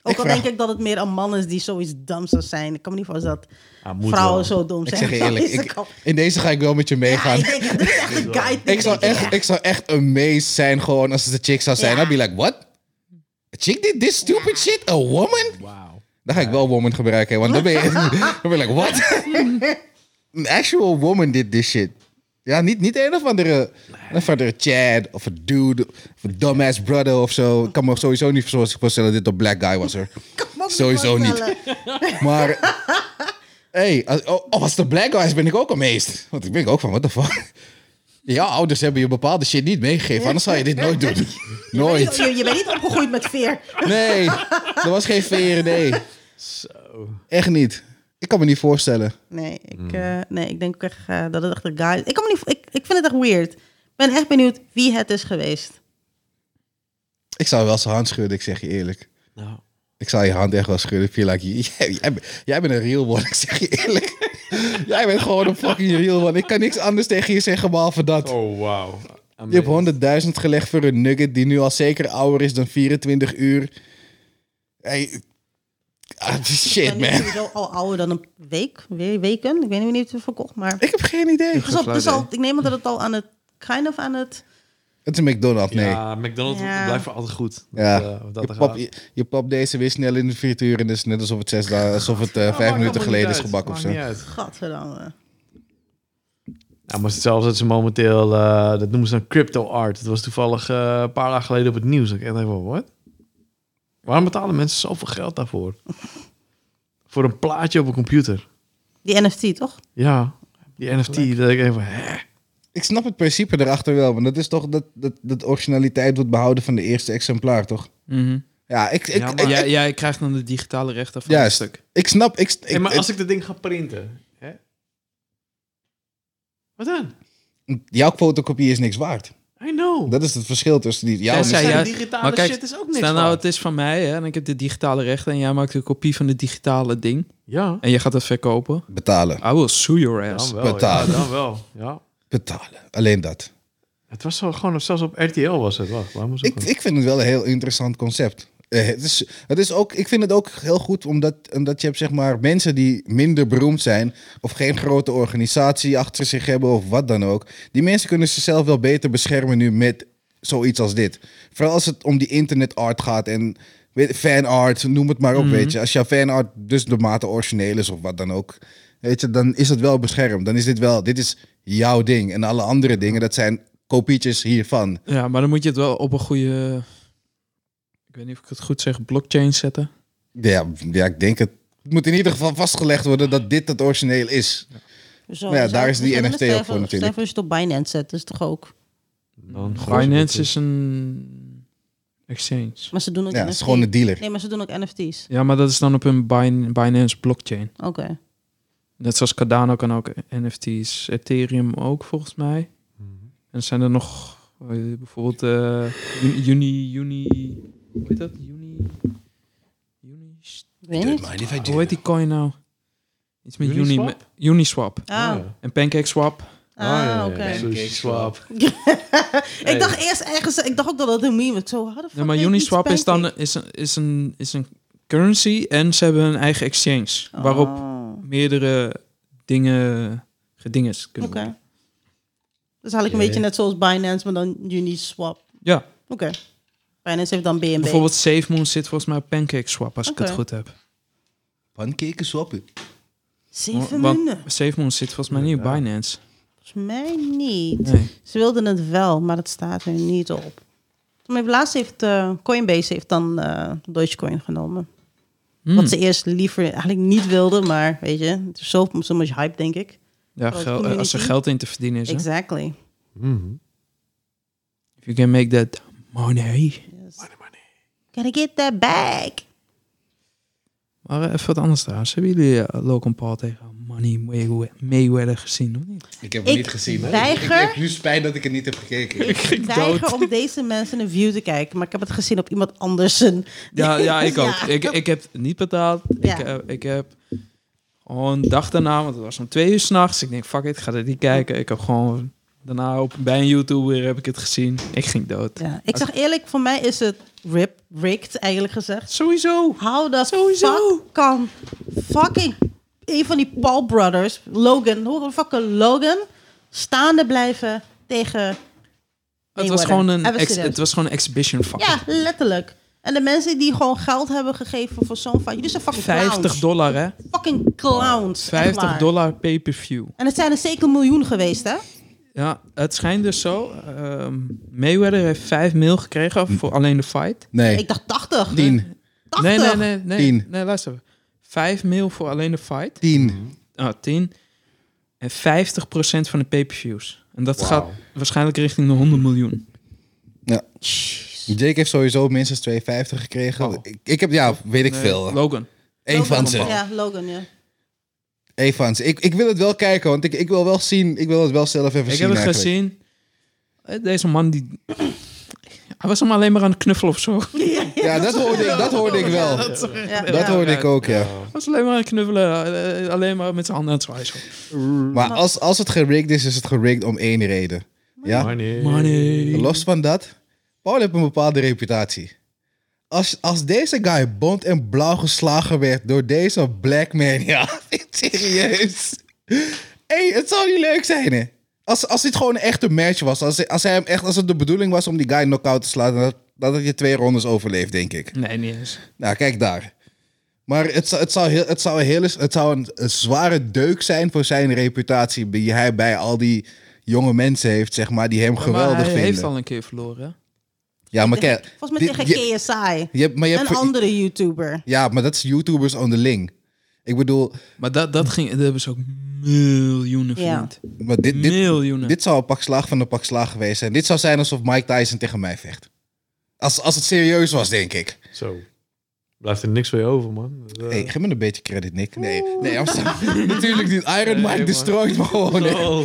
[SPEAKER 4] Ook
[SPEAKER 1] Ik
[SPEAKER 4] al
[SPEAKER 1] vraag-
[SPEAKER 4] denk ik dat het meer een man is die zoiets dom zou zijn. Ik kan me niet voorstellen dat
[SPEAKER 3] Ah, moet
[SPEAKER 4] vrouwen
[SPEAKER 3] wel.
[SPEAKER 4] zo dom
[SPEAKER 1] ik
[SPEAKER 4] zijn.
[SPEAKER 1] zeg je eerlijk,
[SPEAKER 4] Is
[SPEAKER 1] ik,
[SPEAKER 4] ook al-
[SPEAKER 1] in deze ga ik wel met je
[SPEAKER 4] Ja,
[SPEAKER 1] meegaan.
[SPEAKER 4] ik denk, dit is echt een guy thing,
[SPEAKER 1] ik, zou
[SPEAKER 4] denk
[SPEAKER 1] echt, ik zou echt amazed zijn gewoon als het een chick zou zijn.
[SPEAKER 4] Ja.
[SPEAKER 1] I'd be like, what? A chick did this stupid shit? A woman?
[SPEAKER 3] Wauw.
[SPEAKER 1] Dan ga ik wel woman gebruiken, want dan ben je, dan ben je like, what? An actual woman did this shit. Ja, niet, niet een of andere, een of andere Chad of een dude of een dumbass brother of zo. Ik kan me sowieso niet voorstellen dat dit een black guy was, hoor.
[SPEAKER 4] Kan me ook
[SPEAKER 1] Sowieso niet.
[SPEAKER 4] voorstellen.
[SPEAKER 1] Maar, hey, als, oh, oh, als de black guys ben ik ook amazed. Want ik ben ook van, what the fuck? Ja, ouders hebben je bepaalde shit niet meegegeven, anders zou je dit nooit doen. Nooit.
[SPEAKER 4] Je, je bent niet opgegroeid met veer.
[SPEAKER 1] Nee, er was geen VRD.
[SPEAKER 3] Zo.
[SPEAKER 1] Echt niet. Ik kan me niet voorstellen.
[SPEAKER 4] Nee, ik,
[SPEAKER 1] Hmm.
[SPEAKER 4] eh, nee, ik denk ook echt eh, dat het echt een guy is. Ik, kan me niet, vo- ik, ik vind het echt weird. Ik ben echt benieuwd wie het is geweest.
[SPEAKER 1] Ik zou wel zijn hand schudden, ik zeg je eerlijk.
[SPEAKER 3] Nou.
[SPEAKER 1] Ik zou je hand echt wel schudden. Ik feel like, jij, jij, bent- jij bent een real one, ik zeg je eerlijk. jij bent gewoon een fucking real one. Ik kan niks anders tegen je zeggen behalve dat.
[SPEAKER 3] Oh, wauw.
[SPEAKER 1] Je hebt 100.000 gelegd voor een nugget die nu al zeker ouder is dan 24 uur. Hey, ah, shit,
[SPEAKER 4] Ik ben nu
[SPEAKER 1] man.
[SPEAKER 4] sowieso al ouder dan een week, we- weken. Ik weet niet wanneer het is verkocht, maar...
[SPEAKER 1] Ik heb geen idee.
[SPEAKER 4] Dus al,
[SPEAKER 3] flauw
[SPEAKER 4] dus al-
[SPEAKER 3] idee.
[SPEAKER 4] ik neem aan dat het al aan het... Kind of aan het...
[SPEAKER 1] Het is een McDonald's, nee. Ja.
[SPEAKER 3] Ja, McDonald's
[SPEAKER 4] Ja.
[SPEAKER 3] blijft voor altijd goed. Dat, eh, dat
[SPEAKER 1] je,
[SPEAKER 3] er
[SPEAKER 1] pap,
[SPEAKER 3] gaat.
[SPEAKER 1] je, je pap deze weer snel in de frituur en het is net alsof het, zes dagen, alsof het eh,
[SPEAKER 3] Ja,
[SPEAKER 1] vijf
[SPEAKER 3] maakt
[SPEAKER 1] minuten
[SPEAKER 3] allemaal niet
[SPEAKER 1] geleden is
[SPEAKER 3] uit.
[SPEAKER 1] gebakken of
[SPEAKER 3] Maakt
[SPEAKER 1] zo.
[SPEAKER 3] niet uit.
[SPEAKER 4] Gadverdamme.
[SPEAKER 3] Ja, maar zelfs dat ze momenteel, eh, dat noemen ze dan crypto art. Dat was toevallig eh, een paar dagen geleden op het nieuws. Ik echt denk van, wat? Waarom betalen mensen zoveel geld daarvoor? voor een plaatje op een computer.
[SPEAKER 4] Die NFT, toch?
[SPEAKER 3] Ja, die NFT. Dat ik denk van, hè?
[SPEAKER 1] Ik snap het principe erachter wel, want dat is toch dat, dat, dat originaliteit wordt behouden van de eerste exemplaar, toch?
[SPEAKER 2] Mhm.
[SPEAKER 1] Ja, ik, ik,
[SPEAKER 3] Ja,
[SPEAKER 1] ik,
[SPEAKER 3] maar-
[SPEAKER 2] jij, jij krijgt dan de digitale rechten van het
[SPEAKER 1] Juist.
[SPEAKER 2] stuk.
[SPEAKER 1] ik snap, ik, ik,
[SPEAKER 3] Hey, maar als ik dat ding ga printen, hè? Wat dan?
[SPEAKER 1] jouw fotocopie is niks waard.
[SPEAKER 3] I know.
[SPEAKER 1] Dat is het verschil tussen die. Jouw
[SPEAKER 2] Ja,
[SPEAKER 1] is-
[SPEAKER 2] zij-
[SPEAKER 3] zijn
[SPEAKER 2] ja,
[SPEAKER 3] digitale
[SPEAKER 2] maar kijk,
[SPEAKER 3] shit is ook niks
[SPEAKER 2] Stel nou,
[SPEAKER 3] waard.
[SPEAKER 2] het is van mij hè, en ik heb de digitale rechten en jij maakt een kopie van het digitale ding
[SPEAKER 3] Ja,
[SPEAKER 2] en je gaat dat verkopen.
[SPEAKER 1] betalen.
[SPEAKER 2] I will sue your ass.
[SPEAKER 3] dan wel. Ja,
[SPEAKER 1] Betalen.
[SPEAKER 3] dan wel. Ja.
[SPEAKER 1] betalen. Alleen dat.
[SPEAKER 3] Het was zo gewoon, zelfs op RTL was het. Wacht, waar moest ik,
[SPEAKER 1] Ik, ik vind het wel een heel interessant concept. Eh, het is, het is ook, ik vind het ook heel goed omdat, omdat je hebt zeg maar mensen die minder beroemd zijn of geen grote organisatie achter zich hebben of wat dan ook. Die mensen kunnen zichzelf wel beter beschermen nu met zoiets als dit. Vooral als het om die internet art gaat en weet- fanart, noem het maar op, weet je. Als jouw fanart dus de mate origineel is of wat dan ook, weet je, dan is dat wel beschermd. Dan is dit wel, dit is jouw ding en alle andere dingen, dat zijn kopietjes hiervan.
[SPEAKER 2] Ja, maar dan moet je het wel op een goede, ik weet niet of ik het goed zeg, blockchain zetten.
[SPEAKER 1] Ja, ja, ik denk het. Het moet in ieder geval vastgelegd worden dat dit het origineel is.
[SPEAKER 4] Zo,
[SPEAKER 1] Nou ja, daar is die
[SPEAKER 4] zo-
[SPEAKER 1] NFT ook
[SPEAKER 4] stel
[SPEAKER 1] voor
[SPEAKER 4] stel
[SPEAKER 1] natuurlijk.
[SPEAKER 4] Als je het op Binance zet, is het toch ook...
[SPEAKER 3] dan?
[SPEAKER 2] Binance is een exchange.
[SPEAKER 4] Maar ze doen ook
[SPEAKER 1] Ja, het
[SPEAKER 4] NFT.
[SPEAKER 1] is gewoon een dealer.
[SPEAKER 4] Nee, maar ze doen ook NFT's.
[SPEAKER 2] Ja, maar dat is dan op een Bin- Binance blockchain.
[SPEAKER 4] Oké.
[SPEAKER 2] Net zoals Cardano kan ook NFT's, Ethereum ook volgens mij. En zijn er nog eh, bijvoorbeeld eh, Uni, Uni, Uni, hoe heet dat? Uni, Uni,
[SPEAKER 4] Ik weet niet.
[SPEAKER 2] hoe heet die coin nou? Iets met Uni,
[SPEAKER 3] Uniswap?
[SPEAKER 2] met- Uniswap.
[SPEAKER 1] Oh.
[SPEAKER 4] Ah,
[SPEAKER 2] En PancakeSwap.
[SPEAKER 4] ah oké.
[SPEAKER 1] Sushi
[SPEAKER 3] swap.
[SPEAKER 4] Ik dacht eerst ergens... Ik dacht ook dat dat een meme was. Zo, how the fuck
[SPEAKER 2] Nee, maar
[SPEAKER 4] weet
[SPEAKER 2] Uniswap
[SPEAKER 4] iets
[SPEAKER 2] is dan
[SPEAKER 4] pancake?
[SPEAKER 2] is een, is, een, is een currency en ze hebben een eigen exchange. eh, Waarop
[SPEAKER 4] Oh.
[SPEAKER 2] meerdere dingen gedingest kunnen
[SPEAKER 4] Oké.
[SPEAKER 2] worden.
[SPEAKER 4] Dus haal ik een
[SPEAKER 3] Ja.
[SPEAKER 4] beetje net zoals Binance, maar dan Uniswap. Oké.
[SPEAKER 2] Ja,
[SPEAKER 4] Binance heeft dan BNB.
[SPEAKER 2] bijvoorbeeld SafeMoon zit volgens mij op PancakeSwap, als ik
[SPEAKER 4] Oké.
[SPEAKER 2] het goed heb.
[SPEAKER 1] Pancake swappen.
[SPEAKER 4] Zeven
[SPEAKER 2] Want
[SPEAKER 4] munten.
[SPEAKER 2] SafeMoon zit volgens mij niet op Binance.
[SPEAKER 4] Volgens mij niet.
[SPEAKER 2] Nee.
[SPEAKER 4] Ze wilden het wel, maar het staat er niet op. Maar even laatst heeft eh, Coinbase heeft dan eh Dogecoin genomen.
[SPEAKER 2] Hmm.
[SPEAKER 4] Wat ze eerst liever eigenlijk niet wilden, maar weet je, er is zo, so much hype, denk ik.
[SPEAKER 2] Ja,
[SPEAKER 4] Grote
[SPEAKER 2] gel- eh, als er
[SPEAKER 4] Oh, community.
[SPEAKER 2] geld in te verdienen is. hè.
[SPEAKER 4] Exactly.
[SPEAKER 3] Mhm.
[SPEAKER 2] If you can make that money.
[SPEAKER 4] Yes. Gotta get that back.
[SPEAKER 2] Maar eh, even wat anders trouwens. Hebben jullie eh, Logan Paul tegen Money Maywe- Mayweather gezien? Of niet?
[SPEAKER 1] Ik heb
[SPEAKER 4] hem Ik niet gezien, hè. weiger-
[SPEAKER 1] Ik heb nu spijt dat ik het niet heb gekeken.
[SPEAKER 4] Ik weiger om deze mensen een view te kijken, maar ik heb het gezien op iemand anders. een-
[SPEAKER 2] Ja, ja ik ook.
[SPEAKER 4] Ja.
[SPEAKER 2] Ik, ik heb het niet betaald.
[SPEAKER 4] Ja.
[SPEAKER 2] Ik, heb, ik heb gewoon dag daarna, want het was om twee uur s'nachts. Ik denk, fuck it, ik ga dit niet kijken. Ik heb gewoon daarna op, bij een YouTuber heb ik het gezien. Ik ging dood.
[SPEAKER 4] Ja. Ik zeg eerlijk, voor mij is het rip, rigged eigenlijk gezegd.
[SPEAKER 2] Sowieso.
[SPEAKER 4] How the
[SPEAKER 2] Sowieso.
[SPEAKER 4] fuck kan fucking een van die Paul brothers, Logan, hoe fucking Logan, staande blijven tegen
[SPEAKER 2] Het was,
[SPEAKER 4] Mayweather.
[SPEAKER 2] gewoon een
[SPEAKER 4] Even
[SPEAKER 2] ex,
[SPEAKER 4] serieus.
[SPEAKER 2] het was gewoon een exhibition fight.
[SPEAKER 4] Ja, letterlijk. En de mensen die gewoon geld hebben gegeven voor zo'n fight. Jullie zijn fucking
[SPEAKER 2] 50
[SPEAKER 4] clowns.
[SPEAKER 2] dollar, hè?
[SPEAKER 4] Fucking clowns. echt
[SPEAKER 2] 50
[SPEAKER 4] waar.
[SPEAKER 2] dollar pay-per-view.
[SPEAKER 4] En het zijn er zeker een miljoen geweest, hè?
[SPEAKER 2] Ja, het schijnt dus zo. ehm Mayweather heeft 5 mil gekregen voor alleen de fight.
[SPEAKER 1] Nee,
[SPEAKER 4] Ik dacht 80.
[SPEAKER 1] tien.
[SPEAKER 4] 80.
[SPEAKER 2] Nee, nee, nee. Nee,
[SPEAKER 1] Tien.
[SPEAKER 2] nee luister. even. 5 mil voor alleen de fight.
[SPEAKER 1] Tien.
[SPEAKER 2] Ah, 10. En 50% van de pay-per-views. En dat
[SPEAKER 3] Wauw.
[SPEAKER 2] gaat waarschijnlijk richting de 100 miljoen.
[SPEAKER 4] Jeez.
[SPEAKER 1] Jake heeft sowieso minstens 2,50 gekregen.
[SPEAKER 2] Oh.
[SPEAKER 1] Ik, ik heb, ja, weet ik
[SPEAKER 2] Nee,
[SPEAKER 1] veel.
[SPEAKER 2] Logan.
[SPEAKER 1] Eén van ze.
[SPEAKER 4] Ja, Logan, ja.
[SPEAKER 1] Eén van ze. Ik, ik wil het wel kijken, want ik, ik wil wel zien. Ik wil het wel zelf even
[SPEAKER 2] Ik
[SPEAKER 1] zien
[SPEAKER 2] heb het
[SPEAKER 1] eigenlijk.
[SPEAKER 2] gezien. Eh, Deze man die... Hij was hem alleen maar aan het knuffelen of zo.
[SPEAKER 1] Ja, dat hoorde ik, dat hoorde ik wel.
[SPEAKER 2] dat is-
[SPEAKER 4] Ja,
[SPEAKER 1] Dat
[SPEAKER 4] ja.
[SPEAKER 1] hoorde ik ook, ja.
[SPEAKER 2] Hij was alleen maar aan het knuffelen. eh, eh, Alleen maar met zijn handen aan het zwaaien. zo.
[SPEAKER 1] Maar als, als het gerigged is, is het gerigged om één reden. Ja?
[SPEAKER 3] Money.
[SPEAKER 2] Money.
[SPEAKER 1] Los van dat, Paul heeft een bepaalde reputatie. Als, als deze guy bont en blauw geslagen werd door deze black man, ja, serieus. hey, het zou niet leuk zijn, hè? Als, als dit gewoon een echte match was, als, als, hij hem echt, als het de bedoeling was om die guy knock-out te slaan, dan had- dan had je twee rondes overleefd, denk ik.
[SPEAKER 2] Nee, niet eens.
[SPEAKER 1] Nou, kijk daar. Maar het, zou- het zou, heel, het zou, een, hele, het zou een, een zware deuk zijn voor zijn reputatie. die hij bij al die jonge mensen heeft, zeg maar, die hem
[SPEAKER 2] Ja,
[SPEAKER 1] geweldig
[SPEAKER 2] maar hij
[SPEAKER 1] vinden.
[SPEAKER 2] heeft al een keer verloren. hè?
[SPEAKER 1] Ja, maar kijk.
[SPEAKER 4] Volgens mij
[SPEAKER 1] dit-
[SPEAKER 4] tegen
[SPEAKER 1] je,
[SPEAKER 4] KSI.
[SPEAKER 1] je hebt- maar je hebt
[SPEAKER 4] Een
[SPEAKER 1] voor-
[SPEAKER 4] andere YouTuber.
[SPEAKER 1] Ja, maar dat is YouTubers onderling. Ik bedoel,
[SPEAKER 2] Maar dat, dat ging, daar hebben ze ook miljoenen
[SPEAKER 4] Ja.
[SPEAKER 2] verdiend.
[SPEAKER 1] maar dit, dit,
[SPEAKER 2] miljoenen.
[SPEAKER 1] dit zou een pak slaag van een pak slaag geweest zijn. Dit zou zijn alsof Mike Tyson tegen mij vecht. Als, als het serieus was, denk ik.
[SPEAKER 3] Zo. Blijft er niks voor je over, man. Dat, eh,
[SPEAKER 1] Hey, geef me een beetje credit, Nick. Nee, nee Amsterdam- natuurlijk niet. Iron Mike
[SPEAKER 3] man.
[SPEAKER 1] destroyed me gewoon. hè.
[SPEAKER 3] Oh,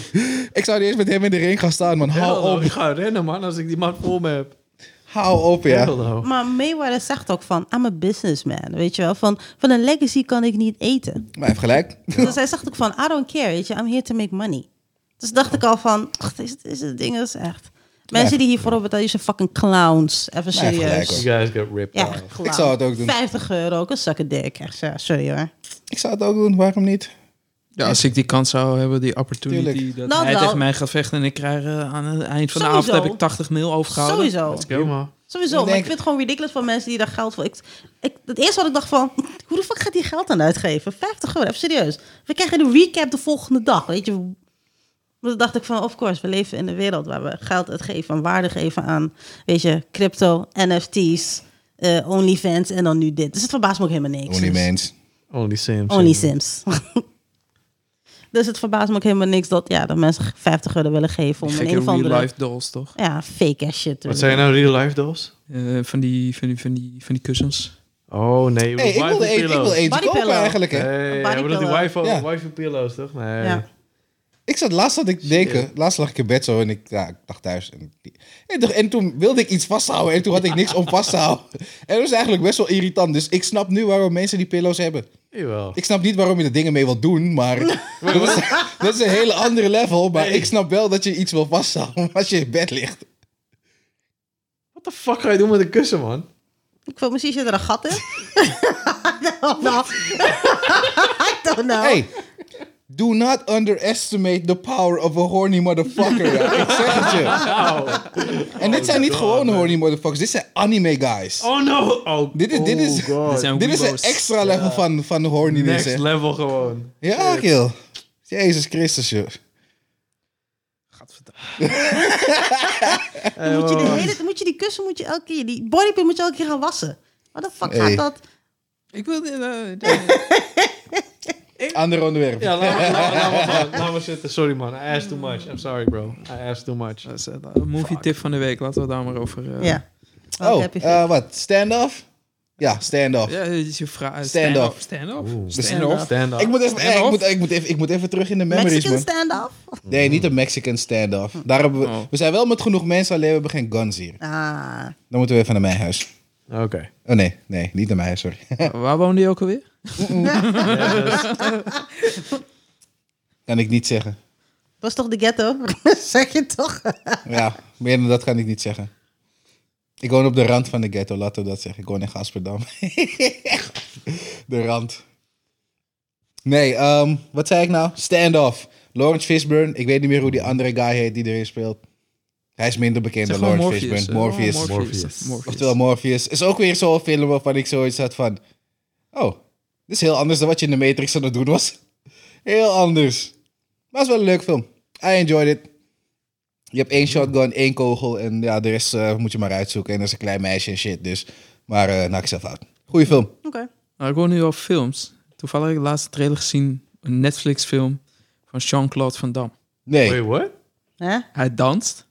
[SPEAKER 1] Ik zou niet eens met hem in de ring gaan staan, man. Hou
[SPEAKER 3] hello,
[SPEAKER 1] op.
[SPEAKER 3] Ik ga rennen, man, als ik die man voor me heb.
[SPEAKER 1] Hou op, ja.
[SPEAKER 3] Hello.
[SPEAKER 4] Maar Mayweather zegt ook van, I'm a businessman, weet je wel. Van, van een legacy kan ik niet eten.
[SPEAKER 1] Maar hij heeft gelijk.
[SPEAKER 4] Dus hij zegt ook van, I don't care, weet je. I'm here to make money. Dus dacht ik al van, ach, dit is het ding, dat is echt... Mensen die hiervoor op betalen, die zijn fucking clowns. Even
[SPEAKER 1] Ja, gelijk,
[SPEAKER 4] serieus.
[SPEAKER 1] hoor.
[SPEAKER 3] You guys get ripped
[SPEAKER 4] Ja,
[SPEAKER 3] off.
[SPEAKER 4] clown.
[SPEAKER 1] Ik zou het ook doen.
[SPEAKER 4] 50 euro, ook een zakken dik. Echt, ja, sorry hoor.
[SPEAKER 1] Ik zou het ook doen, waarom niet?
[SPEAKER 2] ja, als ik die kans zou hebben, die opportunity,
[SPEAKER 1] Tuurlijk.
[SPEAKER 2] dat
[SPEAKER 4] Nou,
[SPEAKER 2] hij
[SPEAKER 4] wel.
[SPEAKER 2] tegen mij gaat vechten en ik krijg eh, aan het eind van de
[SPEAKER 4] Sowieso.
[SPEAKER 2] avond heb ik 80 mil overgehouden.
[SPEAKER 4] Sowieso.
[SPEAKER 3] Let's go, man.
[SPEAKER 4] Sowieso,
[SPEAKER 1] Ik
[SPEAKER 4] maar ik
[SPEAKER 1] denk-
[SPEAKER 4] vind het gewoon ridiculous van mensen die daar geld voor... Ik, ik, het eerste wat ik dacht van, hoe de fuck gaat die geld aan uitgeven? 50 euro, even serieus. We krijgen de recap de volgende dag, weet je. Maar Toen dacht ik van, of course, we leven in een wereld waar we geld uitgeven... en waarde geven aan, weet je, crypto, NFT's, eh, OnlyFans en dan nu dit. Dus het verbaast me ook helemaal niks.
[SPEAKER 1] Only
[SPEAKER 4] Dus-
[SPEAKER 1] mens.
[SPEAKER 3] Only Sims.
[SPEAKER 4] Only Sims. dus het verbaast me ook helemaal niks dat, ja, dat mensen 50 euro willen geven... om
[SPEAKER 2] Die
[SPEAKER 4] in een of
[SPEAKER 2] Gekke
[SPEAKER 4] andere...
[SPEAKER 2] real life dolls, toch?
[SPEAKER 4] Ja, fake ass shit. te
[SPEAKER 3] Wat zijn
[SPEAKER 4] willen
[SPEAKER 3] nou real life dolls?
[SPEAKER 2] Eh, van, die, van, die, van, die, van die kussens.
[SPEAKER 3] Oh nee,
[SPEAKER 1] Hey, ik wilde eentje, ik wilde eentje
[SPEAKER 4] Body
[SPEAKER 1] kopen
[SPEAKER 4] pillow.
[SPEAKER 1] eigenlijk. Hè.
[SPEAKER 3] Hey,
[SPEAKER 4] Body
[SPEAKER 3] hebben we dat die
[SPEAKER 4] pillow.
[SPEAKER 3] wifi,
[SPEAKER 1] Ja.
[SPEAKER 3] wifi pillows toch? nou? Nee.
[SPEAKER 4] Ja.
[SPEAKER 1] Ik zat laatst zat ik te denken, laatst lag ik in bed zo en ik, ja, ik dacht thuis. En, en, toch- en toen wilde ik iets vasthouden en toen had ik niks om vast te houden. En dat is eigenlijk best wel irritant. Dus ik snap nu waarom mensen die pillows hebben.
[SPEAKER 3] Jawel.
[SPEAKER 1] Ik snap niet waarom je er dingen mee wilt doen, maar dat, is, dat is een hele andere level. Maar ik snap wel dat je iets wil vasthouden als je in bed ligt.
[SPEAKER 3] What the fuck ga je doen met een kussen, man?
[SPEAKER 4] Ik voel misschien zit er een gat in. I don't know. I don't know.
[SPEAKER 1] Hey, do not underestimate the power of a horny motherfucker. ja. ik zeg het je. En dit zijn niet gewone horny motherfuckers, dit zijn anime guys.
[SPEAKER 3] Oh no! Oh,
[SPEAKER 1] Dit is- dit is-
[SPEAKER 3] oh, God.
[SPEAKER 2] Dit zijn
[SPEAKER 1] Dit is een
[SPEAKER 2] weebo's.
[SPEAKER 1] extra level van, van de horniness.
[SPEAKER 3] Next
[SPEAKER 1] hè.
[SPEAKER 3] level gewoon.
[SPEAKER 1] Ja, Kiel. Jezus Christus, joh.
[SPEAKER 2] Gadverdamme.
[SPEAKER 4] Dan moet, je de hele, dan moet je die kussen moet je elke keer, die bodypin moet je elke keer gaan wassen. Wat de fuck
[SPEAKER 1] Hey.
[SPEAKER 2] eh,
[SPEAKER 4] gaat dat?
[SPEAKER 2] Ik wil... eh, eh,
[SPEAKER 1] Ander onderwerp.
[SPEAKER 3] Ja, laat maar- laat maar- laat maar gaan. Laat maar zitten. Sorry man, I asked too much. I'm sorry bro. I asked too much.
[SPEAKER 2] Dat is, eh, een movie tip van de week, laten we daar maar over. eh,
[SPEAKER 4] Ja.
[SPEAKER 1] Oh,
[SPEAKER 4] heb je
[SPEAKER 1] eh, wat? Stand-off? Ja, stand-off.
[SPEAKER 2] Ja, dit is je vraag.
[SPEAKER 1] Stand-up.
[SPEAKER 2] Stand-up.
[SPEAKER 3] Oeh.
[SPEAKER 2] Stand-up.
[SPEAKER 3] Stand up.
[SPEAKER 1] Ik moet, even, eh, ik,
[SPEAKER 2] Stand-off?
[SPEAKER 1] moet, ik, moet even, ik moet even terug in de memories,
[SPEAKER 4] Mexican
[SPEAKER 1] man.
[SPEAKER 4] stand-off?
[SPEAKER 1] Nee, niet een Mexican stand-off. Daar hebben we,
[SPEAKER 2] Oh.
[SPEAKER 1] we zijn wel met genoeg mensen, alleen we hebben geen guns hier.
[SPEAKER 4] Ah,
[SPEAKER 1] Dan moeten we even naar mijn huis.
[SPEAKER 3] Oké.
[SPEAKER 1] Oh nee, nee, niet naar mijn huis, sorry.
[SPEAKER 2] Waar woonde je ook alweer?
[SPEAKER 3] Yes.
[SPEAKER 1] Kan ik niet zeggen.
[SPEAKER 4] was toch de ghetto? zeg je toch?
[SPEAKER 1] Ja, meer dan dat kan ik niet zeggen. Ik woon op de rand van de ghetto, laten we dat zeggen. Ik woon in Gasperdam. de rand. Nee, ehm, wat zei ik nou? Stand-off. Lawrence Fishburne. Ik weet niet meer hoe die andere guy heet die erin speelt. Hij is minder bekend
[SPEAKER 2] Zeg
[SPEAKER 1] dan
[SPEAKER 2] gewoon
[SPEAKER 1] Lawrence
[SPEAKER 2] Morpheus.
[SPEAKER 1] Fishburne.
[SPEAKER 2] eh.
[SPEAKER 1] Morpheus.
[SPEAKER 2] Oh,
[SPEAKER 3] Morpheus.
[SPEAKER 2] Morpheus.
[SPEAKER 1] Oftewel Morpheus. Is ook weer zo'n film waarvan ik zoiets had van... Oh, dit is heel anders dan wat je in de Matrix aan het doen was. Heel anders. Maar het is wel een leuk film. I enjoyed it. Je hebt één shotgun, één kogel en ja, de rest eh, moet je maar uitzoeken. En dat is een klein meisje en shit, dus... Maar eh nou, ik zelf uit. Goeie film.
[SPEAKER 4] Oké.
[SPEAKER 2] Nou, ik hoor nu al films. Toevallig heb ik de laatste trailer gezien. Een Netflix film van Jean-Claude Van Damme.
[SPEAKER 1] Nee.
[SPEAKER 3] Wait, what?
[SPEAKER 4] Hè?
[SPEAKER 2] Hij danst.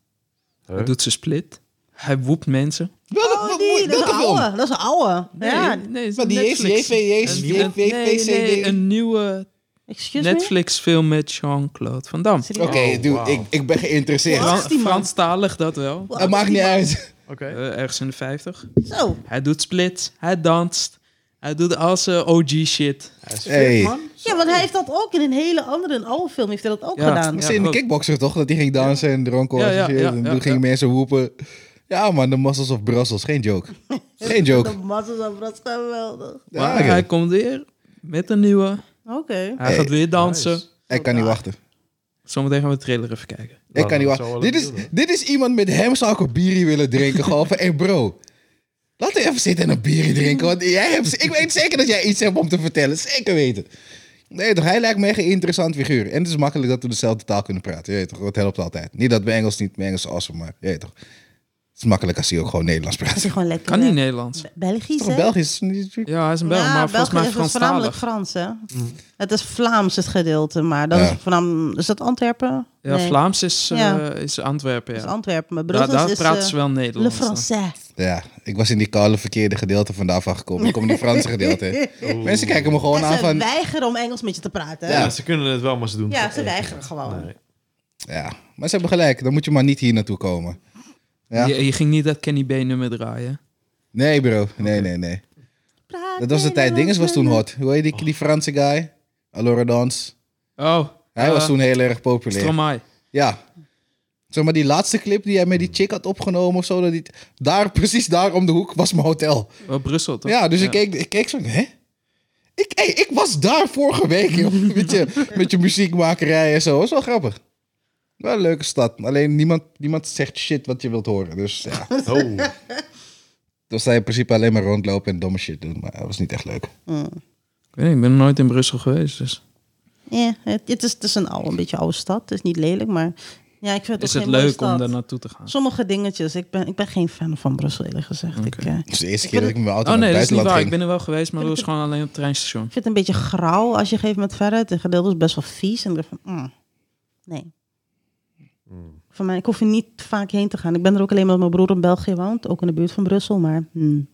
[SPEAKER 3] Huh?
[SPEAKER 2] Hij doet zijn split. Hij woept mensen.
[SPEAKER 1] Wel,
[SPEAKER 4] Oh,
[SPEAKER 1] wat-
[SPEAKER 4] die,
[SPEAKER 1] wat-
[SPEAKER 4] dat is
[SPEAKER 1] welke
[SPEAKER 4] een
[SPEAKER 1] film?
[SPEAKER 4] oude. Dat is een oude. Ja.
[SPEAKER 2] nee, het is
[SPEAKER 1] Maar die
[SPEAKER 2] Netflix.
[SPEAKER 1] JV, JV,
[SPEAKER 2] Een nieuwe-
[SPEAKER 1] JV,
[SPEAKER 2] nee, nee,
[SPEAKER 1] JV.
[SPEAKER 2] een nieuwe
[SPEAKER 4] Excuse me?
[SPEAKER 2] Netflix film met Jean-Claude Van Damme.
[SPEAKER 4] Serieus?
[SPEAKER 1] Oké,
[SPEAKER 3] Oh,
[SPEAKER 1] dude,
[SPEAKER 3] wauw.
[SPEAKER 1] ik, ik ben geïnteresseerd.
[SPEAKER 4] Wat?
[SPEAKER 2] Fran-
[SPEAKER 4] is die man?
[SPEAKER 2] Franstalig dat wel.
[SPEAKER 4] Wow,
[SPEAKER 1] Het maakt niet
[SPEAKER 4] die man-
[SPEAKER 1] uit.
[SPEAKER 3] Oké.
[SPEAKER 2] Eh, ergens in de 50.
[SPEAKER 4] Zo.
[SPEAKER 2] Hij doet splits. Hij danst. Hij doet al zijn OG shit.
[SPEAKER 3] Hij is fit,
[SPEAKER 1] Hey.
[SPEAKER 3] man.
[SPEAKER 4] Ja, want hij heeft dat ook in een hele andere, een oude film heeft hij dat ook
[SPEAKER 2] Ja.
[SPEAKER 4] gedaan.
[SPEAKER 1] Misschien in de
[SPEAKER 2] klopt.
[SPEAKER 1] kickboxer toch? Dat die ging dansen en dronken was
[SPEAKER 2] Ja, ja,
[SPEAKER 1] en shit.
[SPEAKER 2] ja,
[SPEAKER 1] en
[SPEAKER 2] ja,
[SPEAKER 1] toen gingen
[SPEAKER 2] ja.
[SPEAKER 1] mensen roepen. Ja man, de muscles of Brussels. Geen joke. Geen joke.
[SPEAKER 4] De mazzel zo, dat is geweldig.
[SPEAKER 1] Ja,
[SPEAKER 2] Maar
[SPEAKER 1] oké.
[SPEAKER 2] hij komt weer met een nieuwe.
[SPEAKER 4] Oké.
[SPEAKER 2] Hij
[SPEAKER 1] Hey,
[SPEAKER 2] gaat weer dansen.
[SPEAKER 3] nice.
[SPEAKER 1] Ik kan niet wachten.
[SPEAKER 2] Zometeen gaan we de trailer even kijken.
[SPEAKER 1] Ik kan niet
[SPEAKER 3] dat
[SPEAKER 1] wachten.
[SPEAKER 3] zou wel
[SPEAKER 1] Dit is,
[SPEAKER 3] leuk doen,
[SPEAKER 1] dit is iemand met hem zou ik een bierie willen drinken. Gewoon van, hey bro. Laat hij even zitten en een bierie drinken. Want jij hebt, ik weet zeker dat jij iets hebt om te vertellen. Zeker weten. Nee toch, hij lijkt me echt een interessant figuur. En het is makkelijk dat we dezelfde taal kunnen praten. Je weet toch, dat helpt altijd. Niet dat mijn Engels niet, mijn Engels is awesome, maar je weet toch. Het is makkelijk als hij ook gewoon Nederlands praat.
[SPEAKER 4] Dat
[SPEAKER 1] Het
[SPEAKER 4] is gewoon lekker.
[SPEAKER 2] Kan niet
[SPEAKER 4] hè?
[SPEAKER 2] Nederlands.
[SPEAKER 4] Be- Belgisch,
[SPEAKER 1] is
[SPEAKER 4] hè?
[SPEAKER 1] toch Belgisch? Niet-
[SPEAKER 2] Ja, hij is een Belg,
[SPEAKER 4] Ja,
[SPEAKER 2] maar volgens
[SPEAKER 4] België
[SPEAKER 2] mij
[SPEAKER 4] is het voornamelijk
[SPEAKER 2] Franstalig.
[SPEAKER 4] Frans, hè? Het is Vlaams het gedeelte, maar dan
[SPEAKER 1] Mm. Ja.
[SPEAKER 4] is het voornamelijk... Is dat Antwerpen?
[SPEAKER 2] Ja,
[SPEAKER 4] Nee,
[SPEAKER 2] Vlaams is, eh,
[SPEAKER 4] Ja.
[SPEAKER 2] is Antwerpen,
[SPEAKER 4] Dat is
[SPEAKER 2] ja.
[SPEAKER 4] Antwerpen, maar
[SPEAKER 2] Daar,
[SPEAKER 4] Brussels
[SPEAKER 2] daar
[SPEAKER 4] is...
[SPEAKER 2] praten
[SPEAKER 4] eh,
[SPEAKER 2] ze wel
[SPEAKER 4] Le
[SPEAKER 2] Nederlands. dan.
[SPEAKER 4] Français.
[SPEAKER 1] Ja, ik was in die koude verkeerde gedeelte vandaag aangekomen. Ik kom in het Franse gedeelte.
[SPEAKER 3] Oeh.
[SPEAKER 1] Mensen kijken me gewoon
[SPEAKER 4] En
[SPEAKER 1] aan
[SPEAKER 4] ze
[SPEAKER 1] van...
[SPEAKER 4] weigeren om Engels met je te praten. hè?
[SPEAKER 3] Ja, ze kunnen het wel, maar ze doen het
[SPEAKER 4] Ja,
[SPEAKER 3] niet.
[SPEAKER 4] ze weigeren gewoon.
[SPEAKER 3] Nee.
[SPEAKER 1] Ja, maar ze hebben gelijk. Dan moet je maar niet hier naartoe komen. Ja.
[SPEAKER 2] Je, je ging niet dat Kenny B nummer draaien.
[SPEAKER 1] Nee, bro. Nee, nee, nee. Dat was de tijd. Dinges was toen hot. Hoe heet die, die Franse guy? Allora Dans.
[SPEAKER 2] Oh,
[SPEAKER 1] Hij
[SPEAKER 2] eh,
[SPEAKER 1] was toen heel erg populair.
[SPEAKER 2] Stromae.
[SPEAKER 1] Ja. Zeg maar die laatste clip die hij met die chick had opgenomen of zo. Dat die, daar, precies daar om de hoek was mijn hotel.
[SPEAKER 2] Wel Brussel, toch?
[SPEAKER 1] Ja, dus Ik, keek, ik keek zo, hè? Ik, hey, ik was daar vorige week, joh. met, je, met je muziekmakerij en zo. Dat is wel grappig. Wel een leuke stad. Alleen niemand, niemand zegt shit wat je wilt horen. Dus ja,
[SPEAKER 3] Oh.
[SPEAKER 1] dan sta je in principe alleen maar rondlopen en domme shit doen. Maar dat was niet echt leuk.
[SPEAKER 4] Mm.
[SPEAKER 2] Ik weet niet, ik ben nog nooit in Brussel geweest, dus...
[SPEAKER 4] Ja, het, het is, het is een, oude, een beetje oude stad. Het is niet lelijk, maar ja, ik vind het
[SPEAKER 2] Is
[SPEAKER 4] ook
[SPEAKER 2] het
[SPEAKER 4] geen mooie
[SPEAKER 2] leuk om
[SPEAKER 4] stad.
[SPEAKER 2] daar naartoe te gaan?
[SPEAKER 4] Sommige dingetjes. Ik ben, ik ben geen fan van Brussel, eerlijk gezegd. Ik, eh,
[SPEAKER 1] Het is de eerste keer dat ik met mijn auto
[SPEAKER 2] Oh
[SPEAKER 1] naar
[SPEAKER 2] nee,
[SPEAKER 1] het
[SPEAKER 2] dat is niet
[SPEAKER 1] buitenland
[SPEAKER 2] waar.
[SPEAKER 1] ging.
[SPEAKER 2] Ik ben er wel geweest, maar dat was gewoon alleen op het treinstation.
[SPEAKER 4] ik vind het een beetje grauw als je geeft met verder. Het gedeelte is best wel vies. En ik dacht van, mm, nee. Voor mij, ik hoef er niet vaak heen te gaan. Ik ben er ook alleen omdat mijn broer in België woont. Ook in de buurt van Brussel, maar... mm.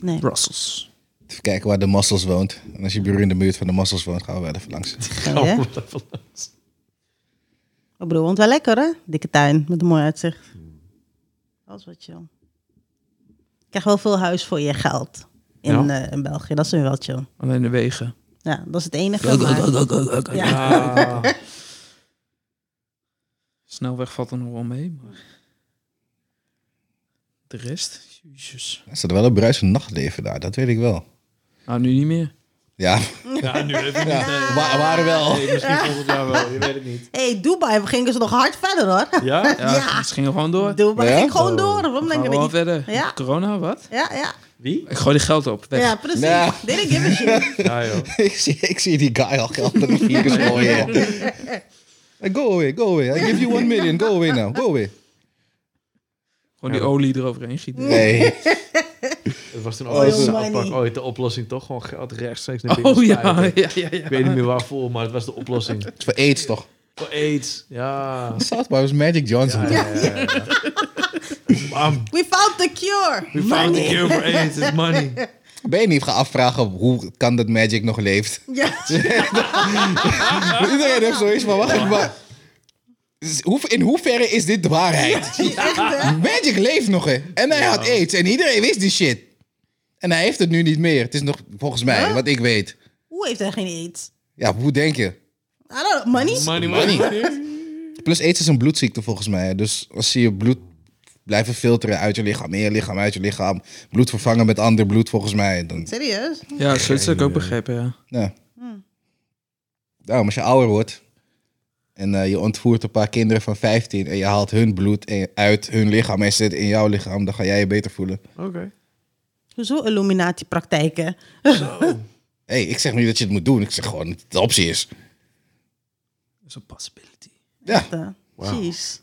[SPEAKER 4] Nee.
[SPEAKER 2] Brussels.
[SPEAKER 1] Even kijken waar de Massels woont. En als je buur in de buurt van de Massels woont, gaan we wel even langs.
[SPEAKER 4] Nee,
[SPEAKER 3] Oh,
[SPEAKER 4] hè? Mijn broer woont wel lekker, hè? Dikke tuin met een mooi uitzicht. Dat is wat chill. Ik krijg wel veel huis voor je geld in,
[SPEAKER 3] Ja.
[SPEAKER 4] eh, in België. Dat is weer wel chill.
[SPEAKER 2] Alleen de wegen.
[SPEAKER 4] Ja, dat is het enige. Maar... Ja.
[SPEAKER 3] Ah.
[SPEAKER 2] Snelweg valt er nog wel mee, maar... De rest? Jezus.
[SPEAKER 1] Er staat wel een bruisend nachtleven daar, dat weet ik wel.
[SPEAKER 2] Nou, nu niet meer.
[SPEAKER 1] Ja,
[SPEAKER 3] Ja, nu heb ik niet. eh.
[SPEAKER 1] ja. Wa- waren wel.
[SPEAKER 3] Nee, misschien volgend jaar wel. Je weet het niet.
[SPEAKER 4] hey, Dubai gingen ze nog hard verder, hoor.
[SPEAKER 3] Ja?
[SPEAKER 2] Ja,
[SPEAKER 4] Ja.
[SPEAKER 2] dus gingen we gewoon door.
[SPEAKER 4] Dubai
[SPEAKER 1] Ja?
[SPEAKER 4] ging gewoon
[SPEAKER 3] Oh.
[SPEAKER 4] door. Waarom
[SPEAKER 2] Gaan we
[SPEAKER 4] denk je
[SPEAKER 2] gewoon
[SPEAKER 4] dat je...
[SPEAKER 2] verder.
[SPEAKER 4] Ja.
[SPEAKER 2] Corona, wat?
[SPEAKER 4] Ja, ja.
[SPEAKER 3] Wie?
[SPEAKER 2] Ik gooi die geld op. Weg.
[SPEAKER 4] Ja, precies.
[SPEAKER 1] Ja.
[SPEAKER 4] They didn't give a shit.
[SPEAKER 3] Ja, joh.
[SPEAKER 1] ik, zie, ik zie die guy al geld in de virus gooien. Eh, Go away, go away. I give you one million. Go away now, go away.
[SPEAKER 2] Gewoon die olie eroverheen gieten.
[SPEAKER 1] Nee.
[SPEAKER 3] Het Het was toen
[SPEAKER 1] Oh,
[SPEAKER 3] ooit,
[SPEAKER 1] zo.
[SPEAKER 3] een aanpak, ooit de oplossing toch? Gewoon geld rechtstreeks naar binnen
[SPEAKER 2] Oh ja,
[SPEAKER 3] spuiten.
[SPEAKER 2] ja, ja. ja.
[SPEAKER 3] Ik weet niet meer waarvoor, maar het was de oplossing.
[SPEAKER 1] Het is voor AIDS toch?
[SPEAKER 3] Voor AIDS, ja.
[SPEAKER 1] South Park was Magic Johnson.
[SPEAKER 3] Ja, ja, ja, ja. Bam.
[SPEAKER 4] We found the cure!
[SPEAKER 3] We found the cure for AIDS, it's money.
[SPEAKER 1] Ben je niet gaan afvragen hoe kan dat Magic nog leeft?
[SPEAKER 4] Ja.
[SPEAKER 1] Iedereen heeft zoiets van, wacht even, maar... is- hoe- In hoeverre is dit de waarheid? Magic leeft nog, hè? En hij had aids en iedereen wist die shit. En hij heeft het nu niet meer. Het is nog, volgens mij,
[SPEAKER 4] Huh?
[SPEAKER 1] wat ik weet.
[SPEAKER 4] Hoe heeft hij geen aids?
[SPEAKER 1] Ja, hoe denk je?
[SPEAKER 4] I don't know, money?
[SPEAKER 3] Money, money,
[SPEAKER 1] Money.
[SPEAKER 3] money.
[SPEAKER 1] Plus aids is een bloedziekte volgens mij. hè. Dus als ze je bloed blijven filteren uit je lichaam, in je lichaam, uit je lichaam. Bloed vervangen met ander bloed volgens mij. Dan,
[SPEAKER 4] Serieus? Hm.
[SPEAKER 2] Ja, zoiets heb ik ook begrepen, ja.
[SPEAKER 1] ja. Daarom, als je ouder wordt en eh, je ontvoert een paar kinderen van 15 en je haalt hun bloed en- uit hun lichaam en zit in jouw lichaam, dan ga jij je beter voelen.
[SPEAKER 3] Oké.
[SPEAKER 4] Hoezo Illuminati-praktijken?
[SPEAKER 1] Hé, hey, ik zeg niet dat je het moet doen. Ik zeg gewoon dat het een optie is.
[SPEAKER 2] Dat is een possibility.
[SPEAKER 1] Ja,
[SPEAKER 4] Eh,
[SPEAKER 3] Wauw.
[SPEAKER 4] Jeez.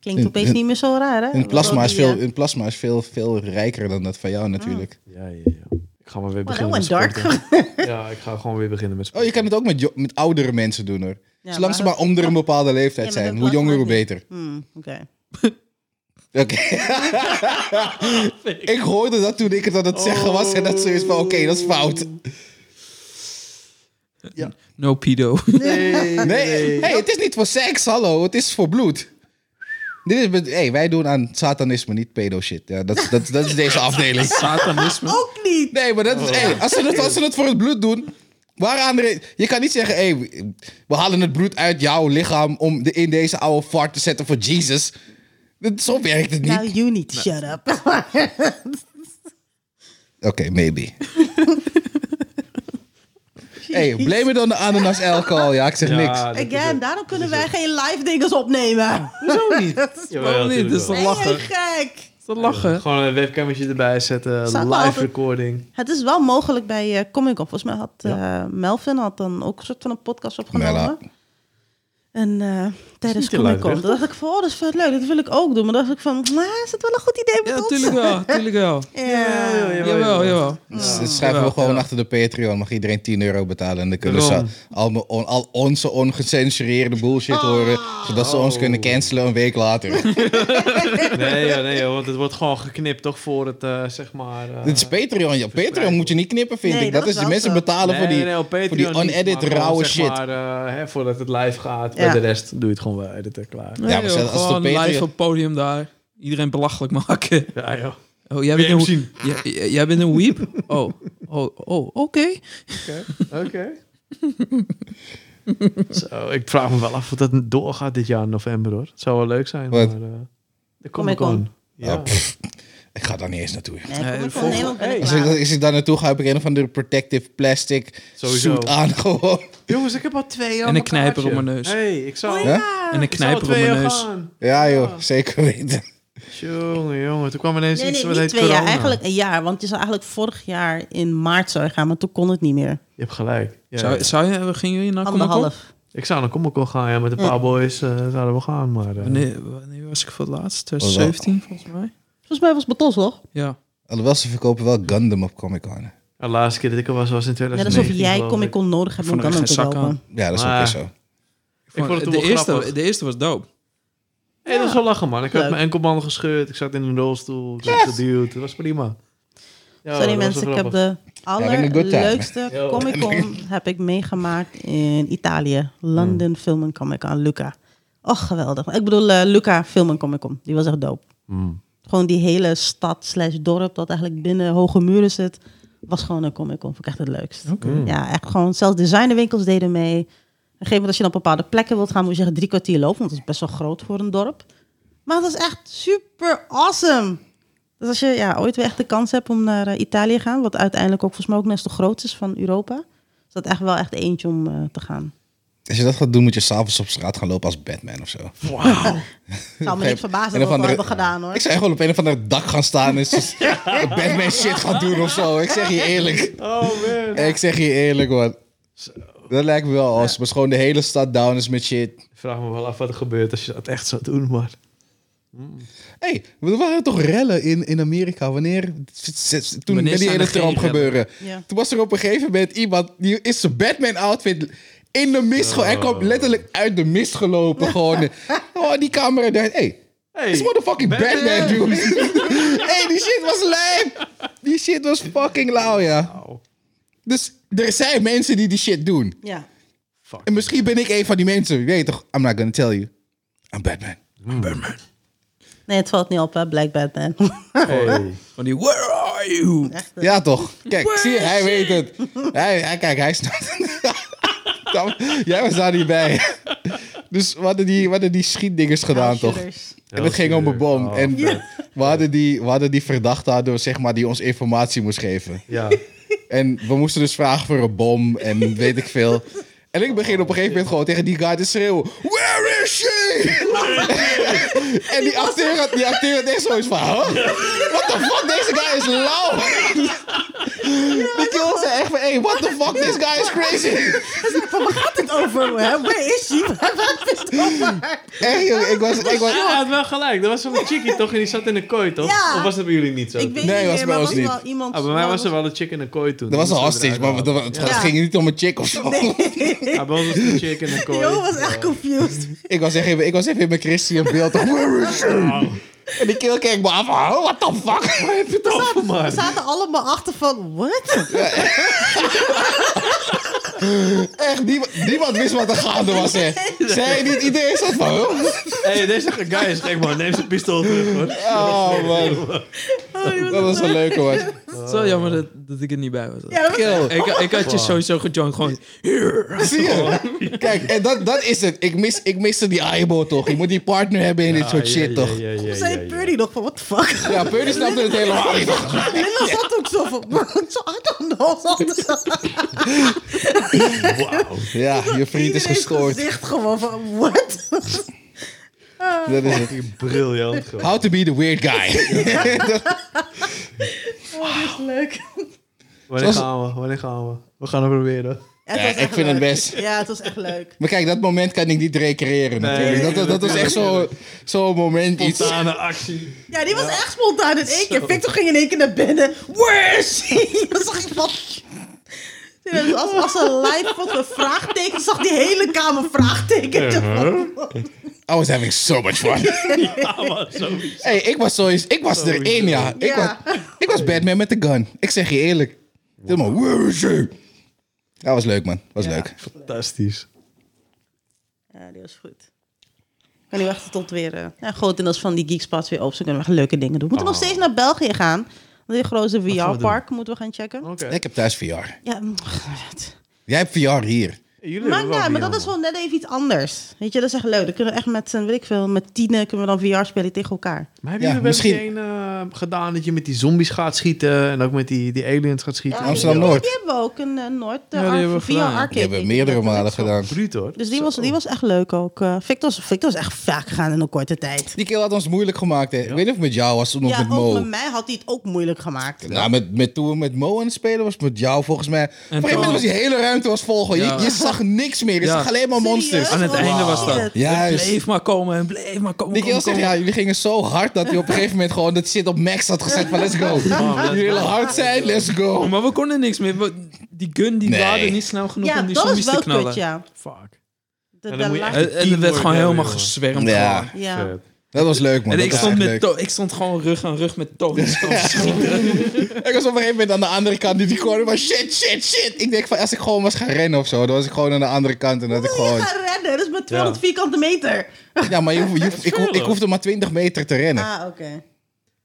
[SPEAKER 4] Klinkt opeens niet meer zo raar, hè?
[SPEAKER 1] hun plasma is,
[SPEAKER 4] Wat
[SPEAKER 1] veel,
[SPEAKER 4] al die, eh,
[SPEAKER 1] hun plasma is veel, veel rijker dan dat van jou natuurlijk.
[SPEAKER 3] Ja, ja, ja. Ik ga maar weer beginnen
[SPEAKER 4] that
[SPEAKER 3] met
[SPEAKER 4] went
[SPEAKER 3] sporten. Ja, ik ga gewoon weer beginnen met
[SPEAKER 1] Oh,
[SPEAKER 3] sporten.
[SPEAKER 1] je kan het ook met, jo- met oudere mensen doen hoor.
[SPEAKER 4] Ah. Ja,
[SPEAKER 1] Zolang ze
[SPEAKER 4] maar
[SPEAKER 1] maar onder een bepaalde leeftijd
[SPEAKER 4] Ja, maar
[SPEAKER 1] zijn.
[SPEAKER 4] dat
[SPEAKER 1] Hoe jonger, hoe
[SPEAKER 4] plasma is
[SPEAKER 1] beter.
[SPEAKER 4] hmm, Oké.
[SPEAKER 1] Oké. ik hoorde dat toen ik het aan het zeggen was. En dat zoiets van, oké, dat is fout.
[SPEAKER 2] No pedo.
[SPEAKER 3] Nee,
[SPEAKER 1] Nee, hey, het is niet voor seks, hallo. Het is voor bloed. Dit is, met- hey, wij doen aan satanisme, niet pedo shit. Ja, dat, dat, dat is deze afdeling.
[SPEAKER 2] Satanisme.
[SPEAKER 4] Ook niet!
[SPEAKER 1] Nee, maar dat is, hey, als, ze dat, als ze dat voor het bloed doen, waaraan de re- Je kan niet zeggen, hey, we halen het bloed uit jouw lichaam om de, in deze oude fart te zetten voor Jesus. Dat, zo werkt het niet.
[SPEAKER 4] Nou, you need to shut up.
[SPEAKER 1] Oké, maybe. hey, blame it on the ananas alcohol. Ja, ik zeg niks.
[SPEAKER 4] Again, daarom kunnen wij geen live dinges opnemen.
[SPEAKER 2] Hoezo niet?
[SPEAKER 3] Jawel,
[SPEAKER 2] Waarom niet? Dat is
[SPEAKER 3] tuurlijk
[SPEAKER 2] toch
[SPEAKER 4] Nee,
[SPEAKER 2] lachen?
[SPEAKER 4] je gek!
[SPEAKER 2] Dat lachen.
[SPEAKER 3] Gewoon een webcammetje erbij zetten,
[SPEAKER 4] Zou ik wel
[SPEAKER 3] live
[SPEAKER 4] altijd-
[SPEAKER 3] recording.
[SPEAKER 4] Het is wel mogelijk bij eh, Comic Con. Volgens mij had eh, Melvin had dan ook een soort van een podcast opgenomen.
[SPEAKER 1] Mella.
[SPEAKER 4] En eh, tijdens
[SPEAKER 3] te
[SPEAKER 4] Comic Con
[SPEAKER 3] luid,
[SPEAKER 4] dacht ik van, oh, dat is vet leuk, dat wil ik ook doen. Maar dacht ik van, nou, is dat wel een goed idee met
[SPEAKER 2] Ja,
[SPEAKER 4] ons?
[SPEAKER 2] tuurlijk wel. Tuurlijk wel.
[SPEAKER 4] Ja.
[SPEAKER 2] Jawel, jawel.
[SPEAKER 1] Dus dat schrijven we
[SPEAKER 2] Ja,
[SPEAKER 1] gewoon
[SPEAKER 2] ja.
[SPEAKER 1] achter de Patreon. Mag iedereen 10 euro betalen. En dan kunnen ze
[SPEAKER 3] Daarom.
[SPEAKER 1] al, mijn on- al onze ongecensureerde bullshit
[SPEAKER 4] Oh.
[SPEAKER 1] horen. Zodat ze ons
[SPEAKER 3] Oh.
[SPEAKER 1] kunnen cancelen een week later.
[SPEAKER 3] Nee, ja, nee, joh, want het wordt gewoon geknipt toch voor het, eh, zeg maar... eh,
[SPEAKER 1] Dit is Patreon. Ja, Patreon moet je niet knippen, vind
[SPEAKER 4] Nee,
[SPEAKER 1] ik.
[SPEAKER 4] dat
[SPEAKER 1] Dat is
[SPEAKER 4] is
[SPEAKER 1] die
[SPEAKER 4] wel
[SPEAKER 1] mensen
[SPEAKER 4] zo.
[SPEAKER 1] betalen voor die...
[SPEAKER 3] op Patreon
[SPEAKER 1] die
[SPEAKER 3] niet, maar
[SPEAKER 1] unedited
[SPEAKER 3] gewoon,
[SPEAKER 1] rauwe
[SPEAKER 3] zeg
[SPEAKER 1] shit.
[SPEAKER 3] Maar, eh, hè, voordat het live gaat.
[SPEAKER 4] Ja.
[SPEAKER 3] Bij de rest doe je het gewoon wel editen, klaar.
[SPEAKER 2] Nee,
[SPEAKER 1] maar
[SPEAKER 2] joh,
[SPEAKER 1] stel, als het op
[SPEAKER 2] gewoon
[SPEAKER 1] Patreon-
[SPEAKER 2] live op het podium daar. Iedereen belachelijk maken.
[SPEAKER 3] Ja, joh.
[SPEAKER 2] Oh, jij
[SPEAKER 3] Wil
[SPEAKER 2] bent
[SPEAKER 3] je hem
[SPEAKER 2] een,
[SPEAKER 3] zien?
[SPEAKER 2] jij, jij- jij bent een weep? Oh, oh, oh oké.
[SPEAKER 3] Oké. Zo, ik vraag me wel af of dat doorgaat dit jaar in november, hoor. Het zou wel leuk zijn.
[SPEAKER 1] Wat?
[SPEAKER 3] Maar, eh de
[SPEAKER 4] Comic-Con.
[SPEAKER 3] Comic-Con. Ja.
[SPEAKER 1] Oh, pff, ik ga daar niet eens naartoe.
[SPEAKER 4] Nee, Comic-Con
[SPEAKER 2] de volgende-
[SPEAKER 4] Nederland ben ik
[SPEAKER 1] Als
[SPEAKER 4] klaar.
[SPEAKER 1] ik, als ik daar naartoe ga, heb ik een of andere protective plastic
[SPEAKER 3] Sowieso.
[SPEAKER 1] suit aan. Gewoon.
[SPEAKER 3] Jongens, ik heb al twee jaar
[SPEAKER 2] En een knijper op mijn neus.
[SPEAKER 3] hey, ik zou...
[SPEAKER 4] Oh,
[SPEAKER 1] Ja?
[SPEAKER 4] ja.
[SPEAKER 2] En een
[SPEAKER 3] ik zou
[SPEAKER 2] knijper op
[SPEAKER 3] twee
[SPEAKER 2] mijn
[SPEAKER 3] jaar
[SPEAKER 2] neus.
[SPEAKER 3] gaan.
[SPEAKER 1] Ja
[SPEAKER 4] Oh.
[SPEAKER 1] joh, zeker weten.
[SPEAKER 3] Jongen, jongen. Toen kwam ineens
[SPEAKER 4] Nee,
[SPEAKER 3] iets
[SPEAKER 4] nee,
[SPEAKER 3] wat
[SPEAKER 4] niet
[SPEAKER 3] heet
[SPEAKER 4] twee jaar.
[SPEAKER 3] corona.
[SPEAKER 4] Eigenlijk een jaar. Want je zou eigenlijk vorig jaar in maart zou je gaan, maar toen kon het niet meer.
[SPEAKER 2] Ah,
[SPEAKER 3] Je hebt gelijk. Ja.
[SPEAKER 2] Zou, zou je, gingen jullie naar Comic Con?
[SPEAKER 4] Anderhalf.
[SPEAKER 3] Ik zou naar Comic Con gaan, ja. Met een paar boys eh, zouden we gaan, maar... eh,
[SPEAKER 2] Wanneer, wanneer was ik voor het laatst? 2017 volgens mij.
[SPEAKER 4] Volgens mij was het Betos, toch?
[SPEAKER 2] Ja.
[SPEAKER 1] Alhoewel ze verkopen wel Gundam op Comic Con.
[SPEAKER 3] De laatste keer dat ik er was, was in
[SPEAKER 4] Net
[SPEAKER 3] 2019.
[SPEAKER 4] alsof jij
[SPEAKER 3] geloof ik.
[SPEAKER 4] Comic Con nodig hebt om
[SPEAKER 2] vond er
[SPEAKER 4] dan
[SPEAKER 2] geen
[SPEAKER 4] te
[SPEAKER 2] zak
[SPEAKER 4] kopen.
[SPEAKER 2] aan.
[SPEAKER 1] Ja, dat is ook
[SPEAKER 3] Maar-
[SPEAKER 1] weer zo.
[SPEAKER 3] Ik vond het toen
[SPEAKER 2] de,
[SPEAKER 3] wel
[SPEAKER 2] eerste,
[SPEAKER 3] grappig.
[SPEAKER 2] de eerste was dope.
[SPEAKER 3] Hé, dat is wel lachen, man. Ik had
[SPEAKER 4] Leuk.
[SPEAKER 3] mijn enkelband gescheurd. Ik zat in een rolstoel. Ik werd geduwd. Dat was prima. Ja, dat
[SPEAKER 4] Sorry
[SPEAKER 3] was
[SPEAKER 4] mensen,
[SPEAKER 3] wel
[SPEAKER 4] ik heb
[SPEAKER 3] grappig.
[SPEAKER 4] de
[SPEAKER 1] Having a good time.
[SPEAKER 4] allerleukste
[SPEAKER 3] Yo.
[SPEAKER 4] Comic Con heb ik meegemaakt in Italië.
[SPEAKER 1] Hmm.
[SPEAKER 4] London Film and Comic Con, Luca. Och, geweldig. Ik bedoel, eh, Luca Film and Comic Con. Die was echt dope.
[SPEAKER 3] Mm.
[SPEAKER 4] Gewoon die hele stad slash dorp dat eigenlijk binnen hoge muren zit, was gewoon een Comic Con. Vond ik echt het leukst.
[SPEAKER 1] Mm.
[SPEAKER 4] Ja, echt gewoon. Zelfs designerwinkels deden mee. Op een gegeven moment als je naar bepaalde plekken wilt gaan, moet je echt drie kwartier lopen. Want het is best wel groot voor een dorp. Maar het was echt super awesome. Dus als je ja, ooit weer echt de kans hebt om naar eh, Italië te gaan, wat uiteindelijk ook volgens mij ook net zo groot is van Europa, is dat echt wel echt eentje om eh, te gaan.
[SPEAKER 1] Als je dat gaat doen, moet je s'avonds op straat gaan lopen als Batman of zo.
[SPEAKER 4] Nou, Zou me niet
[SPEAKER 1] En of
[SPEAKER 4] verbazen dat we dat
[SPEAKER 1] andere-
[SPEAKER 4] hebben gedaan hoor.
[SPEAKER 1] Ik zou gewoon op een of ander dak gaan staan en zo- Batman shit gaan doen of zo. Ik zeg je eerlijk.
[SPEAKER 3] Oh, man.
[SPEAKER 1] Ik zeg je eerlijk, man. Dat lijkt me wel als maar gewoon de hele stad down is met shit.
[SPEAKER 3] Ik vraag me wel af wat er gebeurt als je dat echt zou doen, maar...
[SPEAKER 1] Hé, hey, er waren toch rellen in, in Amerika? Wanneer? Toen
[SPEAKER 2] Wanneer
[SPEAKER 1] met die
[SPEAKER 2] zijn
[SPEAKER 1] hele
[SPEAKER 2] er geen
[SPEAKER 1] Trump
[SPEAKER 2] rellen?
[SPEAKER 1] gebeuren.
[SPEAKER 4] Ja.
[SPEAKER 1] Toen was er op een gegeven moment iemand die is zijn Batman outfit in de mist. gewoon. Hij
[SPEAKER 2] Oh.
[SPEAKER 1] kwam letterlijk uit de mist gelopen. Gewoon. oh, die camera dacht, hey,
[SPEAKER 3] Hey,
[SPEAKER 1] is motherfucking Batman,
[SPEAKER 3] Batman.
[SPEAKER 1] dude. hey, die shit was lijp. Die shit was fucking lauw, ja.
[SPEAKER 3] Au,
[SPEAKER 1] Dus er zijn mensen die die shit doen.
[SPEAKER 4] Ja.
[SPEAKER 3] fuck.
[SPEAKER 1] En misschien ben ik een van die mensen. Je weet toch, I'm not gonna tell you. I'm Batman.
[SPEAKER 4] Nee, het valt niet op, hè, Black Batman.
[SPEAKER 3] Hey.
[SPEAKER 2] Van die, where are you?
[SPEAKER 4] Echt, hè.
[SPEAKER 1] Ja, toch? Kijk, zie je, hij weet het. Hij, hij kijk, hij snapt het. Dan- Jij was daar niet bij. Dus we hadden die, we hadden die schietdingers gedaan, toch?
[SPEAKER 4] Shooters.
[SPEAKER 1] En het ging om een bom.
[SPEAKER 3] Oh,
[SPEAKER 1] en
[SPEAKER 3] vet.
[SPEAKER 1] we, hadden die, we hadden die verdachte hadden, we, zeg maar, die ons informatie moest geven.
[SPEAKER 3] Ja,
[SPEAKER 1] En we moesten dus vragen voor een bom en weet ik veel. En ik begin op een gegeven moment gewoon tegen die guy te schreeuwen. Where is she? en die acteur had, die acteur had echt zoiets van... Huh? What the fuck? Deze guy is lauw. Die kills zei echt van... Hey, what the fuck? This guy is crazy.
[SPEAKER 4] Van, waar gaat het over? Hè? Waar is die? Waar is het over?
[SPEAKER 1] Echt, joh, ik was... Ik was
[SPEAKER 3] hij had wel gelijk. Dat was zo'n chickie toch? En die zat in een kooi toch?
[SPEAKER 4] Ja.
[SPEAKER 3] Of was dat bij jullie niet zo?
[SPEAKER 4] Ik weet
[SPEAKER 1] Nee, was bij
[SPEAKER 4] niet meer, maar
[SPEAKER 1] ons
[SPEAKER 4] was
[SPEAKER 1] niet.
[SPEAKER 4] wel iemand...
[SPEAKER 3] Ah, bij mij was er wel een chick in een kooi toen.
[SPEAKER 1] dat was een
[SPEAKER 3] Die moest
[SPEAKER 1] hostage, maar
[SPEAKER 3] eruit
[SPEAKER 1] dat- het
[SPEAKER 4] Ja.
[SPEAKER 1] ging niet om een chick of zo.
[SPEAKER 3] halen. Ah, bij ons was het een chick in een kooi.
[SPEAKER 4] Jo, was echt confused.
[SPEAKER 1] Ik, was echt even, ik was even in mijn Christian beeld. Where is she? En die kill keek me af. Huh? What the fuck?
[SPEAKER 3] Waar heb je het over,
[SPEAKER 4] We
[SPEAKER 3] man?
[SPEAKER 4] zaten allemaal achter van, what?
[SPEAKER 1] Echt, niemand, niemand wist wat er gaande was, hè. Zij niet, iedereen zat van... huh?
[SPEAKER 3] hey, deze guy is gek, man. Neem zijn pistool terug, hoor.
[SPEAKER 1] Oh, man.
[SPEAKER 4] Oh,
[SPEAKER 1] Dat was een leuke, man.
[SPEAKER 2] Het is wel jammer dat, dat ik er niet bij was.
[SPEAKER 4] Ja, dat was-
[SPEAKER 1] Kill.
[SPEAKER 2] Ik, ik had je sowieso gejoined, gewoon...
[SPEAKER 1] Zie je? Kijk, en dat, dat is het. Ik, mis, ik miste die eyeball, toch? Je moet die partner hebben in dit soort
[SPEAKER 3] Ah, ja,
[SPEAKER 1] shit,
[SPEAKER 3] ja,
[SPEAKER 1] toch?
[SPEAKER 3] ja, ja, ja,
[SPEAKER 4] Toen zei
[SPEAKER 3] ja.
[SPEAKER 4] Purdy nog van, what the fuck?
[SPEAKER 1] Ja, Purdy snapte het helemaal niet.
[SPEAKER 4] Lilla zat ook zo van, zo, I don't know.
[SPEAKER 3] Wauw.
[SPEAKER 1] Ja, je vriend is gescoord.
[SPEAKER 4] gezicht gewoon van, what? Oh,
[SPEAKER 1] Dat is het.
[SPEAKER 3] Briljant, gewoon.
[SPEAKER 1] How to be the weird guy.
[SPEAKER 4] Oh, dit is leuk.
[SPEAKER 3] Wanneer
[SPEAKER 1] Zoals-
[SPEAKER 3] gaan we? Wanneer gaan we? We gaan het proberen.
[SPEAKER 1] Ja, ik vind het best.
[SPEAKER 4] Ja, het was echt leuk.
[SPEAKER 1] Maar kijk, dat moment kan ik niet recreëren. natuurlijk. Dat, dat, dat was echt zo'n zo zo'n moment iets.
[SPEAKER 3] Spontane actie.
[SPEAKER 4] Ja, die was echt spontaan in één keer. Victor ging in één keer naar binnen. Where is she? Dan zag ik wat... Als, als een live op een vraagteken zag die hele kamer vraagteken.
[SPEAKER 1] I was having so much fun.
[SPEAKER 3] Ja, man, sowieso.
[SPEAKER 1] Hey, ik was sowieso, ik was er één, ja. Ik,
[SPEAKER 4] Ja.
[SPEAKER 1] Was, ik was Batman met de gun. Ik zeg je eerlijk. Helemaal, where is she? Dat was leuk, man. was leuk.
[SPEAKER 3] Fantastisch.
[SPEAKER 4] Ja, die was goed. Ik kan niet wachten tot weer... eh ja, grotendeels van die geekspots weer op. Ze kunnen we echt leuke dingen doen. We moeten nog steeds naar België gaan. Die grote
[SPEAKER 3] Oh. gaan we
[SPEAKER 4] VR-park moeten we gaan checken.
[SPEAKER 3] Oké.
[SPEAKER 1] Ik heb thuis VR.
[SPEAKER 4] Ja, mm, het-
[SPEAKER 1] Jij hebt VR hier.
[SPEAKER 3] Jullie
[SPEAKER 4] Maar,
[SPEAKER 3] hebben wel
[SPEAKER 4] ja, maar
[SPEAKER 3] bier,
[SPEAKER 4] dat is
[SPEAKER 3] man.
[SPEAKER 4] wel net even iets anders. Weet je, dat is echt leuk. Dan kunnen we echt met, eh, weet ik veel, met tienen kunnen we dan VR spelen tegen elkaar.
[SPEAKER 3] Maar hebben
[SPEAKER 1] Ja,
[SPEAKER 3] jullie wel
[SPEAKER 1] misschien-
[SPEAKER 3] misschien... gedaan dat je met die zombies gaat schieten en ook met die, die aliens gaat schieten?
[SPEAKER 1] Amsterdam
[SPEAKER 4] Die
[SPEAKER 1] Noord.
[SPEAKER 4] hebben we ook een eh, Noord
[SPEAKER 2] Ja, die hebben we
[SPEAKER 4] VR
[SPEAKER 2] gedaan.
[SPEAKER 4] arcade.
[SPEAKER 1] Die hebben we meerdere malen gedaan.
[SPEAKER 3] Bruut hoor.
[SPEAKER 4] Dus die was, die was echt leuk ook. eh Victor, is- Victor is echt vaak gegaan in een korte tijd.
[SPEAKER 1] Die keer had ons moeilijk gemaakt, hè. Ik weet niet of met jou was toen of
[SPEAKER 4] Ja,
[SPEAKER 1] met
[SPEAKER 4] ook
[SPEAKER 1] Mo.
[SPEAKER 4] met mij had hij het ook moeilijk gemaakt.
[SPEAKER 1] Nou, met, met, toen we met Mo aan het spelen was, met jou volgens mij. Op een gegeven moment
[SPEAKER 2] toen-
[SPEAKER 1] was die hele ruimte was vol. gewoon.
[SPEAKER 2] Ja.
[SPEAKER 1] Je, je zag niks meer. Je
[SPEAKER 2] Ja.
[SPEAKER 1] zag alleen maar monsters.
[SPEAKER 2] Aan het
[SPEAKER 4] Wow.
[SPEAKER 2] einde was dat.
[SPEAKER 1] Juist.
[SPEAKER 2] Bleef maar komen en bleef maar komen.
[SPEAKER 1] Die
[SPEAKER 2] komen,
[SPEAKER 1] keel zegt, ja, jullie gingen zo hard dat hij op een gegeven moment gewoon dat shit op max had gezet van let's go. Jullie willen hard zijn, let's go.
[SPEAKER 2] komen. Maar we konden niks meer. We- Die gun die
[SPEAKER 1] Nee.
[SPEAKER 2] laadde niet snel genoeg
[SPEAKER 4] Ja,
[SPEAKER 2] om die
[SPEAKER 4] dat
[SPEAKER 2] zombies
[SPEAKER 4] is wel
[SPEAKER 2] te knallen.
[SPEAKER 4] kut, ja.
[SPEAKER 3] Fuck.
[SPEAKER 4] De,
[SPEAKER 3] Ja,
[SPEAKER 4] de
[SPEAKER 3] dan moet je
[SPEAKER 4] la-
[SPEAKER 3] echt-
[SPEAKER 2] En, en er werd gewoon
[SPEAKER 3] Teamwork,
[SPEAKER 2] helemaal
[SPEAKER 3] jongen.
[SPEAKER 2] gezwermd.
[SPEAKER 1] Ja.
[SPEAKER 2] gewoon.
[SPEAKER 4] ja.
[SPEAKER 3] Vet.
[SPEAKER 1] Dat was leuk, man.
[SPEAKER 2] En
[SPEAKER 1] Dat
[SPEAKER 2] ik
[SPEAKER 1] was
[SPEAKER 2] stond,
[SPEAKER 1] echt
[SPEAKER 2] met
[SPEAKER 1] leuk.
[SPEAKER 2] To- ik stond gewoon rug aan rug met Tony.
[SPEAKER 1] Ik was op een gegeven moment aan de andere kant in die corner, maar shit, shit, shit. Ik denk van, als ik gewoon was gaan rennen of zo, dan was ik gewoon aan de andere kant en dat ik
[SPEAKER 4] Wil je
[SPEAKER 1] gewoon...
[SPEAKER 4] gaan rennen? Dat is maar 200 vierkante meter.
[SPEAKER 1] Ja, maar je, hoeft- je hoeft- ik, hoef- ik hoefde maar 20 meter te rennen.
[SPEAKER 4] Ah, oké.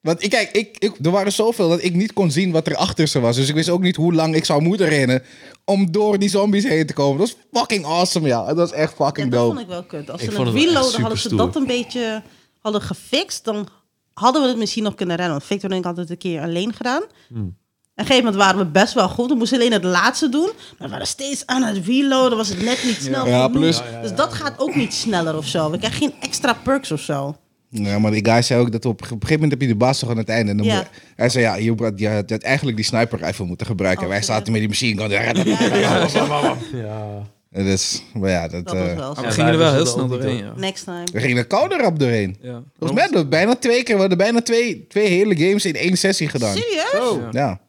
[SPEAKER 1] Want ik, kijk, ik, ik, er waren zoveel dat ik niet kon zien wat er achter ze was. Dus ik wist ook niet hoe lang ik zou moeten rennen om door die zombies heen te komen. Dat was fucking awesome, ja. Dat was echt
[SPEAKER 4] Ja,
[SPEAKER 1] fucking
[SPEAKER 4] dat
[SPEAKER 1] dope.
[SPEAKER 4] vond ik wel kut. Als
[SPEAKER 3] Ik
[SPEAKER 4] ze
[SPEAKER 3] vond
[SPEAKER 4] het
[SPEAKER 3] het wel echt
[SPEAKER 4] reloaden, hadden ze
[SPEAKER 3] superstoer.
[SPEAKER 4] dat een beetje hadden gefixt, dan hadden we het misschien nog kunnen rennen. Want Victor en ik hadden het een keer alleen gedaan.
[SPEAKER 3] Hmm.
[SPEAKER 4] Op een gegeven moment waren we best wel goed. We moesten alleen het laatste doen. Maar we waren steeds aan het reloaden. Was het net niet snel
[SPEAKER 1] Ja,
[SPEAKER 4] genoeg.
[SPEAKER 1] plus-
[SPEAKER 4] Dus dat gaat ook niet sneller of zo. We krijgen geen extra perks of zo.
[SPEAKER 1] Ja, maar die guy zei ook dat op, op een gegeven moment heb je de baas toch aan het einde. En dan
[SPEAKER 4] Ja.
[SPEAKER 1] moet- hij zei, ja, je, had- je had eigenlijk die sniper rifle moeten gebruiken.
[SPEAKER 4] Oh,
[SPEAKER 1] wij
[SPEAKER 4] shit.
[SPEAKER 1] zaten met die machine gun.
[SPEAKER 4] Ja,
[SPEAKER 3] Ja.
[SPEAKER 1] Het is, maar ja, dat,
[SPEAKER 4] Dat
[SPEAKER 1] eh,
[SPEAKER 4] was wel
[SPEAKER 2] Maar
[SPEAKER 4] zo.
[SPEAKER 2] we
[SPEAKER 3] Ja,
[SPEAKER 2] gingen er
[SPEAKER 3] wij
[SPEAKER 2] wel heel
[SPEAKER 3] wisten
[SPEAKER 2] snel
[SPEAKER 3] dat ook
[SPEAKER 2] doorheen,
[SPEAKER 3] niet,
[SPEAKER 2] ja.
[SPEAKER 4] Next time.
[SPEAKER 1] we gingen er kouder op doorheen.
[SPEAKER 2] ja.
[SPEAKER 1] Volgens mij hadden we bijna twee keer, we hadden bijna twee, twee hele games in één sessie gedaan.
[SPEAKER 4] Serieus?
[SPEAKER 3] Zo.
[SPEAKER 2] Ja.
[SPEAKER 1] Ja.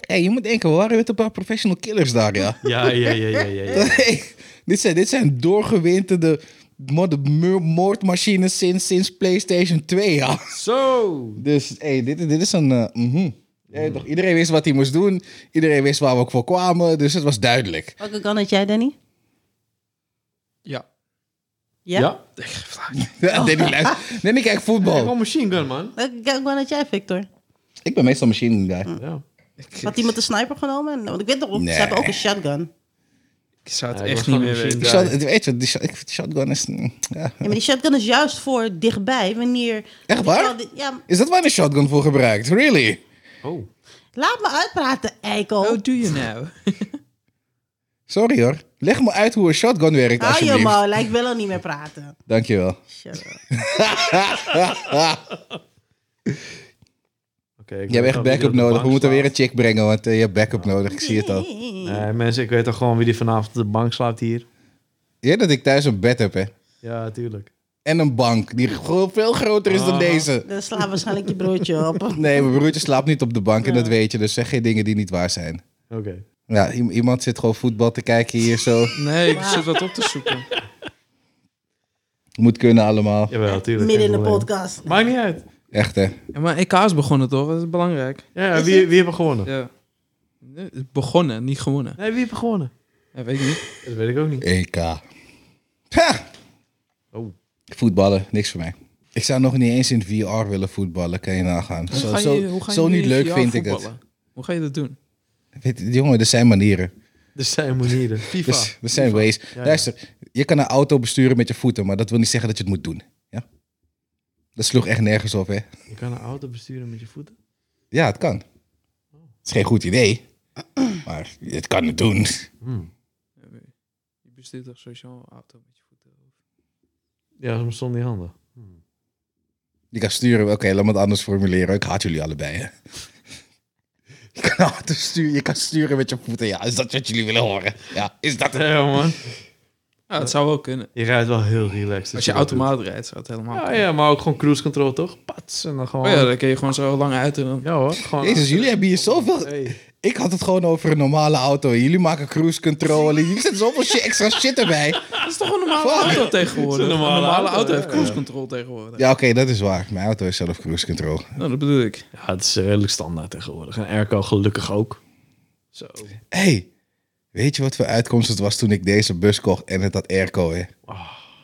[SPEAKER 1] Hé, je moet denken, we waren weer een paar professional killers daar, ja.
[SPEAKER 3] Ja, ja, ja, ja, ja. ja.
[SPEAKER 1] dit, zijn, dit zijn doorgewinterde mod- mu- moordmachines sinds, sinds PlayStation 2, ja.
[SPEAKER 2] Zo!
[SPEAKER 1] Dus hey, dit, dit is een. eh, mhm. Ja, toch, iedereen wist wat hij moest doen. Iedereen wist waar we ook voor kwamen. Dus het was duidelijk.
[SPEAKER 4] Welke gun had jij, Danny?
[SPEAKER 2] Ja.
[SPEAKER 4] Ja?
[SPEAKER 1] Oh.
[SPEAKER 3] Ja?
[SPEAKER 1] Danny, luistert- Danny kijkt voetbal.
[SPEAKER 3] Gewoon machine gun, man.
[SPEAKER 4] Welke gun had jij, Victor?
[SPEAKER 1] Ik ben meestal machine gun guy.
[SPEAKER 3] Ja.
[SPEAKER 4] Had iemand een sniper genomen? Want ik weet toch,
[SPEAKER 1] Nee.
[SPEAKER 4] ze hebben ook een shotgun.
[SPEAKER 2] Ik zou het
[SPEAKER 3] Ja, ik
[SPEAKER 2] echt niet
[SPEAKER 3] was gewoon
[SPEAKER 2] meer
[SPEAKER 3] een
[SPEAKER 2] weten.
[SPEAKER 1] Die shot, weet je, die shot, ik vind die shotgun is. mm, Ja.
[SPEAKER 4] Ja, maar die shotgun is juist voor dichtbij, wanneer...
[SPEAKER 1] Echt waar?
[SPEAKER 4] Ja,
[SPEAKER 1] Is dat waar een shotgun voor gebruikt? Really?
[SPEAKER 3] Oh.
[SPEAKER 4] laat me uitpraten, eikel.
[SPEAKER 2] How do you know?
[SPEAKER 1] Sorry hoor. Leg me uit hoe een shotgun werkt,
[SPEAKER 4] Hou je
[SPEAKER 1] alsjeblieft.
[SPEAKER 4] mouw, lijkt wel al niet meer praten.
[SPEAKER 1] Dankjewel.
[SPEAKER 4] Shut up.
[SPEAKER 3] Oké. ik
[SPEAKER 1] Je hebt
[SPEAKER 3] weet
[SPEAKER 1] echt
[SPEAKER 3] al wie er
[SPEAKER 1] backup
[SPEAKER 3] op de
[SPEAKER 1] nodig.
[SPEAKER 3] bank
[SPEAKER 1] We moeten weer een
[SPEAKER 3] slaapt.
[SPEAKER 1] chick brengen, want eh, je hebt backup nodig. Ik zie het al.
[SPEAKER 3] Nee, Eh, mensen, ik weet toch gewoon wie die vanavond op de bank slaapt hier.
[SPEAKER 1] Ja, dat ik thuis een bed heb, hè.
[SPEAKER 3] Ja, tuurlijk.
[SPEAKER 1] En een bank, die gro- veel groter is dan
[SPEAKER 3] Ah.
[SPEAKER 1] deze.
[SPEAKER 4] Dan slaat waarschijnlijk je broodje op.
[SPEAKER 1] Nee, mijn broertje slaapt niet op de bank en dat weet je. Dus zeg geen dingen die niet waar zijn.
[SPEAKER 3] Oké.
[SPEAKER 1] Ja, i- iemand zit gewoon voetbal te kijken hier zo.
[SPEAKER 2] Nee, ik zit wat op te zoeken.
[SPEAKER 1] Moet kunnen allemaal.
[SPEAKER 3] Jawel, tuurlijk.
[SPEAKER 4] Midden in
[SPEAKER 3] geen
[SPEAKER 4] de
[SPEAKER 3] probleem.
[SPEAKER 4] podcast.
[SPEAKER 3] Maakt niet uit.
[SPEAKER 1] Echt, hè.
[SPEAKER 2] Ja, maar EK is begonnen toch? Dat is belangrijk.
[SPEAKER 3] Ja,
[SPEAKER 4] Is
[SPEAKER 3] ja, wie, wie hebben gewonnen?
[SPEAKER 2] Ja. Nee, het is Begonnen, niet gewonnen.
[SPEAKER 3] Nee, wie hebben gewonnen?
[SPEAKER 2] Ja, weet ik niet.
[SPEAKER 3] Dat weet ik ook niet.
[SPEAKER 1] EK. E Ha!
[SPEAKER 3] Oh.
[SPEAKER 1] Voetballen, niks voor mij. Ik zou nog niet eens in VR willen voetballen, kan je nagaan. Zo,
[SPEAKER 2] Hoe ga
[SPEAKER 1] zo,
[SPEAKER 2] je- hoe ga je
[SPEAKER 1] zo
[SPEAKER 2] nu
[SPEAKER 1] niet
[SPEAKER 2] in
[SPEAKER 1] leuk
[SPEAKER 2] VR
[SPEAKER 1] vind ik het.
[SPEAKER 2] voetballen? Hoe ga je dat doen?
[SPEAKER 1] Weet, je, jongen, er zijn manieren.
[SPEAKER 3] Er zijn manieren.
[SPEAKER 2] FIFA.
[SPEAKER 1] Dus, er zijn ways.
[SPEAKER 3] ja.
[SPEAKER 1] Luister, je kan een auto besturen met je voeten, maar dat wil niet zeggen dat je het moet doen. Ja? Dat sloeg echt nergens op, hè.
[SPEAKER 3] Je kan een auto besturen met je voeten.
[SPEAKER 1] Ja, het kan. Het is geen goed idee, maar het kan het doen.
[SPEAKER 3] Hmm.
[SPEAKER 2] Je bestuurt toch sowieso een auto met je voeten?
[SPEAKER 3] Ja, soms zonder die handen.
[SPEAKER 1] Je kan sturen, oké, laat me het anders formuleren. Ik haat jullie allebei. Hè. Je kan auto sturen, je kan sturen met je voeten. Ja, is dat wat jullie willen horen? Ja, is dat het?
[SPEAKER 3] Ja, man.
[SPEAKER 2] Ja, het zou wel kunnen.
[SPEAKER 3] Je rijdt wel heel relaxed.
[SPEAKER 2] Als je
[SPEAKER 3] dat doet.
[SPEAKER 2] automaat rijdt, zou het helemaal
[SPEAKER 3] Ja,
[SPEAKER 2] kunnen.
[SPEAKER 3] ja, maar ook gewoon cruise control, toch? Pats. En dan gewoon...
[SPEAKER 2] Oh ja, dan kun je gewoon zo lang uit en dan...
[SPEAKER 3] Ja, hoor. Gewoon...
[SPEAKER 1] Jezus, jullie hebben hier zoveel...
[SPEAKER 3] Hey.
[SPEAKER 1] Ik had het gewoon over een normale auto. Jullie maken cruise control. en Jullie zetten zoveel shit, extra shit erbij.
[SPEAKER 2] Dat is toch een normale auto tegenwoordig?
[SPEAKER 3] Een
[SPEAKER 2] Een
[SPEAKER 3] normale
[SPEAKER 2] normale,
[SPEAKER 3] auto,
[SPEAKER 2] auto,
[SPEAKER 3] ja.
[SPEAKER 2] heeft cruise control tegenwoordig.
[SPEAKER 1] Ja, oké, dat is waar. Mijn auto is zelf cruise control.
[SPEAKER 2] Nou, dat bedoel ik.
[SPEAKER 3] Ja, het is redelijk standaard tegenwoordig. En airco gelukkig ook. Zo.
[SPEAKER 1] Hé, hey, weet je wat voor uitkomst het was toen ik deze bus kocht en het had airco, hè?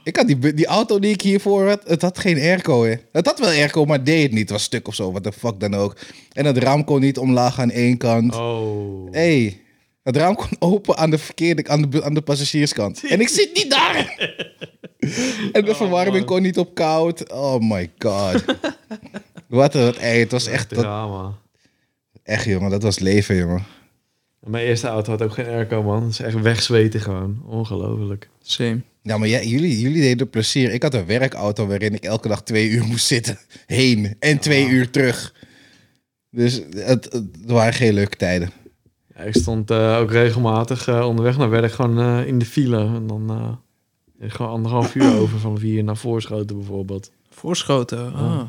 [SPEAKER 1] Ik had die, bu- die auto die ik hiervoor had, het had geen airco, hè? Het had wel airco, maar het deed het niet. Het was stuk of zo, wat de fuck dan ook. En het raam kon niet omlaag aan één kant.
[SPEAKER 3] Oh.
[SPEAKER 1] Hé, hey, het raam kon open aan de verkeerde, aan de, bu- aan de passagierskant. En ik zit niet daar! en de verwarming kon niet op koud. Oh my god. wat een, hey, het was echt, dat,
[SPEAKER 3] Drama.
[SPEAKER 1] echt jongen, dat was leven, jongen.
[SPEAKER 3] Mijn eerste auto had ook geen airco, man. Het is echt wegzweten gewoon. Ongelooflijk.
[SPEAKER 2] Same.
[SPEAKER 1] Ja, maar jij- jullie, jullie deden plezier. Ik had een werkauto waarin ik elke dag twee uur moest zitten. Heen en twee uur terug. Dus het, het waren geen leuke tijden.
[SPEAKER 3] Ja, ik stond eh, ook regelmatig eh, onderweg naar werk gewoon eh, in de file. En dan eh, er gewoon anderhalf uur over van vier naar Voorschoten bijvoorbeeld.
[SPEAKER 2] Voorschoten. Ah.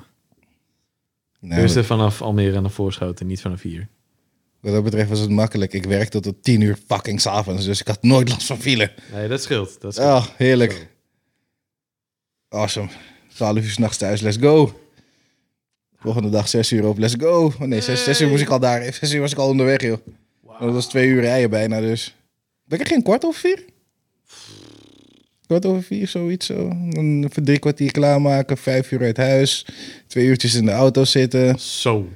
[SPEAKER 1] Nou,
[SPEAKER 3] dus er vanaf Almere naar Voorschoten, niet vanaf hier.
[SPEAKER 1] Wat dat betreft was het makkelijk. Ik werkte tot tien uur fucking s'avonds. Dus ik had nooit last van file.
[SPEAKER 3] Nee, dat scheelt. Dat scheelt.
[SPEAKER 1] Oh, heerlijk. Awesome. Twaalf uur s'nachts thuis, let's go. Volgende dag zes uur op, let's go. Oh nee, zes, zes uur moest ik al daar. Zes uur was ik al onderweg, joh. Dat was twee uur rijden bijna, dus. Ben ik er geen kwart over vier? Kwart over vier, zoiets zo. Dan even drie kwartier klaarmaken, vijf uur uit huis. Twee uurtjes in de auto zitten.
[SPEAKER 3] Zo.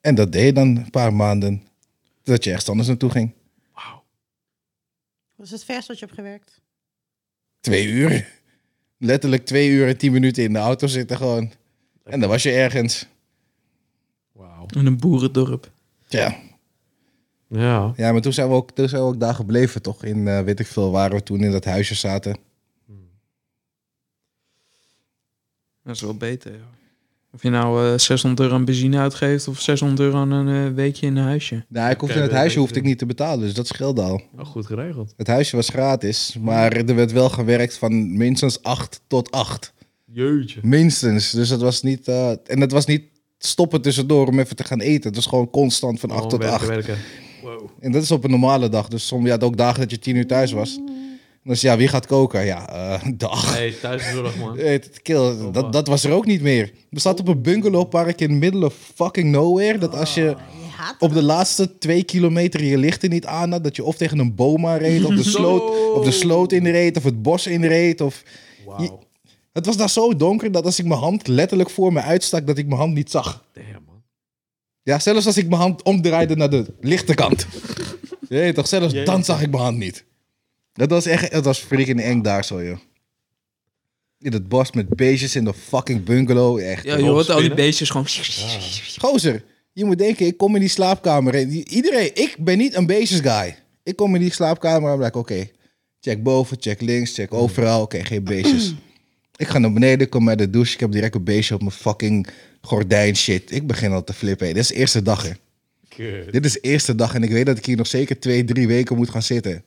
[SPEAKER 1] En dat deed je dan een paar maanden. Dat je ergens anders naartoe ging.
[SPEAKER 4] Wat is het vers wat je hebt gewerkt?
[SPEAKER 1] Twee uur. Letterlijk twee uur en tien minuten in de auto zitten gewoon. En dan was je ergens.
[SPEAKER 3] Wauw.
[SPEAKER 2] In een boerendorp.
[SPEAKER 1] Ja,
[SPEAKER 3] Ja.
[SPEAKER 1] ja maar toen zijn, we ook, toen zijn we ook daar gebleven, toch? In eh, weet ik veel waar we toen in dat huisje zaten.
[SPEAKER 2] Dat is wel beter, ja. Of je nou eh, 600 euro aan benzine uitgeeft of 600 euro aan een eh, weekje in een huisje.
[SPEAKER 1] Nou, ik hoefde
[SPEAKER 3] Oké,
[SPEAKER 1] het
[SPEAKER 3] dat
[SPEAKER 1] huisje
[SPEAKER 3] weet
[SPEAKER 1] hoefde ik
[SPEAKER 3] ik.
[SPEAKER 1] niet te betalen, dus dat scheelde al.
[SPEAKER 3] Oh, goed geregeld.
[SPEAKER 1] Het huisje was gratis, maar er werd wel gewerkt van minstens 8 tot 8.
[SPEAKER 3] Jeetje.
[SPEAKER 1] Minstens. Dus dat was niet. eh, en het was niet stoppen tussendoor om even te gaan eten. Het was gewoon constant van 8
[SPEAKER 3] Gewoon
[SPEAKER 1] tot
[SPEAKER 3] werken,
[SPEAKER 1] 8.
[SPEAKER 3] werken. Wow.
[SPEAKER 1] En dat is op een normale dag. Dus soms ja, ook dagen dat je 10 uur thuis was. Dus ja, wie gaat koken? Ja, eh dag.
[SPEAKER 3] Hey, thuiszorg man.
[SPEAKER 1] Eh, het- Kill, dat, dat was er ook niet meer. We zaten op een bungalowpark in het middle of fucking nowhere. Dat als je
[SPEAKER 4] Je haat
[SPEAKER 1] op de laatste twee kilometer je lichten niet aan had, dat je of tegen een boom reed, of de sloot, of de sloot inreed, of het bos inreed. Of...
[SPEAKER 3] Wauw.
[SPEAKER 1] Het was daar zo donker dat als ik mijn hand letterlijk voor me uitstak, dat ik mijn hand niet zag.
[SPEAKER 3] Damn man.
[SPEAKER 1] Ja, zelfs als ik mijn hand omdraaide naar de lichte kant. Nee, toch? Zelfs
[SPEAKER 3] Jeetje.
[SPEAKER 1] dan zag ik mijn hand niet. Dat was echt, dat was freaking eng daar zo, joh. In het bos met beestjes in de fucking bungalow, echt.
[SPEAKER 2] Ja, je hoort al die
[SPEAKER 3] Rolspinnen.
[SPEAKER 2] beestjes gewoon...
[SPEAKER 1] Gozer, je moet denken, ik kom in die slaapkamer. en i- Iedereen, ik ben niet een basis guy. Ik kom in die slaapkamer en ben ik, oké, check boven, check links, check overal. Oké, geen beestjes. ik ga naar beneden, ik kom uit de douche. Ik heb direct een beestje op mijn fucking gordijn shit. Ik begin al te flippen. hè. Dit is de eerste dag, hè.
[SPEAKER 3] Kut.
[SPEAKER 1] Dit is de eerste dag en ik weet dat ik hier nog zeker twee, drie weken moet gaan zitten.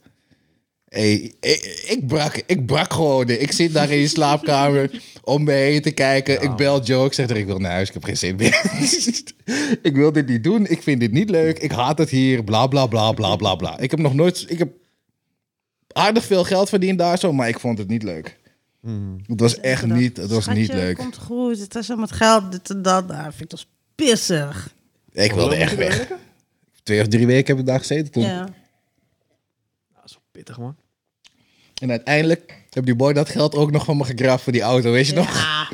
[SPEAKER 1] Hey, ik, ik brak, ik brak gewoon. Ik zit daar in die slaapkamer om me heen te kijken. Ik bel Joe, ik zeg er, ik wil naar huis, ik heb geen zin meer. ik wil dit niet doen, ik vind dit niet leuk, ik haat het hier, bla bla bla bla bla bla. Ik heb nog nooit, ik heb aardig veel geld verdiend daar zo, maar ik vond het niet leuk. Het was echt niet, het was niet leuk.
[SPEAKER 4] komt goed, het is om het geld, dit en dat. Nou, vind ik dat pissig.
[SPEAKER 1] Ik wilde echt weg. Twee of drie weken heb ik daar gezeten toen.
[SPEAKER 4] Ja.
[SPEAKER 3] Dat is wel pittig man.
[SPEAKER 1] En uiteindelijk heb die boy dat geld ook nog van me gegraafd voor die auto, weet je nog?
[SPEAKER 4] Ja,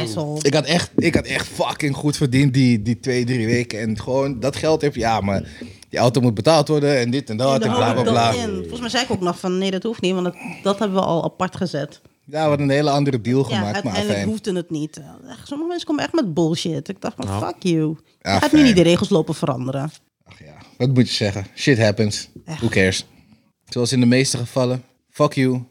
[SPEAKER 4] asshole.
[SPEAKER 1] Ik had, echt, ik had echt fucking goed verdiend die, die twee, drie weken. En gewoon dat geld heb je, ja, maar die auto moet betaald worden en dit en dat en
[SPEAKER 4] Dan
[SPEAKER 1] bla
[SPEAKER 4] hou
[SPEAKER 1] bla
[SPEAKER 4] ik dat
[SPEAKER 1] bla.
[SPEAKER 4] in. Volgens mij zei ik ook nog van nee, dat hoeft niet, want dat, dat hebben we al apart gezet.
[SPEAKER 1] Ja, we hadden een hele andere deal
[SPEAKER 4] ja,
[SPEAKER 1] gemaakt, maar
[SPEAKER 4] uiteindelijk
[SPEAKER 1] fijn.
[SPEAKER 4] hoefde het niet. Echt, Sommige mensen komen echt met bullshit. Ik dacht van
[SPEAKER 3] Nou.
[SPEAKER 4] fuck you.
[SPEAKER 1] Ja,
[SPEAKER 4] Je gaat nu
[SPEAKER 1] fijn.
[SPEAKER 4] niet de regels lopen veranderen.
[SPEAKER 1] Ach ja, wat moet je zeggen? Shit happens. Who cares? Zoals in de meeste gevallen, fuck you,